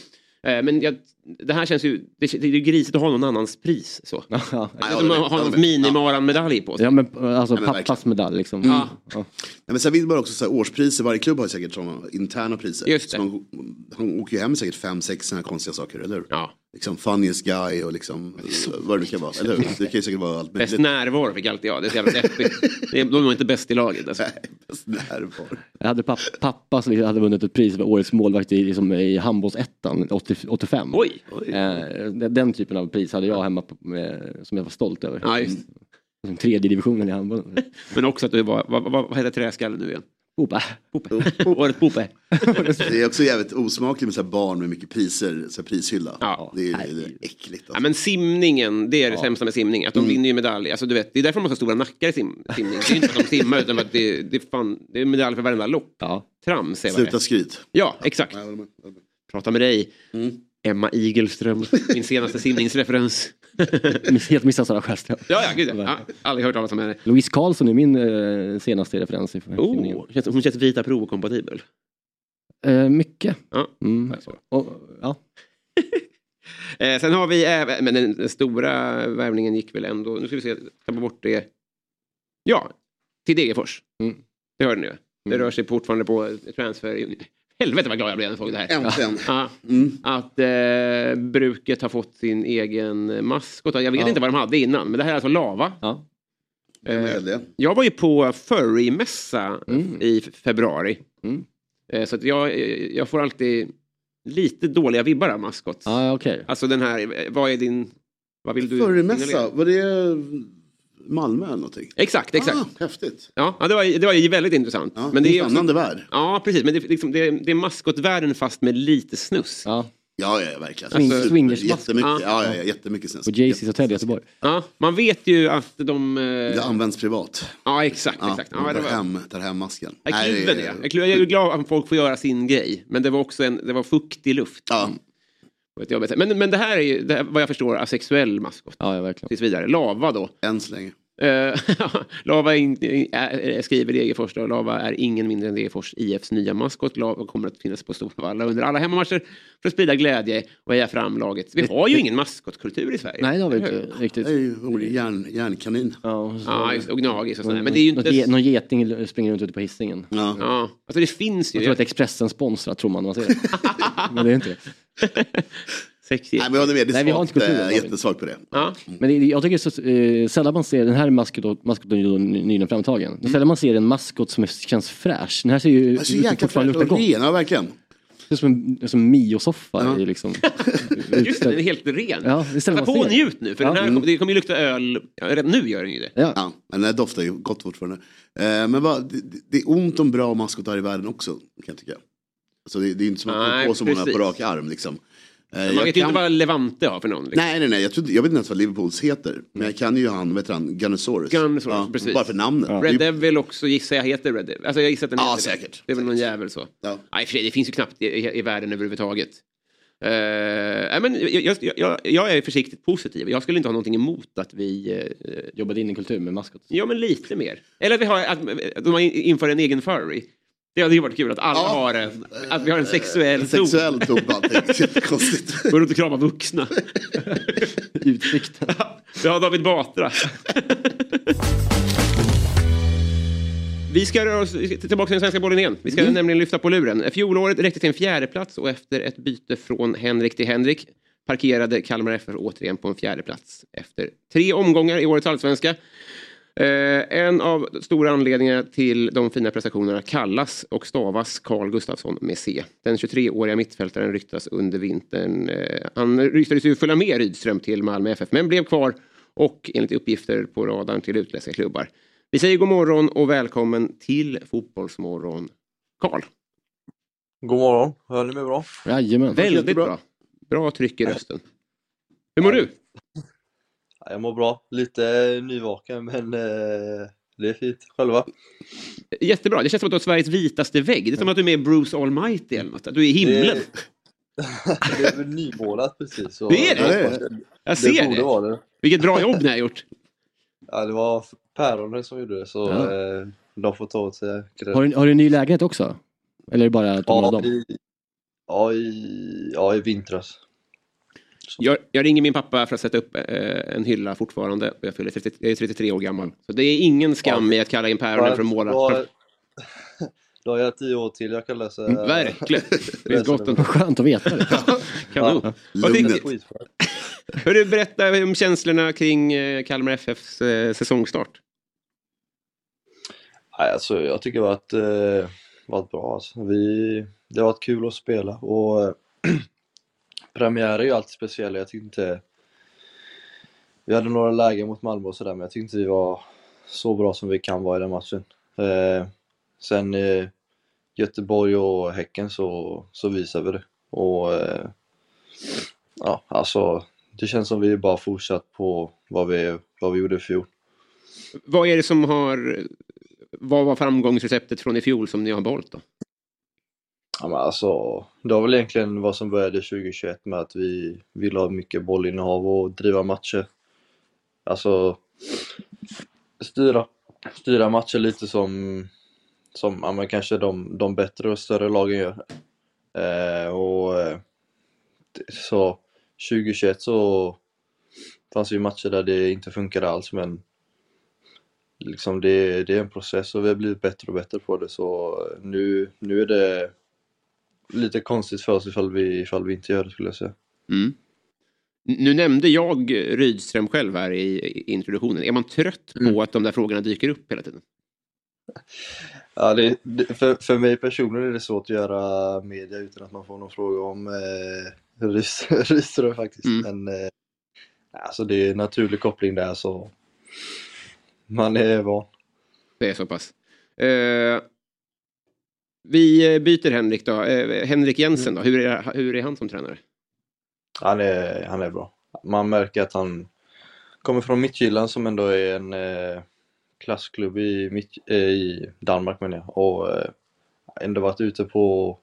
Men jag, det här känns ju... Det, det är ju grisigt att ha någon annans pris så. Det <laughs> ja. är som att ha någons minimaran-medalj på sig. ja, men alltså men pappas medalj liksom. Ja. Ja. Nej, men sen vill man också så här, årspriser, varje klubb har ju säkert sådana interna priser. Just Så man, han åker ju hem med säkert fem, sex sådana här konstiga saker, eller hur? Ja. Liksom funniest guy <laughs> och liksom vad det nu kan vara, eller hur? Det kan ju säkert vara allt Bäst <laughs> möjligt. närvaro fick alltid jag. Det är så jävla deppigt. Det är- De är nog inte bäst i laget. Alltså. Bäst närvaro. Jag hade pappa, pappa som liksom hade vunnit ett pris för årets målvakt i, liksom, i handbollsettan 80 85. Oj! Eh, den, den typen av pris hade jag hemma på, med, som jag var stolt över. Ja, just. det. Som Tredje divisionen <laughs> i handbollen. Men också att du var... Vad, vad, vad heter träskallen nu igen? Popa. Året Pope. Det är också jävligt osmakligt med så här barn med mycket priser, så här prishylla. Det, är, det är äckligt. Ja, Alltså. men simningen, det är det sämsta med simning. Att de vinner ju medalj. Alltså, du vet, det är därför de har så stora nackar i sim simning. Det är inte för att de simmar utan för att det, det, är fan, det är medalj för varenda lopp. <laughs> Ja. Trams är vad det Sluta är. skryt. Ja, Mm. exakt. Prata med dig, Emma Igelström. Min senaste simningsreferens. Miss- Helt missad Sara Sjöström. Ja, ja, gud ja. ja. Aldrig hört talas om henne. Louise Karlsson är min eh, senaste referens. I Oh, känns- hon känns vita prov-kompatibel. Eh, mycket. Ja. Mm. Och, ja. Eh, sen har vi även, men den, den stora värvningen gick väl ändå, nu ska vi se, tappa bort det. Ja, till Degerfors. Mm. Det hörde ni ju. Det rör sig fortfarande på transfer. <laughs> Helvete vad glad jag blev när jag såg det här. Äntligen. Ja. Mm. Att eh, bruket har fått sin egen maskot. Jag vet Ja. inte vad de hade innan, men det här är alltså Lava. Ja. Eh, Är det? jag var ju på furrymässa Mm. i f- februari. Mm. Eh, så att jag, eh, jag får alltid lite dåliga vibbar av maskot. Ja, okej. Alltså den här, eh, vad är din... Vad vill du Förremässa, signalera? var det Malmö eller någonting? Exakt, exakt. Ah, häftigt. Ja, ja, det, var, det var ju väldigt intressant. Ja, men det är också, spännande värld. ja, precis. Men det, är liksom, det, är- det är maskotvärlden fast med lite snus. Ja. Ja, ja, ja, verkligen. Swing- Alltså, swingersmask. Jättemycket, Ja. ja, ja, ja, jättemycket sens. På Jay-Z's hotell i Göteborg. Ja, man vet ju att de... eh, Det används privat. Ja, exakt. Ja, exakt. Ja, tar, det var, hem, tar hem masken. jag Nej, kluven det det. är- Jag kluven- jag är ju glad att folk får göra sin grej. Men det var också en, det var fuktig luft. Ja. På ett jobbigt sätt. Men, men det här är ju, det här, vad jag förstår, asexuell maskot. Ja, ja, verkligen. Tills vidare. Lava då. Än så länge. Eh, <laughs> Lava är in, är, skriver Degerfors då, Lava är ingen mindre än Degerfors IFs nya maskot. Lava kommer att finnas på Storvalla under alla hemmamatcher för att sprida glädje och heja fram laget. Vi har ju ingen maskotkultur i Sverige. Nej, det har vi eller hur? inte riktigt. Det är ju ordet järn, järnkanin. Ja, så- Ja, just, och gnagis och sådär. någon- Men det är ju något inte... ge- Någon geting springer runt ute på hissingen. Ja. Ja, alltså det finns Jag tror ju. att Expressen sponsrar, tror man när man <laughs> ser det. Men det är inte det. Sexigt. Nej, men jag håller med. Det är Nej, vi har svagt, inte kulturen, eh, har vi. jättesvagt på det. Ja. Men det, jag tycker så, eh, sällan man ser, den här maskoten maskot är ju då ny- nyligen framtagen. Mm. Sällan man ser en maskot som är, känns fräsch. Den här ser ju Det är ut så som Alltså, jäkla fortfarande fräscht luktar och gott. Det ren, ja verkligen. är som en, som en Mio-soffa. i Liksom, <laughs> Just det, den är helt ren. Ja, det ställer Passa man på och sig. njut nu, för Ja. den här Mm. kommer, det kommer ju lukta öl. Ja, redan nu gör den ju det. ja. Ja, men den här doftar ju gott fortfarande. Eh, men vad, det, det- det är ont om bra maskotar i världen också, kan jag tycka. Alltså, det, det är ju inte som att Nej, komma på så många precis. på rak arm. Liksom. Eh, Man jag vet ju kan- inte vad Levante har för någon. Liksom. Nej, nej, nej. Jag, trodde, jag vet inte ens vad Liverpools heter. Men jag kan ju han, vad heter han, Gunnosaurus. Gunnosaurus, precis. Bara för namnet. Det är ju- Red Devil också gissar jag heter Red Devil. Alltså jag gissar att den Ja, heter det. säkert. Det är väl någon jävel så. Ja. Nej, för sig, det finns ju knappt i, i, i världen överhuvudtaget. Eh, nej, men jag, jag, jag, jag är försiktigt positiv. Jag skulle inte ha någonting emot att vi... eh, Jobbade in i kultur med maskot. ja, men lite mer. Eller att, vi har, att, att de har in- inför en egen furry. Det hade ju varit kul att alla Ja. har en. Att vi har en sexuell zon. Sexuell <laughs> ton på allting. Jättekonstigt. Går runt och kramar vuxna. Utsikten. Vi har David Batra. Vi ska röra oss tillbaka till den svenska bollen igen. Vi ska nämligen lyfta på luren. Fjolåret räckte till en fjärdeplats och efter ett byte från Henrik till Henrik parkerade Kalmar FF återigen på en fjärdeplats efter tre omgångar i årets allsvenska. Eh, en av stora anledningarna till de fina prestationerna kallas och stavas Carl Gustafsson med C. Den 23-åriga mittfältaren ryktas under vintern. Eh, han ryktades ju följa med Rydström till Malmö FF men blev kvar och enligt uppgifter på radarn till utländska klubbar. Vi säger god morgon och välkommen till Fotbollsmorgon, Carl. God morgon, hör ni mig bra? Jajamän. Väldigt bra. Bra tryck i rösten. Hur mår du? Ja, Jag mår bra, lite nyvaken men eh, det är fint. Själva? Jättebra. Det känns som att du har Sveriges vitaste vägg. Det är som att du är med i Bruce Almighty eller något. Att du är i himlen. <laughs> Det, det är väl nymålat precis. så- Det är det. jag hoppas Jag det ser borde det. vara det. Vilket bra jobb ni har gjort. Ja, det var päronen som gjorde det så Ja. eh, de får ta åt sig cred. Har du, har du en ny lägenhet också? Eller är det bara att de har ja, dem? i, ja, i, ja, i vintras. Jag, jag ringer min pappa för att sätta upp eh, en hylla fortfarande. Och Jag, fyller 30, jag är 33 år gammal. Så det är ingen skam i att kalla in päronen för att måla. Då har- <laughs> Då har jag tio år till jag kan läsa. Verkligen. Det finns gott om Skönt att veta det. <laughs> kanon. Vad Lugnet. tycker- Hör du berätta om känslorna kring eh, Kalmar FFs eh, säsongstart. Nej, alltså, jag tycker det har varit, eh, varit bra. Alltså. Vi, det har varit kul att spela och <clears throat> eh, premiärer är ju alltid speciella. Jag tyckte inte... Vi hade några lägen mot Malmö och sådär, men jag tyckte inte vi var så bra som vi kan vara i den matchen. Eh, sen eh, Göteborg och Häcken så, så visade vi det. Och eh, ja, alltså det känns som vi bara fortsatt på vad vi, vad vi gjorde i fjol. Vad är det som har... Vad var framgångsreceptet från i fjol som ni har behållit då? Ja, men alltså, det var väl egentligen vad som började 2021 med att vi ville ha mycket bollinnehav och driva matcher. Alltså, styra, styra matcher lite som, som ja, men kanske de, de bättre och större lagen gör. Eh, och eh, det- så 2021 så fanns det ju matcher där det inte funkade alls men liksom det, det är en process och vi har blivit bättre och bättre på det så eh, nu, nu är det lite konstigt för oss ifall vi, ifall vi inte gör det skulle jag säga. Nu nämnde jag Rydström själv här i, i introduktionen. Är man trött på att de där frågorna dyker upp hela tiden? Ja, det, det, för, för mig personligen är det svårt att göra media utan att man får någon fråga om eh, Rys- <laughs> Rydström faktiskt. Mm. Men eh, alltså det är en naturlig koppling där så man är van. Det är så pass. Eh, vi eh, byter Henrik då. Eh, Henrik Jensen då. Hur är, hur är han som tränare? Han är, han är bra. Man märker att han kommer från Midtjylland som ändå är en eh, klassklubb i, mitt, eh, i Danmark menar jag. Och eh, ändå varit ute på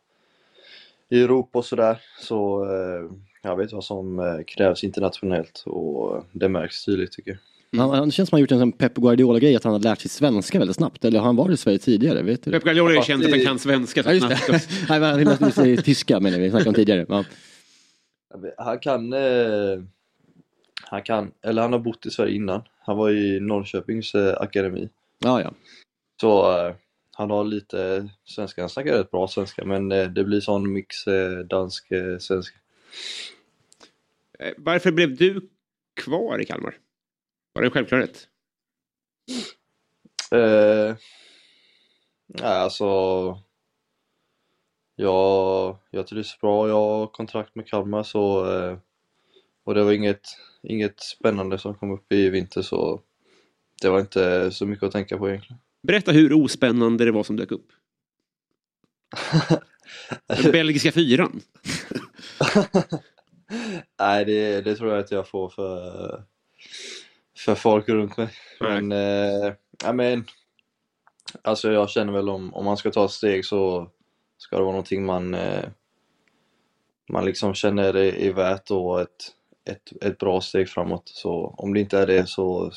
i Europa och sådär. Så eh, jag vet vad som eh, krävs internationellt och eh, det märks tydligt tycker jag. Han, han känns som han gjort en sån Pep Guardiola-grej att han har lärt sig svenska väldigt snabbt. Eller har han varit i Sverige tidigare? Vet du? det? Pep Guardiola är ju känd för att han kan svenska. Ja, just det. Nej, men han lär sig tyska menar vi, snackade om tidigare. Ja. Han kan, eh, han kan, eller han har bott i Sverige innan. Han var i Norrköpings eh, akademi. Ja, ja. Så eh, han har lite svenska, han snackar rätt bra svenska men eh, det blir sån mix eh, dansk-svenska. <laughs> Eh, Varför blev du kvar i Kalmar? Var det en självklarhet? Eh, nej, alltså, jag, jag trivs bra, jag har kontrakt med Kalmar så, eh, och det var inget, inget spännande som kom upp i vinter så det var inte så mycket att tänka på egentligen. Berätta hur ospännande det var som dök upp. <laughs> Den belgiska fyran. Nej, det, det tror jag att jag får för, för folk runt mig. Men, eh, ja, men alltså jag känner väl om, om man ska ta ett steg så ska det vara någonting man, eh, man liksom känner är, är värt och ett, ett, ett bra steg framåt. Så om det inte är det så,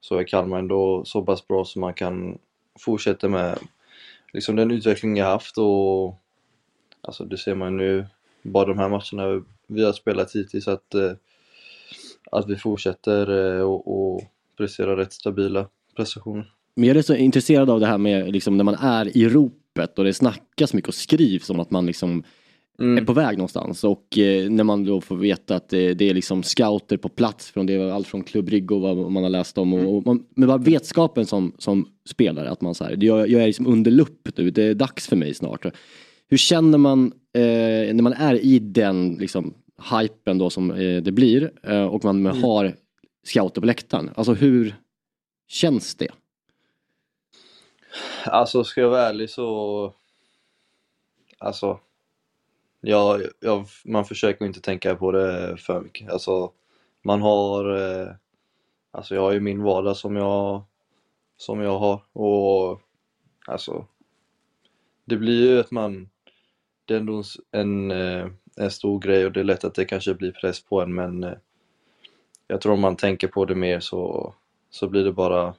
så är Kalmar ändå så pass bra så man kan fortsätta med liksom den utveckling jag haft och Alltså det ser man nu, bara de här matcherna vi har spelat hittills, att, eh, att vi fortsätter eh, och, och prestera rätt stabila prestationer. Men jag är så intresserad av det här med liksom, när man är i ropet och det snackas mycket och skrivs om att man liksom är på väg någonstans. Och eh, när man då får veta att eh, det är liksom scouter på plats från det, är allt från Club Brygge och vad man har läst om. Och, och man, men bara vetskapen som, som spelare, att man så här, jag, jag är liksom under lupp nu, det är dags för mig snart. Hur känner man eh, när man är i den liksom, hypen då som eh, det blir eh, och man Mm. har scouter på läktaren? Alltså hur känns det? Alltså ska jag vara ärlig så... Alltså... Ja, jag, man försöker inte tänka på det för mycket. Alltså, man har... Eh, alltså jag har ju min vardag som jag, som jag har och alltså... Det blir ju att man... Det är ändå en, eh, en stor grej och det är lätt att det kanske blir press på en men eh, jag tror om man tänker på det mer så, så blir det bara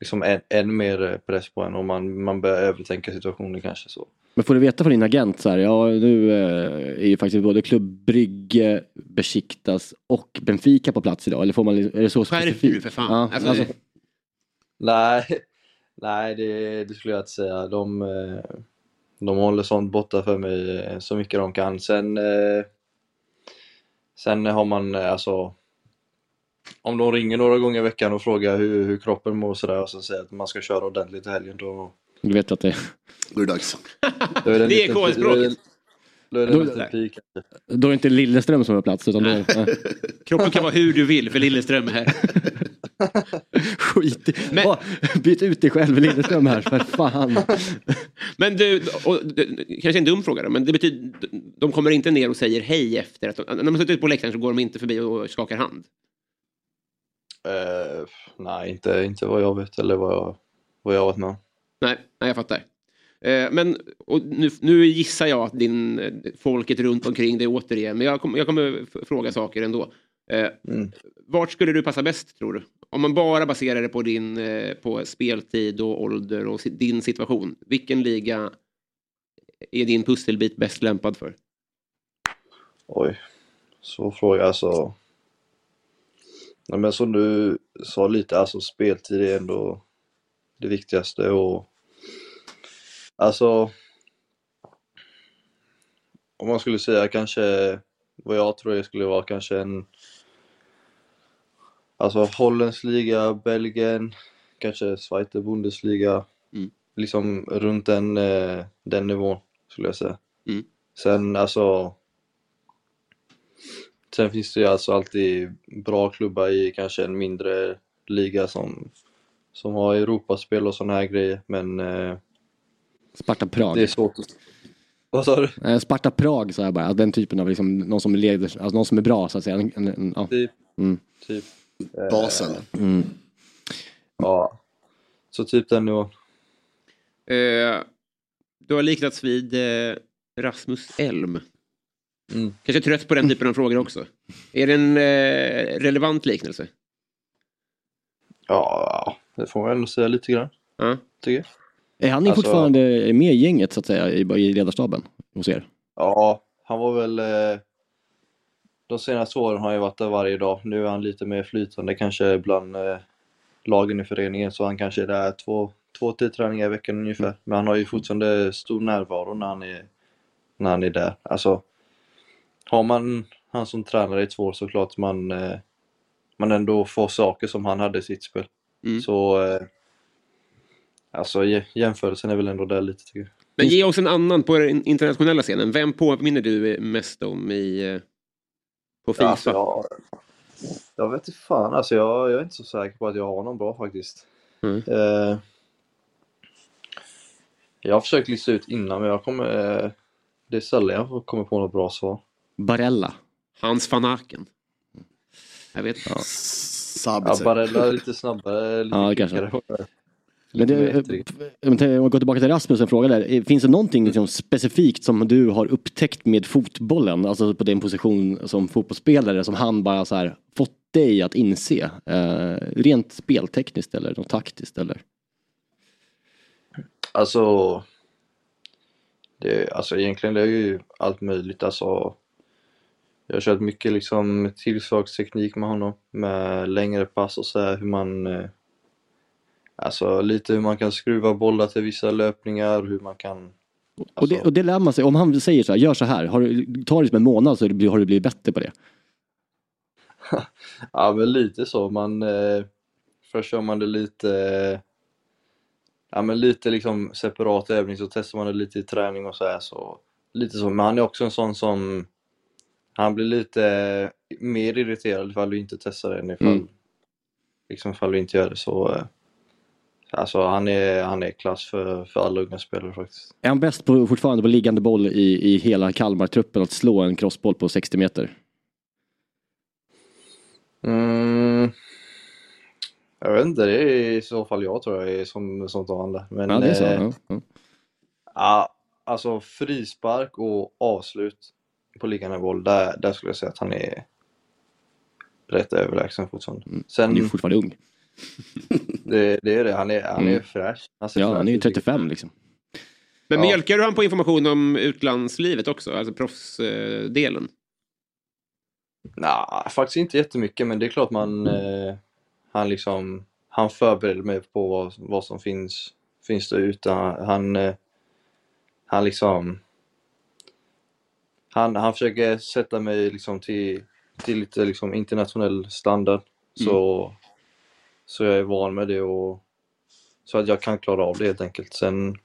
liksom än, än mer press på en och man, man börjar övertänka situationen kanske. så. Men får du veta från din agent så här, ja nu eh, är ju faktiskt både Club Brygge, Besiktas och Benfica på plats idag. Eller får man, är det så specifikt? Ja, alltså, Nej, <laughs> nej det, det skulle jag inte säga. De, eh, de håller sånt borta för mig eh, så mycket de kan. Sen, eh, sen har man eh, alltså om de ringer några gånger i veckan och frågar hur, hur kroppen mår och sådär och så säger att man ska köra ordentligt i helgen då, du vet att det då är det dags. Då är det, en Det är liten- K-språket. Då är det, då är det en liten pik. Då är det inte Lilleström som är på plats utan då... <laughs> nej. Kroppen kan vara hur du vill för Lilleström är här. Skit i. Åh, Byt ut dig själv Lilleström här, för fan. Men du, och, det- kanske en dum fråga då, men det betyder, de kommer inte ner och säger hej efter att de, när de har suttit på läktaren så går de inte förbi och skakar hand. Eh, nej, inte, inte vad jag vet eller vad jag, vad jag har varit med om. Nej, nej jag fattar. Eh, men och nu, nu gissar jag att din, eh, folket runt omkring dig återigen, men jag, kom, jag kommer f- fråga saker ändå. Eh, Mm. Vart skulle du passa bäst tror du? Om man bara baserar det på din eh, på speltid och ålder och si- din situation. Vilken liga är din pusselbit bäst lämpad för? Oj, så fråga alltså. Nej, men som du sa lite, alltså speltid är ändå det viktigaste och alltså om man skulle säga kanske vad jag tror det skulle vara kanske en alltså Hollands liga, Belgien, kanske Zweite Bundesliga, liksom runt den, eh, den nivån skulle jag säga. Mm. Sen alltså Sen finns det ju alltså alltid bra klubbar i kanske en mindre liga som, som har Europaspel och sådana här grejer, men eh, Sparta Prag. det är svårt att... Vad sa du? Eh, Sparta Prag sa jag bara, den typen av liksom, någon som leder, alltså någon som är bra så att säga. En, en, en, ja. Typ. Mm. Typ. Basel. Eh, Ja. Så typ den nivån. Eh, du har liknats vid eh, Rasmus Elm. Mm. Kanske trött på den typen av frågor också. Är det en eh, relevant liknelse? Ja, det får man ändå säga lite grann. Ja. Tycker jag. Är han Alltså- fortfarande med i gänget så att säga, i, i ledarstaben hos er? Ja, han var väl... eh, De senaste åren har han ju varit där varje dag. Nu är han lite mer flytande kanske bland eh, lagen i föreningen. Så han kanske är där två, två till träningar i veckan ungefär. Men han har ju fortfarande stor närvaro när han är, när han är där. Alltså, har man han som tränare i två år så klart man, eh, man ändå får saker som han hade i sitt spel. Så eh, alltså, jä- jämförelsen är väl ändå där lite tycker jag. Men ge oss en annan på den internationella scenen. Vem påminner du mest om i, eh, på Typ. Fifa? Ja, alltså, jag, jag vet inte fan, alltså jag, jag är inte så säker på att jag har någon bra faktiskt. Mm. Eh, jag har försökt lista ut innan men jag kommer, eh, det är sällan jag kommer på något bra svar. Barella. Hans van Aken. Jag vet inte. Ja, Barella är lite snabbare, lite Ja, det kanske. kvickare. Men det, om jag går tillbaka till Rasmus en fråga där. Eh, Finns det någonting liksom specifikt som du har upptäckt med fotbollen, alltså på din position som fotbollsspelare, som han bara så här fått dig att inse? Eh, rent speltekniskt eller något taktiskt eller? Alltså, det, alltså egentligen det är ju allt möjligt. Alltså, jag har kört mycket liksom tillslagsteknik med honom med längre pass och så här hur man eh, Alltså lite hur man kan skruva bollar till vissa löpningar, hur man kan... alltså- Och, det, och det lär man sig, om han säger så här, gör så här, har, du- ta det som en månad så har du blivit bättre på det. Ja men lite så, man... Eh, först gör man det lite... Eh, ja men lite liksom separat övning, så testar man det lite i träning och så här så... Lite så, men han är också en sån som... Han blir lite eh, mer irriterad ifall du inte testar det än ifall... Mm. Liksom ifall du inte gör det så... Eh, alltså han är, han är klass för, för alla unga spelare faktiskt. Är han bäst på, fortfarande på liggande boll i, i hela Kalmar-truppen att slå en crossboll på 60 meter? Mm. Jag vet inte, det är i så fall jag tror jag är som, som tar han det. Men, ja, det är så. eh, ja, ja. ja, alltså frispark och avslut på liggande boll, där, där skulle jag säga att han är rätt överlägsen fortfarande. Sen, Mm. Han är ju fortfarande ung. det, det är det, han är, han är Mm. fräsch. Han ser Ja, fräsch han är ju ut, tycker 35 liksom. Men Ja. mjölkar du han på information om utlandslivet också? Alltså proffsdelen? Nej, faktiskt inte jättemycket, men det är klart man... Eh, han liksom... Han förbereder mig på vad, vad som finns, finns där ute. Han, han, eh, han liksom... Han, han försöker sätta mig liksom till, till lite liksom internationell standard. Så, så jag är van med det och så att jag kan klara av det helt enkelt. Sen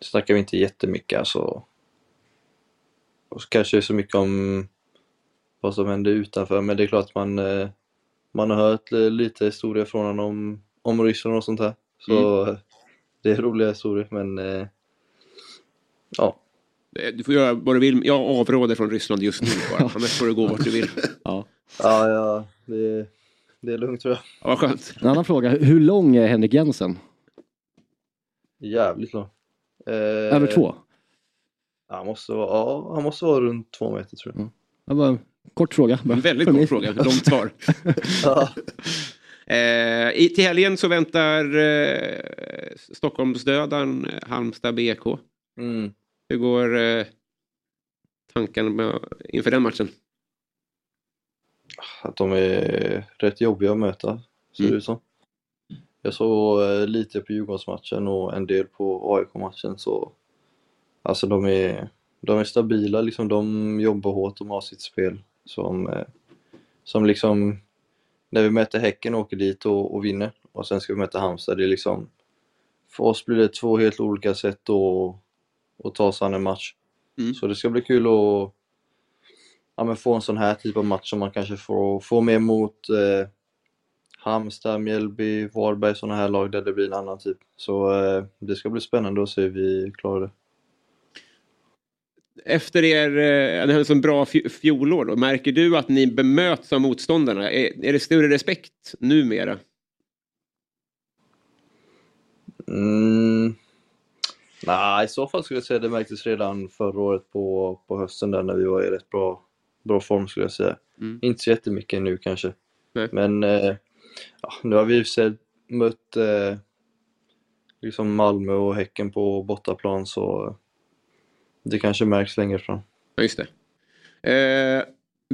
snackar vi inte jättemycket alltså. Och så kanske det är så mycket om vad som händer utanför. Men det är klart man, eh, man har hört li- lite historier från honom om, om Ryssland och sånt här. Så Mm. eh, det är roliga historier men eh, ja. Eh, Du får göra vad du vill. Jag avråder från Ryssland just nu bara. Annars får du gå vart du vill. Ja. Ja, ja det, det är lugnt tror jag. Ja, vad skönt. En annan fråga, hur lång är Henrik Jensen? Jävligt lång. Eh, Över två? Han måste, vara, ja, han måste vara runt två meter tror <laughs> jag. Det var en kort fråga. bara. Väldigt För kort mig. fråga, långt svar. eh, i, till helgen så väntar eh, Stockholmsdödaren eh, Halmstad BK. Mm. Hur går eh, tankarna med, inför den matchen? Att de är rätt jobbiga att möta, ser det ut som. Jag såg eh, lite på Djurgårdsmatchen och en del på AIK-matchen så Alltså de är, de är stabila, liksom, de jobbar hårt, de har sitt spel. Som, eh, som liksom, när vi möter Häcken åker dit och, och vinner och sen ska vi möta Halmstad. Det är liksom, för oss blir det två helt olika sätt att, att ta sig an en match. Så det ska bli kul att ja, men få en sån här typ av match som man kanske får, får mer mot eh, Halmstad, Mjällby, Varberg, såna här lag där det blir en annan typ. Så eh, det ska bli spännande att se hur vi klarar det. efter er, eh, det här är så en bra fj- fjolår då, märker du att ni bemöts av motståndarna? Är, är det större respekt numera? Mm. Nej, i så fall skulle jag säga det märktes redan förra året på, på hösten där när vi var i rätt bra, bra form skulle jag säga. Mm. Inte så jättemycket nu kanske. Men eh, ja, nu har vi i och för sig mött eh, liksom Malmö och Häcken på bortaplan så det kanske märks längre fram. Ja, just det. Eh,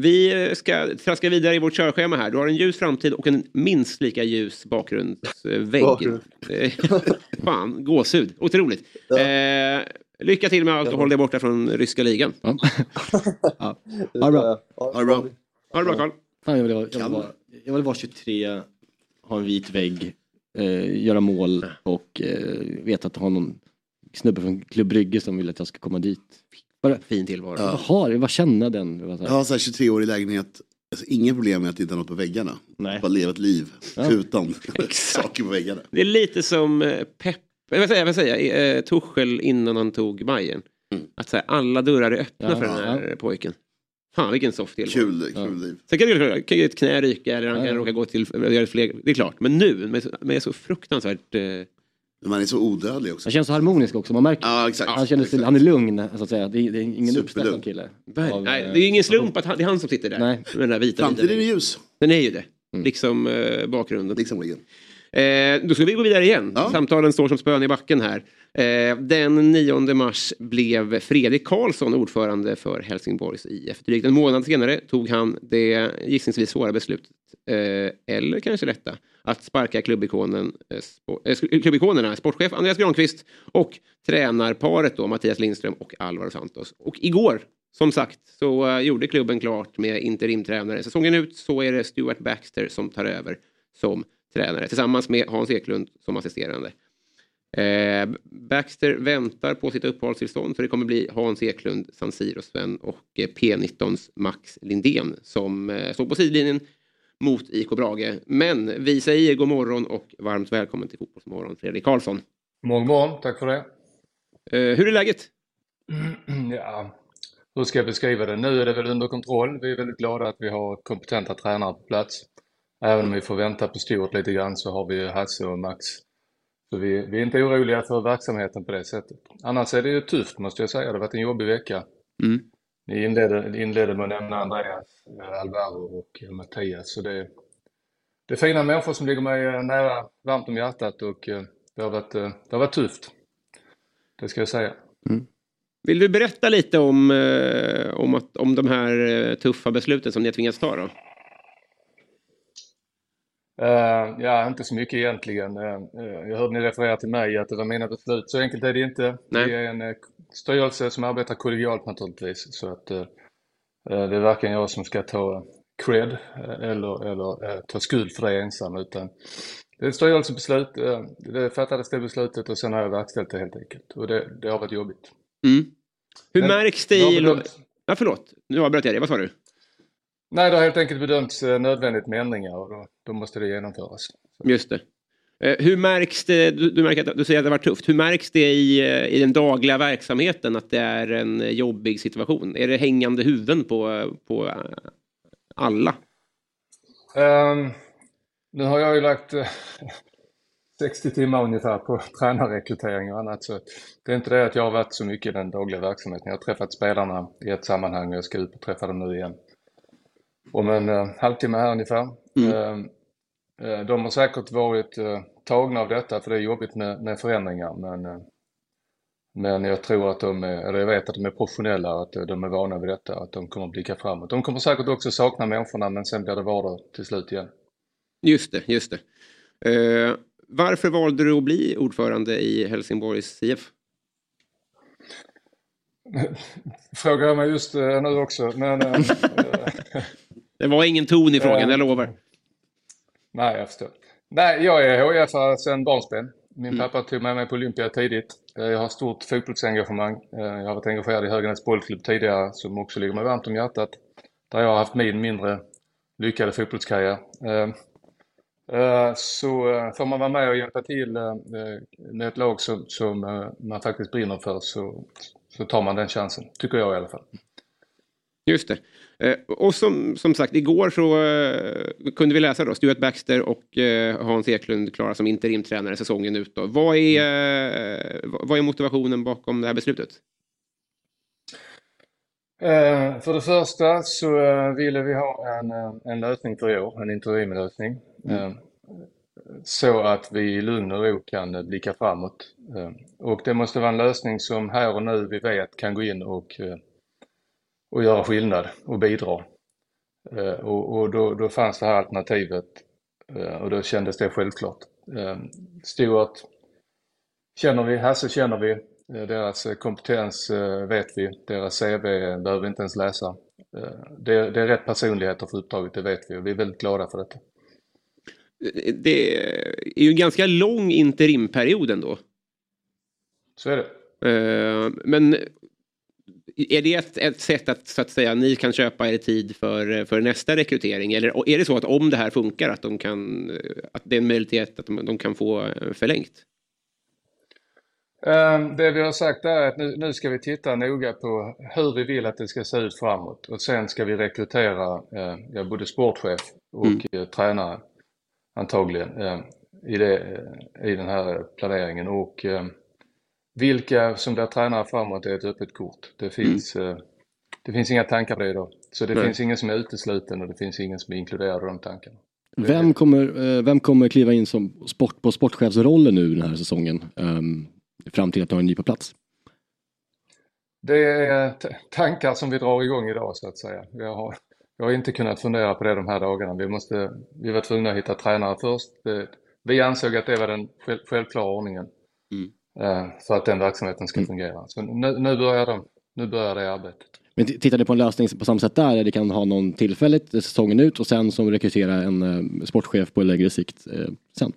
vi ska traska vidare i vårt körschema här. Du har en ljus framtid och en minst lika ljus bakgrundsvägg. Bakgrund. Eh, Fan, gåshud. Otroligt. Eh, lycka till med allt och håll dig borta från ryska ligan. Ha det bra. Ha det bra. Ha det bra, Carl. Fan, jag, vill, vara- jag, vill vara, jag vill vara 23, ha en vit vägg, eh, göra mål och eh, veta att ha någon snubbe från Klubb Brygge som vill att jag ska komma dit. Bara, Fin tillvaro. ja. Jaha, jag bara känna den. Det var så Jag här. har så här 23 år i lägenhet. Alltså, inga problem med att inte ha något på väggarna. Nej. Bara leva ett liv Ja. <laughs> utan saker på väggarna. Det är lite som eh, Pep, eh, vad säger jag, vad säger jag, eh, Tuchel innan han tog Bayern. Mm. Att så här, alla dörrar är öppna Ja, för den här pojken. Fan vilken soft tillvaro. Kul, kul liv. Sen kan ju kan ju ett knä ryka eller han Ja, kan ja. råka gå till, eller göra fler, det är klart. Men nu, med, så- med så fruktansvärt... Eh... Man är så odödlig också. Han känns så harmonisk också, man märker. Ja, exakt. Han, känner sig, han är lugn, så att säga. Det är, det är ingen Superlugn. uppstressad kille. Ver- Av, nej, eh, det är ju ingen slump att han, det är han som sitter där. Nej. Med den där vita Framtiden bilden. är ljus. Den är ju det. Liksom eh, bakgrunden. Liksom igen. Eh, då ska vi gå vidare igen. Samtalen står som spön i backen här. Eh, den 9 mars blev Fredrik Karlsson ordförande för Helsingborgs IF. Drygt en månad senare tog han det gissningsvis svåra beslutet, eh, eller kanske lätta, att sparka klubbikonen, eh, spo- eh, sk- klubbikonerna, sportchef Andreas Granqvist och tränarparet då, Mattias Lindström och Alvaro Santos. Och igår, som sagt, så eh, gjorde klubben klart med interimtränare. Säsongen ut så är det Stuart Baxter som tar över som tränare tillsammans med Hans Eklund som assisterande. Eh, Baxter väntar på sitt uppehållstillstånd så det kommer bli Hans Eklund, San Siro-Sven och eh, P19s Max Lindén som eh, står på sidlinjen mot IK Brage. Men vi säger god morgon och varmt välkommen till Fotbollsmorgon Fredrik Karlsson. Morgon, morgon. Tack för det. Eh, hur är läget? Ja, hur ska jag beskriva det? Nu är det väl under kontroll. Vi är väldigt glada att vi har kompetenta tränare på plats. Även om vi får vänta på Stuart lite grann så har vi ju Hasse och Max. Så vi, vi är inte oroliga för verksamheten på det sättet. Annars är det ju tufft måste jag säga. Det har varit en jobbig vecka. Mm. Ni inledde, inledde med att nämna Andreas, eh, Alvaro och eh, Mattias. Så det, det är fina människor som ligger mig eh, nära, varmt om hjärtat och eh, det har varit, eh, det har varit tufft. Det ska jag säga. Vill du berätta lite om, eh, om, att, om de här eh, tuffa besluten som ni har tvingats ta? Då? Eh, ja, inte så mycket egentligen. Eh, eh, jag hörde ni referera till mig att det var mina beslut. Så enkelt är det inte. Nej. Vi är en eh, styrelse som arbetar kollegialt naturligtvis. Så att eh, eh, det är varken jag som ska ta cred eh, eller, eller eh, ta skuld för det ensam. Utan det är ett styrelsebeslut. eh, Det fattades det beslutet och sen har jag verkställt det helt enkelt. Och det, det har varit jobbigt. Mm. Hur Men märks det jag har i... Lo- bedömt- ja, förlåt, nu avbröt jag dig. Vad sa du? Nej, det har helt enkelt bedömts eh, nödvändigt med ändringar och då, då måste det genomföras. Just det. Eh, Hur märks det, du, du, märker att, du säger att det har varit tufft, hur märks det i, eh, i den dagliga verksamheten att det är en eh, jobbig situation? Är det hängande huvuden på, eh, på eh, alla? Ehm, nu har jag ju lagt eh, 60 timmar ungefär på tränarrekrytering och annat. Så det är inte det att jag har varit så mycket i den dagliga verksamheten. Jag har träffat spelarna i ett sammanhang och jag ska ut och träffa dem nu igen. Om en eh, halvtimme här ungefär. Ehm, eh, de har säkert varit eh, tagna av detta för det är jobbigt med, med förändringar. Men, eh, men jag tror att de är, eller jag vet att de är professionella och att eh, de är vana vid detta. Att de kommer att blicka framåt. De kommer säkert också sakna människorna men sen blir det vardag till slut igen. Just det, just det. Eh, varför valde du att bli ordförande i Helsingborgs IF? <laughs> Frågar jag mig just eh, nu också. Men, <laughs> eh, Det var ingen ton i frågan, Eh, jag lovar. nej, jag förstår. Nej, jag är HIF sedan barnsben. Min pappa tog med mig på Olympia tidigt. Eh, Jag har stort fotbollsengagemang. Eh, Jag har varit engagerad i Höganäs bollklubb tidigare som också ligger mig varmt om hjärtat. Där jag har haft min mindre lyckade fotbollskarriär. Eh, Eh, Så eh, får man vara med och hjälpa till eh, eh, med ett lag som, som eh, man faktiskt brinner för så, så tar man den chansen, tycker jag i alla fall. Just det. Eh, och som, som sagt, igår så eh, kunde vi läsa då Stuart Baxter och eh, Hans Eklund klara som interimtränare säsongen ut. Då. Vad, är, Mm. eh, vad vad är motivationen bakom det här beslutet? Eh, För det första så eh, ville vi ha en, eh, en lösning för i år, en interimlösning. Mm. Eh, Så att vi i lugn och ro kan eh, blicka framåt. Eh, Och det måste vara en lösning som här och nu vi vet kan gå in och, eh, och göra skillnad och bidra. Eh, Och, och då, då fanns det här alternativet eh, och då kändes det självklart. Eh, Stuart känner vi, Hasse känner vi, Eh, deras eh, kompetens eh, vet vi, deras CV behöver vi inte ens läsa. Eh, Det, det är rätt personligheter för uppdraget, det vet vi och vi är väldigt glada för detta. Eh, Det är ju en ganska lång interimperiod ändå. Eh, Så är det. Men är det ett, ett sätt att så att säga ni kan köpa er tid för, för nästa rekrytering? Eller är det så att om det här funkar att, de kan, eh, att det är en möjlighet att de, de kan få eh, förlängt? Ehm, Det vi har sagt är att nu, nu ska vi titta noga på hur vi vill att det ska se ut framåt och sen ska vi rekrytera eh, ja, både sportchef och Mm. eh, tränare antagligen eh, i, det, eh, i den här eh, planeringen. Och eh, vilka som blir tränare framåt är ett öppet kort. Det finns, eh, det finns inga tankar på det idag. Så det Nej. finns ingen som är utesluten och det finns ingen som är inkluderad i de tankarna. Vem kommer, eh, vem kommer kliva in som sport, på sportchefsrollen nu den här säsongen? ehm, fram till att de har en ny på plats? Det är t- tankar som vi drar igång idag så att säga. Jag har, jag har inte kunnat fundera på det de här dagarna. Vi, måste, vi var tvungna att hitta tränare först. Det, vi ansåg att det var den själv, självklara ordningen Mm. eh, för att den verksamheten ska fungera. Så nu, nu, börjar de, nu börjar det arbetet. Men t- tittar ni på en lösning på samma sätt där? Eller kan ha någon tillfälligt eh, säsongen ut och sen som rekrytera en eh, sportchef på längre sikt eh, sen?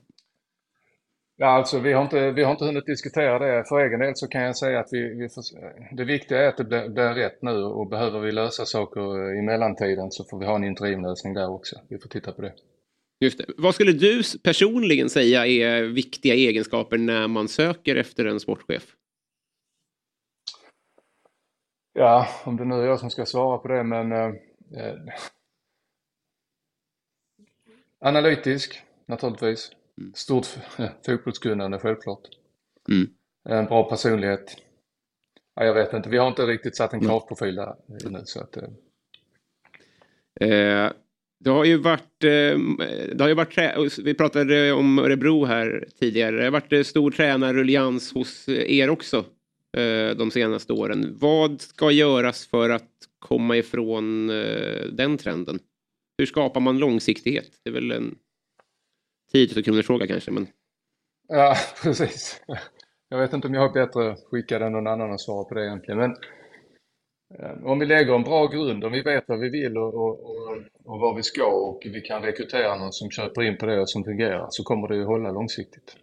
Ja, alltså, vi, har inte, vi har inte hunnit diskutera det. För egen del så kan jag säga att vi, vi får, det viktiga är att det blir, blir rätt nu och behöver vi lösa saker i mellantiden så får vi ha en interimlösning där också. Vi får titta på det. Just det. Vad skulle du s- personligen säga är viktiga egenskaper när man söker efter en sportchef? Ja, om det nu är jag som ska svara på det, men eh, eh, analytisk naturligtvis. Stort f- eh, fotbollskunnande självklart. Mm. En bra personlighet. Ja, jag vet inte, vi har inte riktigt satt en kravprofil där nu. Så att, eh, Eh, det har ju varit, eh, det har ju varit trä- vi pratade om Örebro här tidigare. Det har varit eh, stor tränarruljans hos er också eh, de senaste åren. Vad ska göras för att komma ifrån eh, den trenden? Hur skapar man långsiktighet? Det är väl en 10 000 kronors fråga kanske, men Ja, precis. Jag vet inte om jag är bättre skickad än någon annan att svara på det egentligen. Men eh, om vi lägger en bra grund, om vi vet vad vi vill och, och, och, och vad vi ska och vi kan rekrytera någon som köper in på det och som fungerar så kommer det ju hålla långsiktigt.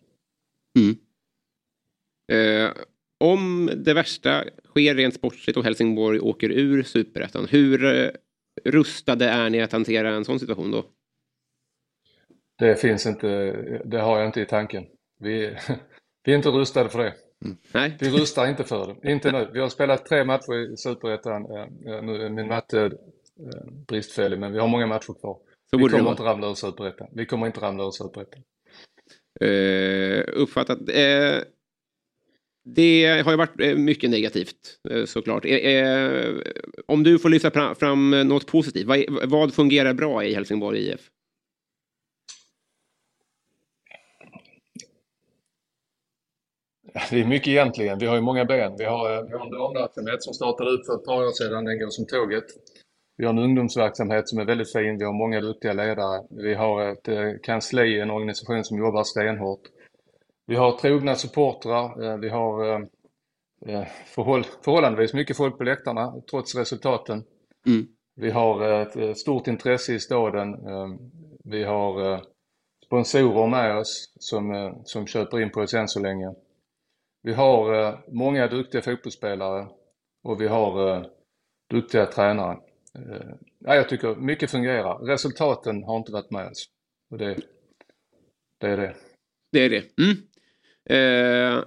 Eh, om det värsta sker rent sportsligt och Helsingborg åker ur superettan, hur eh, rustade är ni att hantera en sån situation då? Det finns inte, det har jag inte i tanken. Vi, <laughs> vi är inte rustade för det. Mm. Nej. Vi rustar inte för det. Inte nu. Vi har spelat tre matcher i Superettan. Eh, eh, Nu är min matte eh, bristfällig, men vi har många matcher kvar. Så vi borde det kommer vara. inte ramla ur Superettan. Vi kommer inte ramla ur Superettan. Eh, uppfattat. Eh, det har ju varit eh, mycket negativt eh, såklart. Eh, eh, om du får lyfta pra- fram eh, något positivt, vad, är- vad fungerar bra i Helsingborg IF? Det är mycket egentligen. Vi har ju många ben. Vi har, eh, vi har en damverksamhet som startade upp för ett par år sedan. Den går som tåget. Vi har en ungdomsverksamhet som är väldigt fin. Vi har många duktiga ledare. Vi har ett eh, kansli, en organisation som jobbar stenhårt. Vi har trogna supportrar. Eh, Vi har eh, eh, förhåll, förhållandevis mycket folk på läktarna trots resultaten. Mm. Vi har eh, ett eh, stort intresse i staden. Eh, Vi har eh, sponsorer med oss som, eh, som köper in på oss än så länge. Vi har eh, många duktiga fotbollsspelare och vi har eh, duktiga tränare. Eh, ja, jag tycker mycket fungerar. Resultaten har inte varit med oss. Och det, det är det. Det är det. Mm. Eh,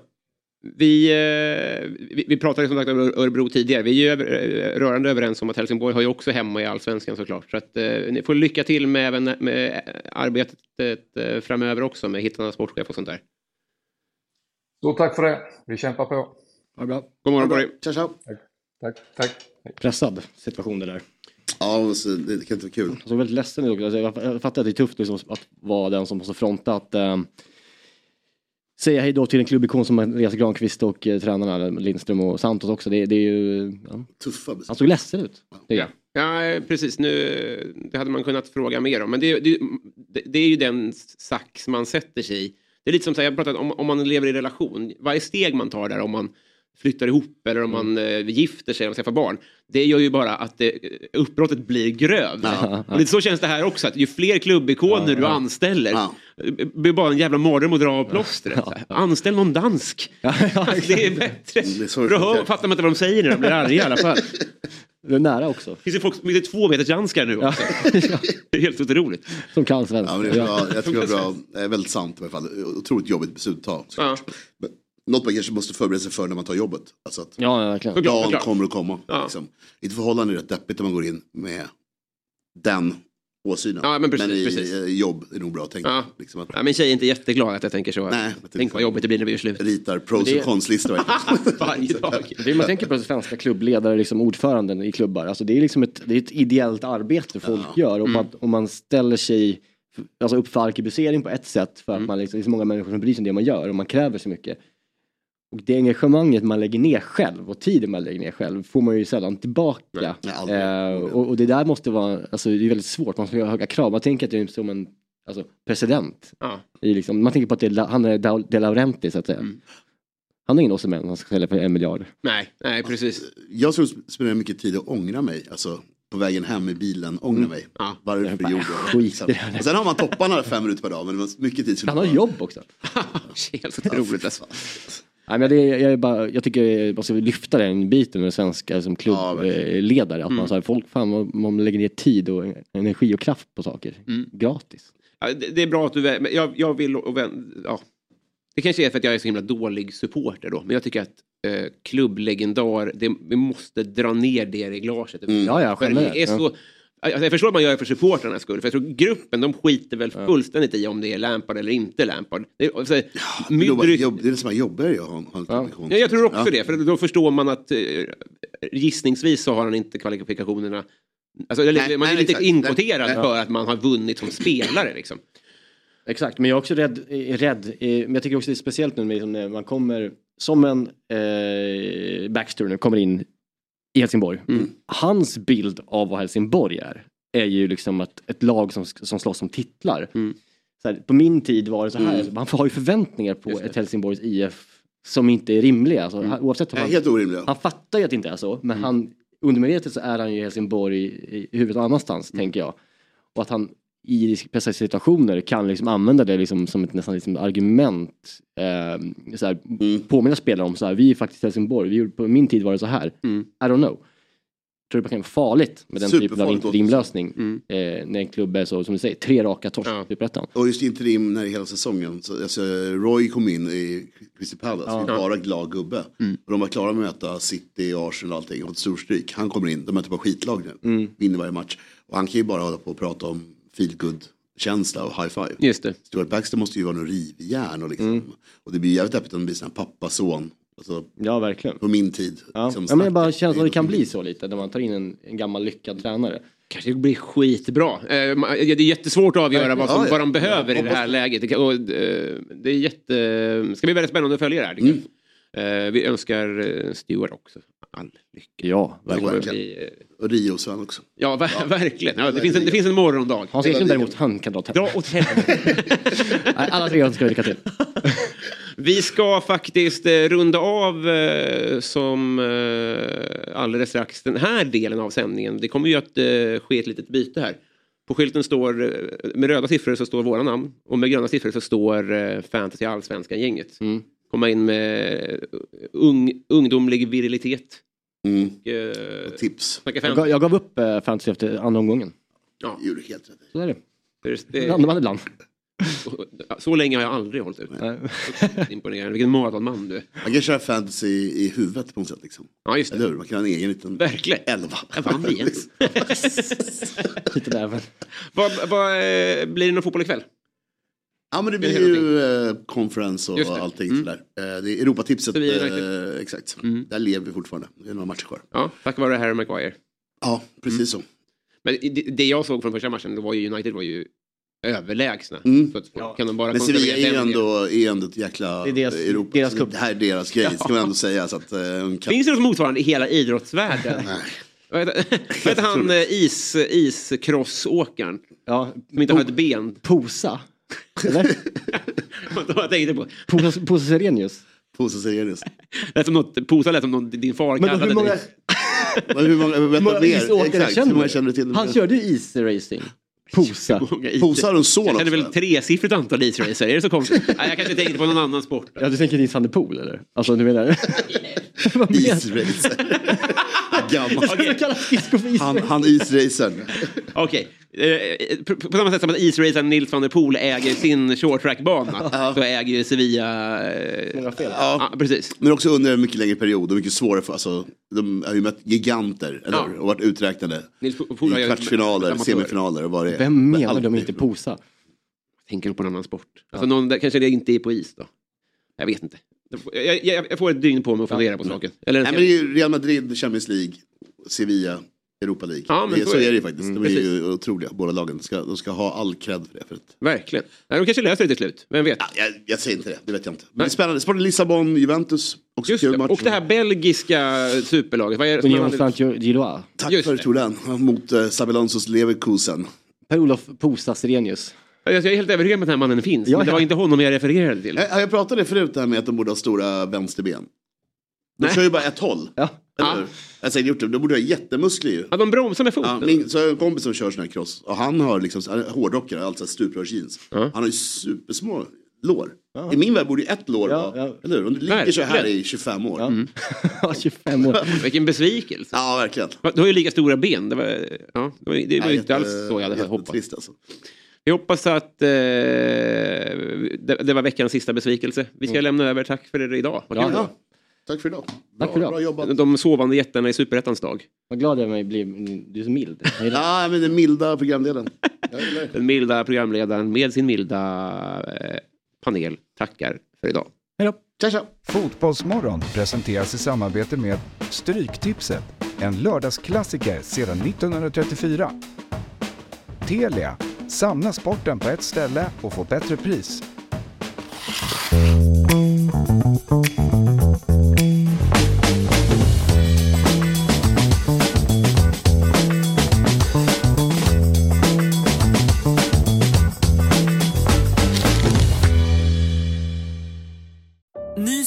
Vi, eh, vi, vi pratade som sagt om Örebro tidigare. Vi är ju över, eh, rörande överens om att Helsingborg har ju också hemma i allsvenskan såklart. Så att, eh, ni får lycka till med, även eh, med arbetet eh, framöver också med hittarna sportchef och sånt där. Stort tack för det. Vi kämpar på. Ha det bra. God morgon på dig. Tja, tja. Tack, tack. tack. Pressad situation det där. Ja, så det kan inte vara kul. Han såg väldigt ledsen ut. Alltså, jag jag fattar att det är tufft liksom, att vara den som måste fronta att eh, säga hej då till en klubbikon som Andreas Granqvist och eh, tränarna Lindström och Santos också. Det, det är ju... Ja. Tuffa beslut. Han såg ledsen ut. <laughs> Det är jag. Ja, eh, precis. Nu, det hade man kunnat fråga mer om. Men det, det, det- det är ju den sax man sätter sig i. Det är lite som så här, jag pratat om, om man lever i relation. Varje steg man tar där, om man flyttar ihop eller om man eh, gifter sig, om man skaffar barn. Det gör ju bara att det, eh, uppbrottet blir grövre. Ja. Och lite så känns det här också, att ju fler klubbikoner du anställer, det blir bara en jävla mardröm att dra av plåstret. Så här, Anställ någon dansk. <laughs> det är bättre. För då hör- fattar man inte vad de säger när de blir arga i alla fall. Du är nära också. Finns det folk som är två meters danskar nu också? Det är helt otroligt. Som kan svenska. Ja, men det är bra. Jag tror det är bra. Det är väldigt sant i alla fall. Otroligt jobbigt beslut att ta. såklart. Men Något man kanske måste förbereda sig för när man tar jobbet. Alltså att Ja, ja, verkligen. Såklart, dagen såklart. kommer att komma. Liksom. I ett förhållande är det rätt deppigt när man går in med den åsynen. Ja, men precis, i precis. eh, jobb är nog bra att tänka. Ja. Liksom att Ja, min tjej är inte jätteglad att jag tänker så. Nej, Tänk vad jobbigt det blir när vi gör slut. Ritar pros Det- och cons-listor. <laughs> <laughs> Varje dag. Det man tänker på svenska klubbledare, liksom ordföranden i klubbar. Alltså det är liksom ett, det är ett ideellt arbete folk gör. Och Mm. att, om man ställer sig alltså upp för arkebusering på ett sätt för att man liksom, det är så många människor som bryr sig om det man gör och man kräver så mycket. Och det engagemanget man lägger ner själv och tiden man lägger ner själv får man ju sällan tillbaka. eh, och, och det där måste vara, alltså det är väldigt svårt, man ska ha höga krav. Man tänker att det är som en alltså, president. Ja. I liksom, man tänker på att det är, La- han är Da- De Laurentiis så att säga. Han har ingen Osimhen han ska sälja för en miljard. Nej, nej precis. Jag tror att spenderar mycket tid att ångra mig. Alltså på vägen hem i bilen, ångra Mm. mig. Varför gjorde jag det? skit i Sen, det här. och sen har man topparna fem minuter per dag. Men det var mycket tid. Han har jobb också. Helt otroligt alltså. Nej, men det, jag, är bara, jag tycker man ska lyfta den biten med svenskar som klubbledare. att Mm. man, så här, folk fan, man, man lägger ner tid och energi och kraft på saker. Mm. Gratis. Ja, det, det är bra att du... vä- men Jag, jag vill... Och vän, ja. Det kanske är för att jag är så himla dålig supporter då. Men jag tycker att eh, klubblegendar, det, vi måste dra ner det reglaget. Mm. Ja, ja, generellt, det är så, alltså, jag förstår att man gör det för supportrarnas skull. För jag tror gruppen, de skiter väl fullständigt i om det är Lampard eller inte Lampard. Det, är- alltså, Men då bara, Mudryk- jobb, det är nästan jobbigare jag har, har ja. Ja, jag tror också Ja. det, för då förstår man att eh, gissningsvis så har han inte kvalifikationerna. Alltså, eller, Nej, man är nej, lite exakt. inkvoterad Nej, nej. för att man har vunnit som spelare. Liksom. Exakt, men jag är också rädd. eh, rädd eh, men jag tycker också det är speciellt nu med, liksom, när man kommer som en eh, Baxter nu kommer in i Helsingborg. Hans bild av vad Helsingborg är, är ju liksom att ett lag som, som slåss om titlar. Så här, på min tid var det så här, Mm. alltså, man har ju förväntningar på ett Helsingborgs IF som inte är rimliga. Alltså, han- oavsett om Nej, han, helt orimliga. han fattar ju att det inte är så, men han, undermedvetet så är han ju i Helsingborg i, i huvudet någon annanstans, tänker jag. Och att han i pressade situationer kan liksom använda det liksom som ett nästan liksom argument. Eh, så här, Påminna spelare om så här, vi är faktiskt Helsingborg, vi gjorde, på min tid var det så här. I don't know. Tror det kan vara farligt med den typen av Superfarligt också. interimlösning. Eh, när en klubb är så, som du säger, tre raka torsk typ i Superettan. Och just interim när i hela säsongen. Så, alltså, Roy kom in i Crystal Palace, Ja. Mm. ja. bara glad gubbe. Och de var klara med att möta City, Arsenal och allting. Och ett storstryk. Han kommer in, de möter bara skitlag nu. Mm. Vinner varje match. Och han kan ju bara hålla på och prata om feel good känsla och high five. Just det. Stuart Baxter måste ju vara någon rivjärn och liksom. Mm. Och det blir jävligt öppet om det blir sån här pappa-son. Alltså, ja, verkligen. På min tid. Ja. liksom, ja, men snack. jag bara känner att det kan bli så lite, när man tar in en, en gammal lyckad tränare. Kanske blir skitbra. Eh, man- det är jättesvårt att avgöra vad, som, Ja, ja. vad de behöver i det Hoppas här det. läget. Det, kan- och, eh, det är jätte... det ska bli väldigt spännande att följa det här. tycker jag. Eh, vi önskar eh, Stuart också all lycka. Ja, verkligen. Och Rio-Sven också. eh, Ja, ver- verkligen. Ja, det, finns en, det finns en morgondag. Hans Eklund däremot, han kan dra åt Dra åt helvete. Nej, Alla tre önskar lycka till. Vi ska faktiskt eh, runda av eh, som eh, alldeles strax den här delen av sändningen. Det kommer ju att eh, ske ett litet byte här. På skylten står, eh, med röda siffror så står våra namn och med gröna siffror så står eh, Fantasy Allsvenskan-gänget. Komma in med eh, ung, ungdomlig virilitet. Mm. Och, eh, tips. Snacka Jag fantasy. gav, jag gav upp eh, fantasy efter andra omgången. Ja. Gjorde helt rätt. Så är det. Det- Det landar man ibland. Och- Så länge har jag aldrig hållit ut. <laughs> Imponerande. Vilken maratonman du är. Man kan köra fantasy i huvudet på något sätt. Liksom. Ja, just det. Eller hur? Man kan ha en egen liten... Verkligen. Elva. Jag vann igen. <laughs> Vad, vad, eh, blir det någon fotboll ikväll? <laughs> Ja men det Eller blir ju eh, conference och Just det. allting Mm. sådär. Eh, det är Europatipset, Så vi är Mm. eh, exakt. Där lever vi fortfarande. Det är några matcher kvar. Ja, tack vare Harry Maguire. Ja, Mm. precis så. Men det, det jag såg från första matchen, det var ju United var ju överlägsna. Så att, kan de bara Men Sevilla konservera är ju den delen. ändå, är ändå ett jäkla Det är deras- Europa. deras så cup. det här är deras grej, Ja. ska man ändå säga. Så att, eh, en kan... Finns det något motsvarande i hela <laughs> idrottsvärlden? Vad heter- Vad heter han, eh, is, iskrossåkaren? Ja, som inte har ett ben. Posa. Eller? <laughs> jag tänkte på. Posa, Posa Serenius. Posa Serenius. Lät som något, posa lät som någon din far Men kallade hur många- dig. Men hur många, Hur vänta, många mer. isåkare Exakt, känner hur många du? känner du till? Han körde ju isracing. Posa. Posa har en son Jag känner väl också. tresiffrigt antal isracer, är det så <laughs> konstigt? Nej, jag kanske tänkte på någon annan sport. Ja, du tänker Nils van der Poel eller? Alltså du menar... <laughs> Vad menar du? Isracer. <laughs> Jag skulle <laughs> Gammal. kalla skridskor för Han, isracing. han isracern. Okej, eh, på- på samma sätt som att isracern Nils van der Poel äger sin short track-bana så äger ju Sevilla... eh, Ja, precis. Men också under en mycket längre period och mycket svårare för, alltså, de har ju mött giganter, eller Ja. hur? Och varit uträknade. Nils Poel har I ju- kvartsfinaler, amatör. semifinaler och vad det är. Vem menar de inte posa? Tänker på en annan sport. Alltså någon där, kanske det inte är på is då. Jag vet inte. Jag, jag, jag- jag får ett dygn på mig att fundera på saken. Eller en Nej, men hel- det är ju Real Madrid, Champions League, Sevilla, Europa League. Ja, men det, så så är är det. det ju faktiskt. Mm, De är precis. ju otroliga, båda lagen. De ska, de ska ha all cred för det. För att, Verkligen. Nej, de kanske löser det till slut, vem vet? jag, jag säger inte det, det vet jag inte. Men det är spännande. Sporten Lissabon, Juventus, också Just kul det. match. Och det här belgiska superlaget, vad är det som Union man aldrig- Saint-Gillois. Tack för att du tog den, mot eh, Sabellanzos Leverkusen. Per-Olof Posa Serenius. Alltså, jag är helt övertygad om att den här mannen finns, men det var inte honom jag refererade till. Eh, Jag, jag pratade förut det här med att de borde ha stora vänsterben. De kör ju bara ett håll. Ja. <laughs> Eller hur? Jag har säkert gjort det, de borde ha jättemuskler ju. Ja, de bromsar med foten. min, så jag har en kompis som kör sån här cross och han har liksom, han är hårdrockare, alltså stuprörsjeans. Han har ju supersmå lår. I min värld borde ju ett lår vara, eller hur? Om du ligger så här Verkligen. Mm. i 25 år. Ja, 25 år. Vilken besvikelse. Ja, verkligen. Va, Du har ju lika stora ben. Det var, ja, det var, det var Nej, ju inte jätte- alls så jag hade hoppats. jättetrist alltså. Jag hoppas att eh, det, det var veckans sista besvikelse. Vi ska Mm. lämna över. Tack för det idag. Vad Ja, kul det ja. var. Tack för idag. Tack för idag. Bra jobbat. De sovande jättarna i superettans dag. Vad glad jag mig blir. Du är så mild. Jag gillar det. Ja, men den milda programledaren. Den <laughs> milda programledaren med sin milda eh, panel tackar för idag. Hej då! Tja, tja! Fotbollsmorgon presenteras i samarbete med Stryktipset, en lördagsklassiker sedan 1934. Telia, samla sporten på ett ställe och få bättre pris. Ny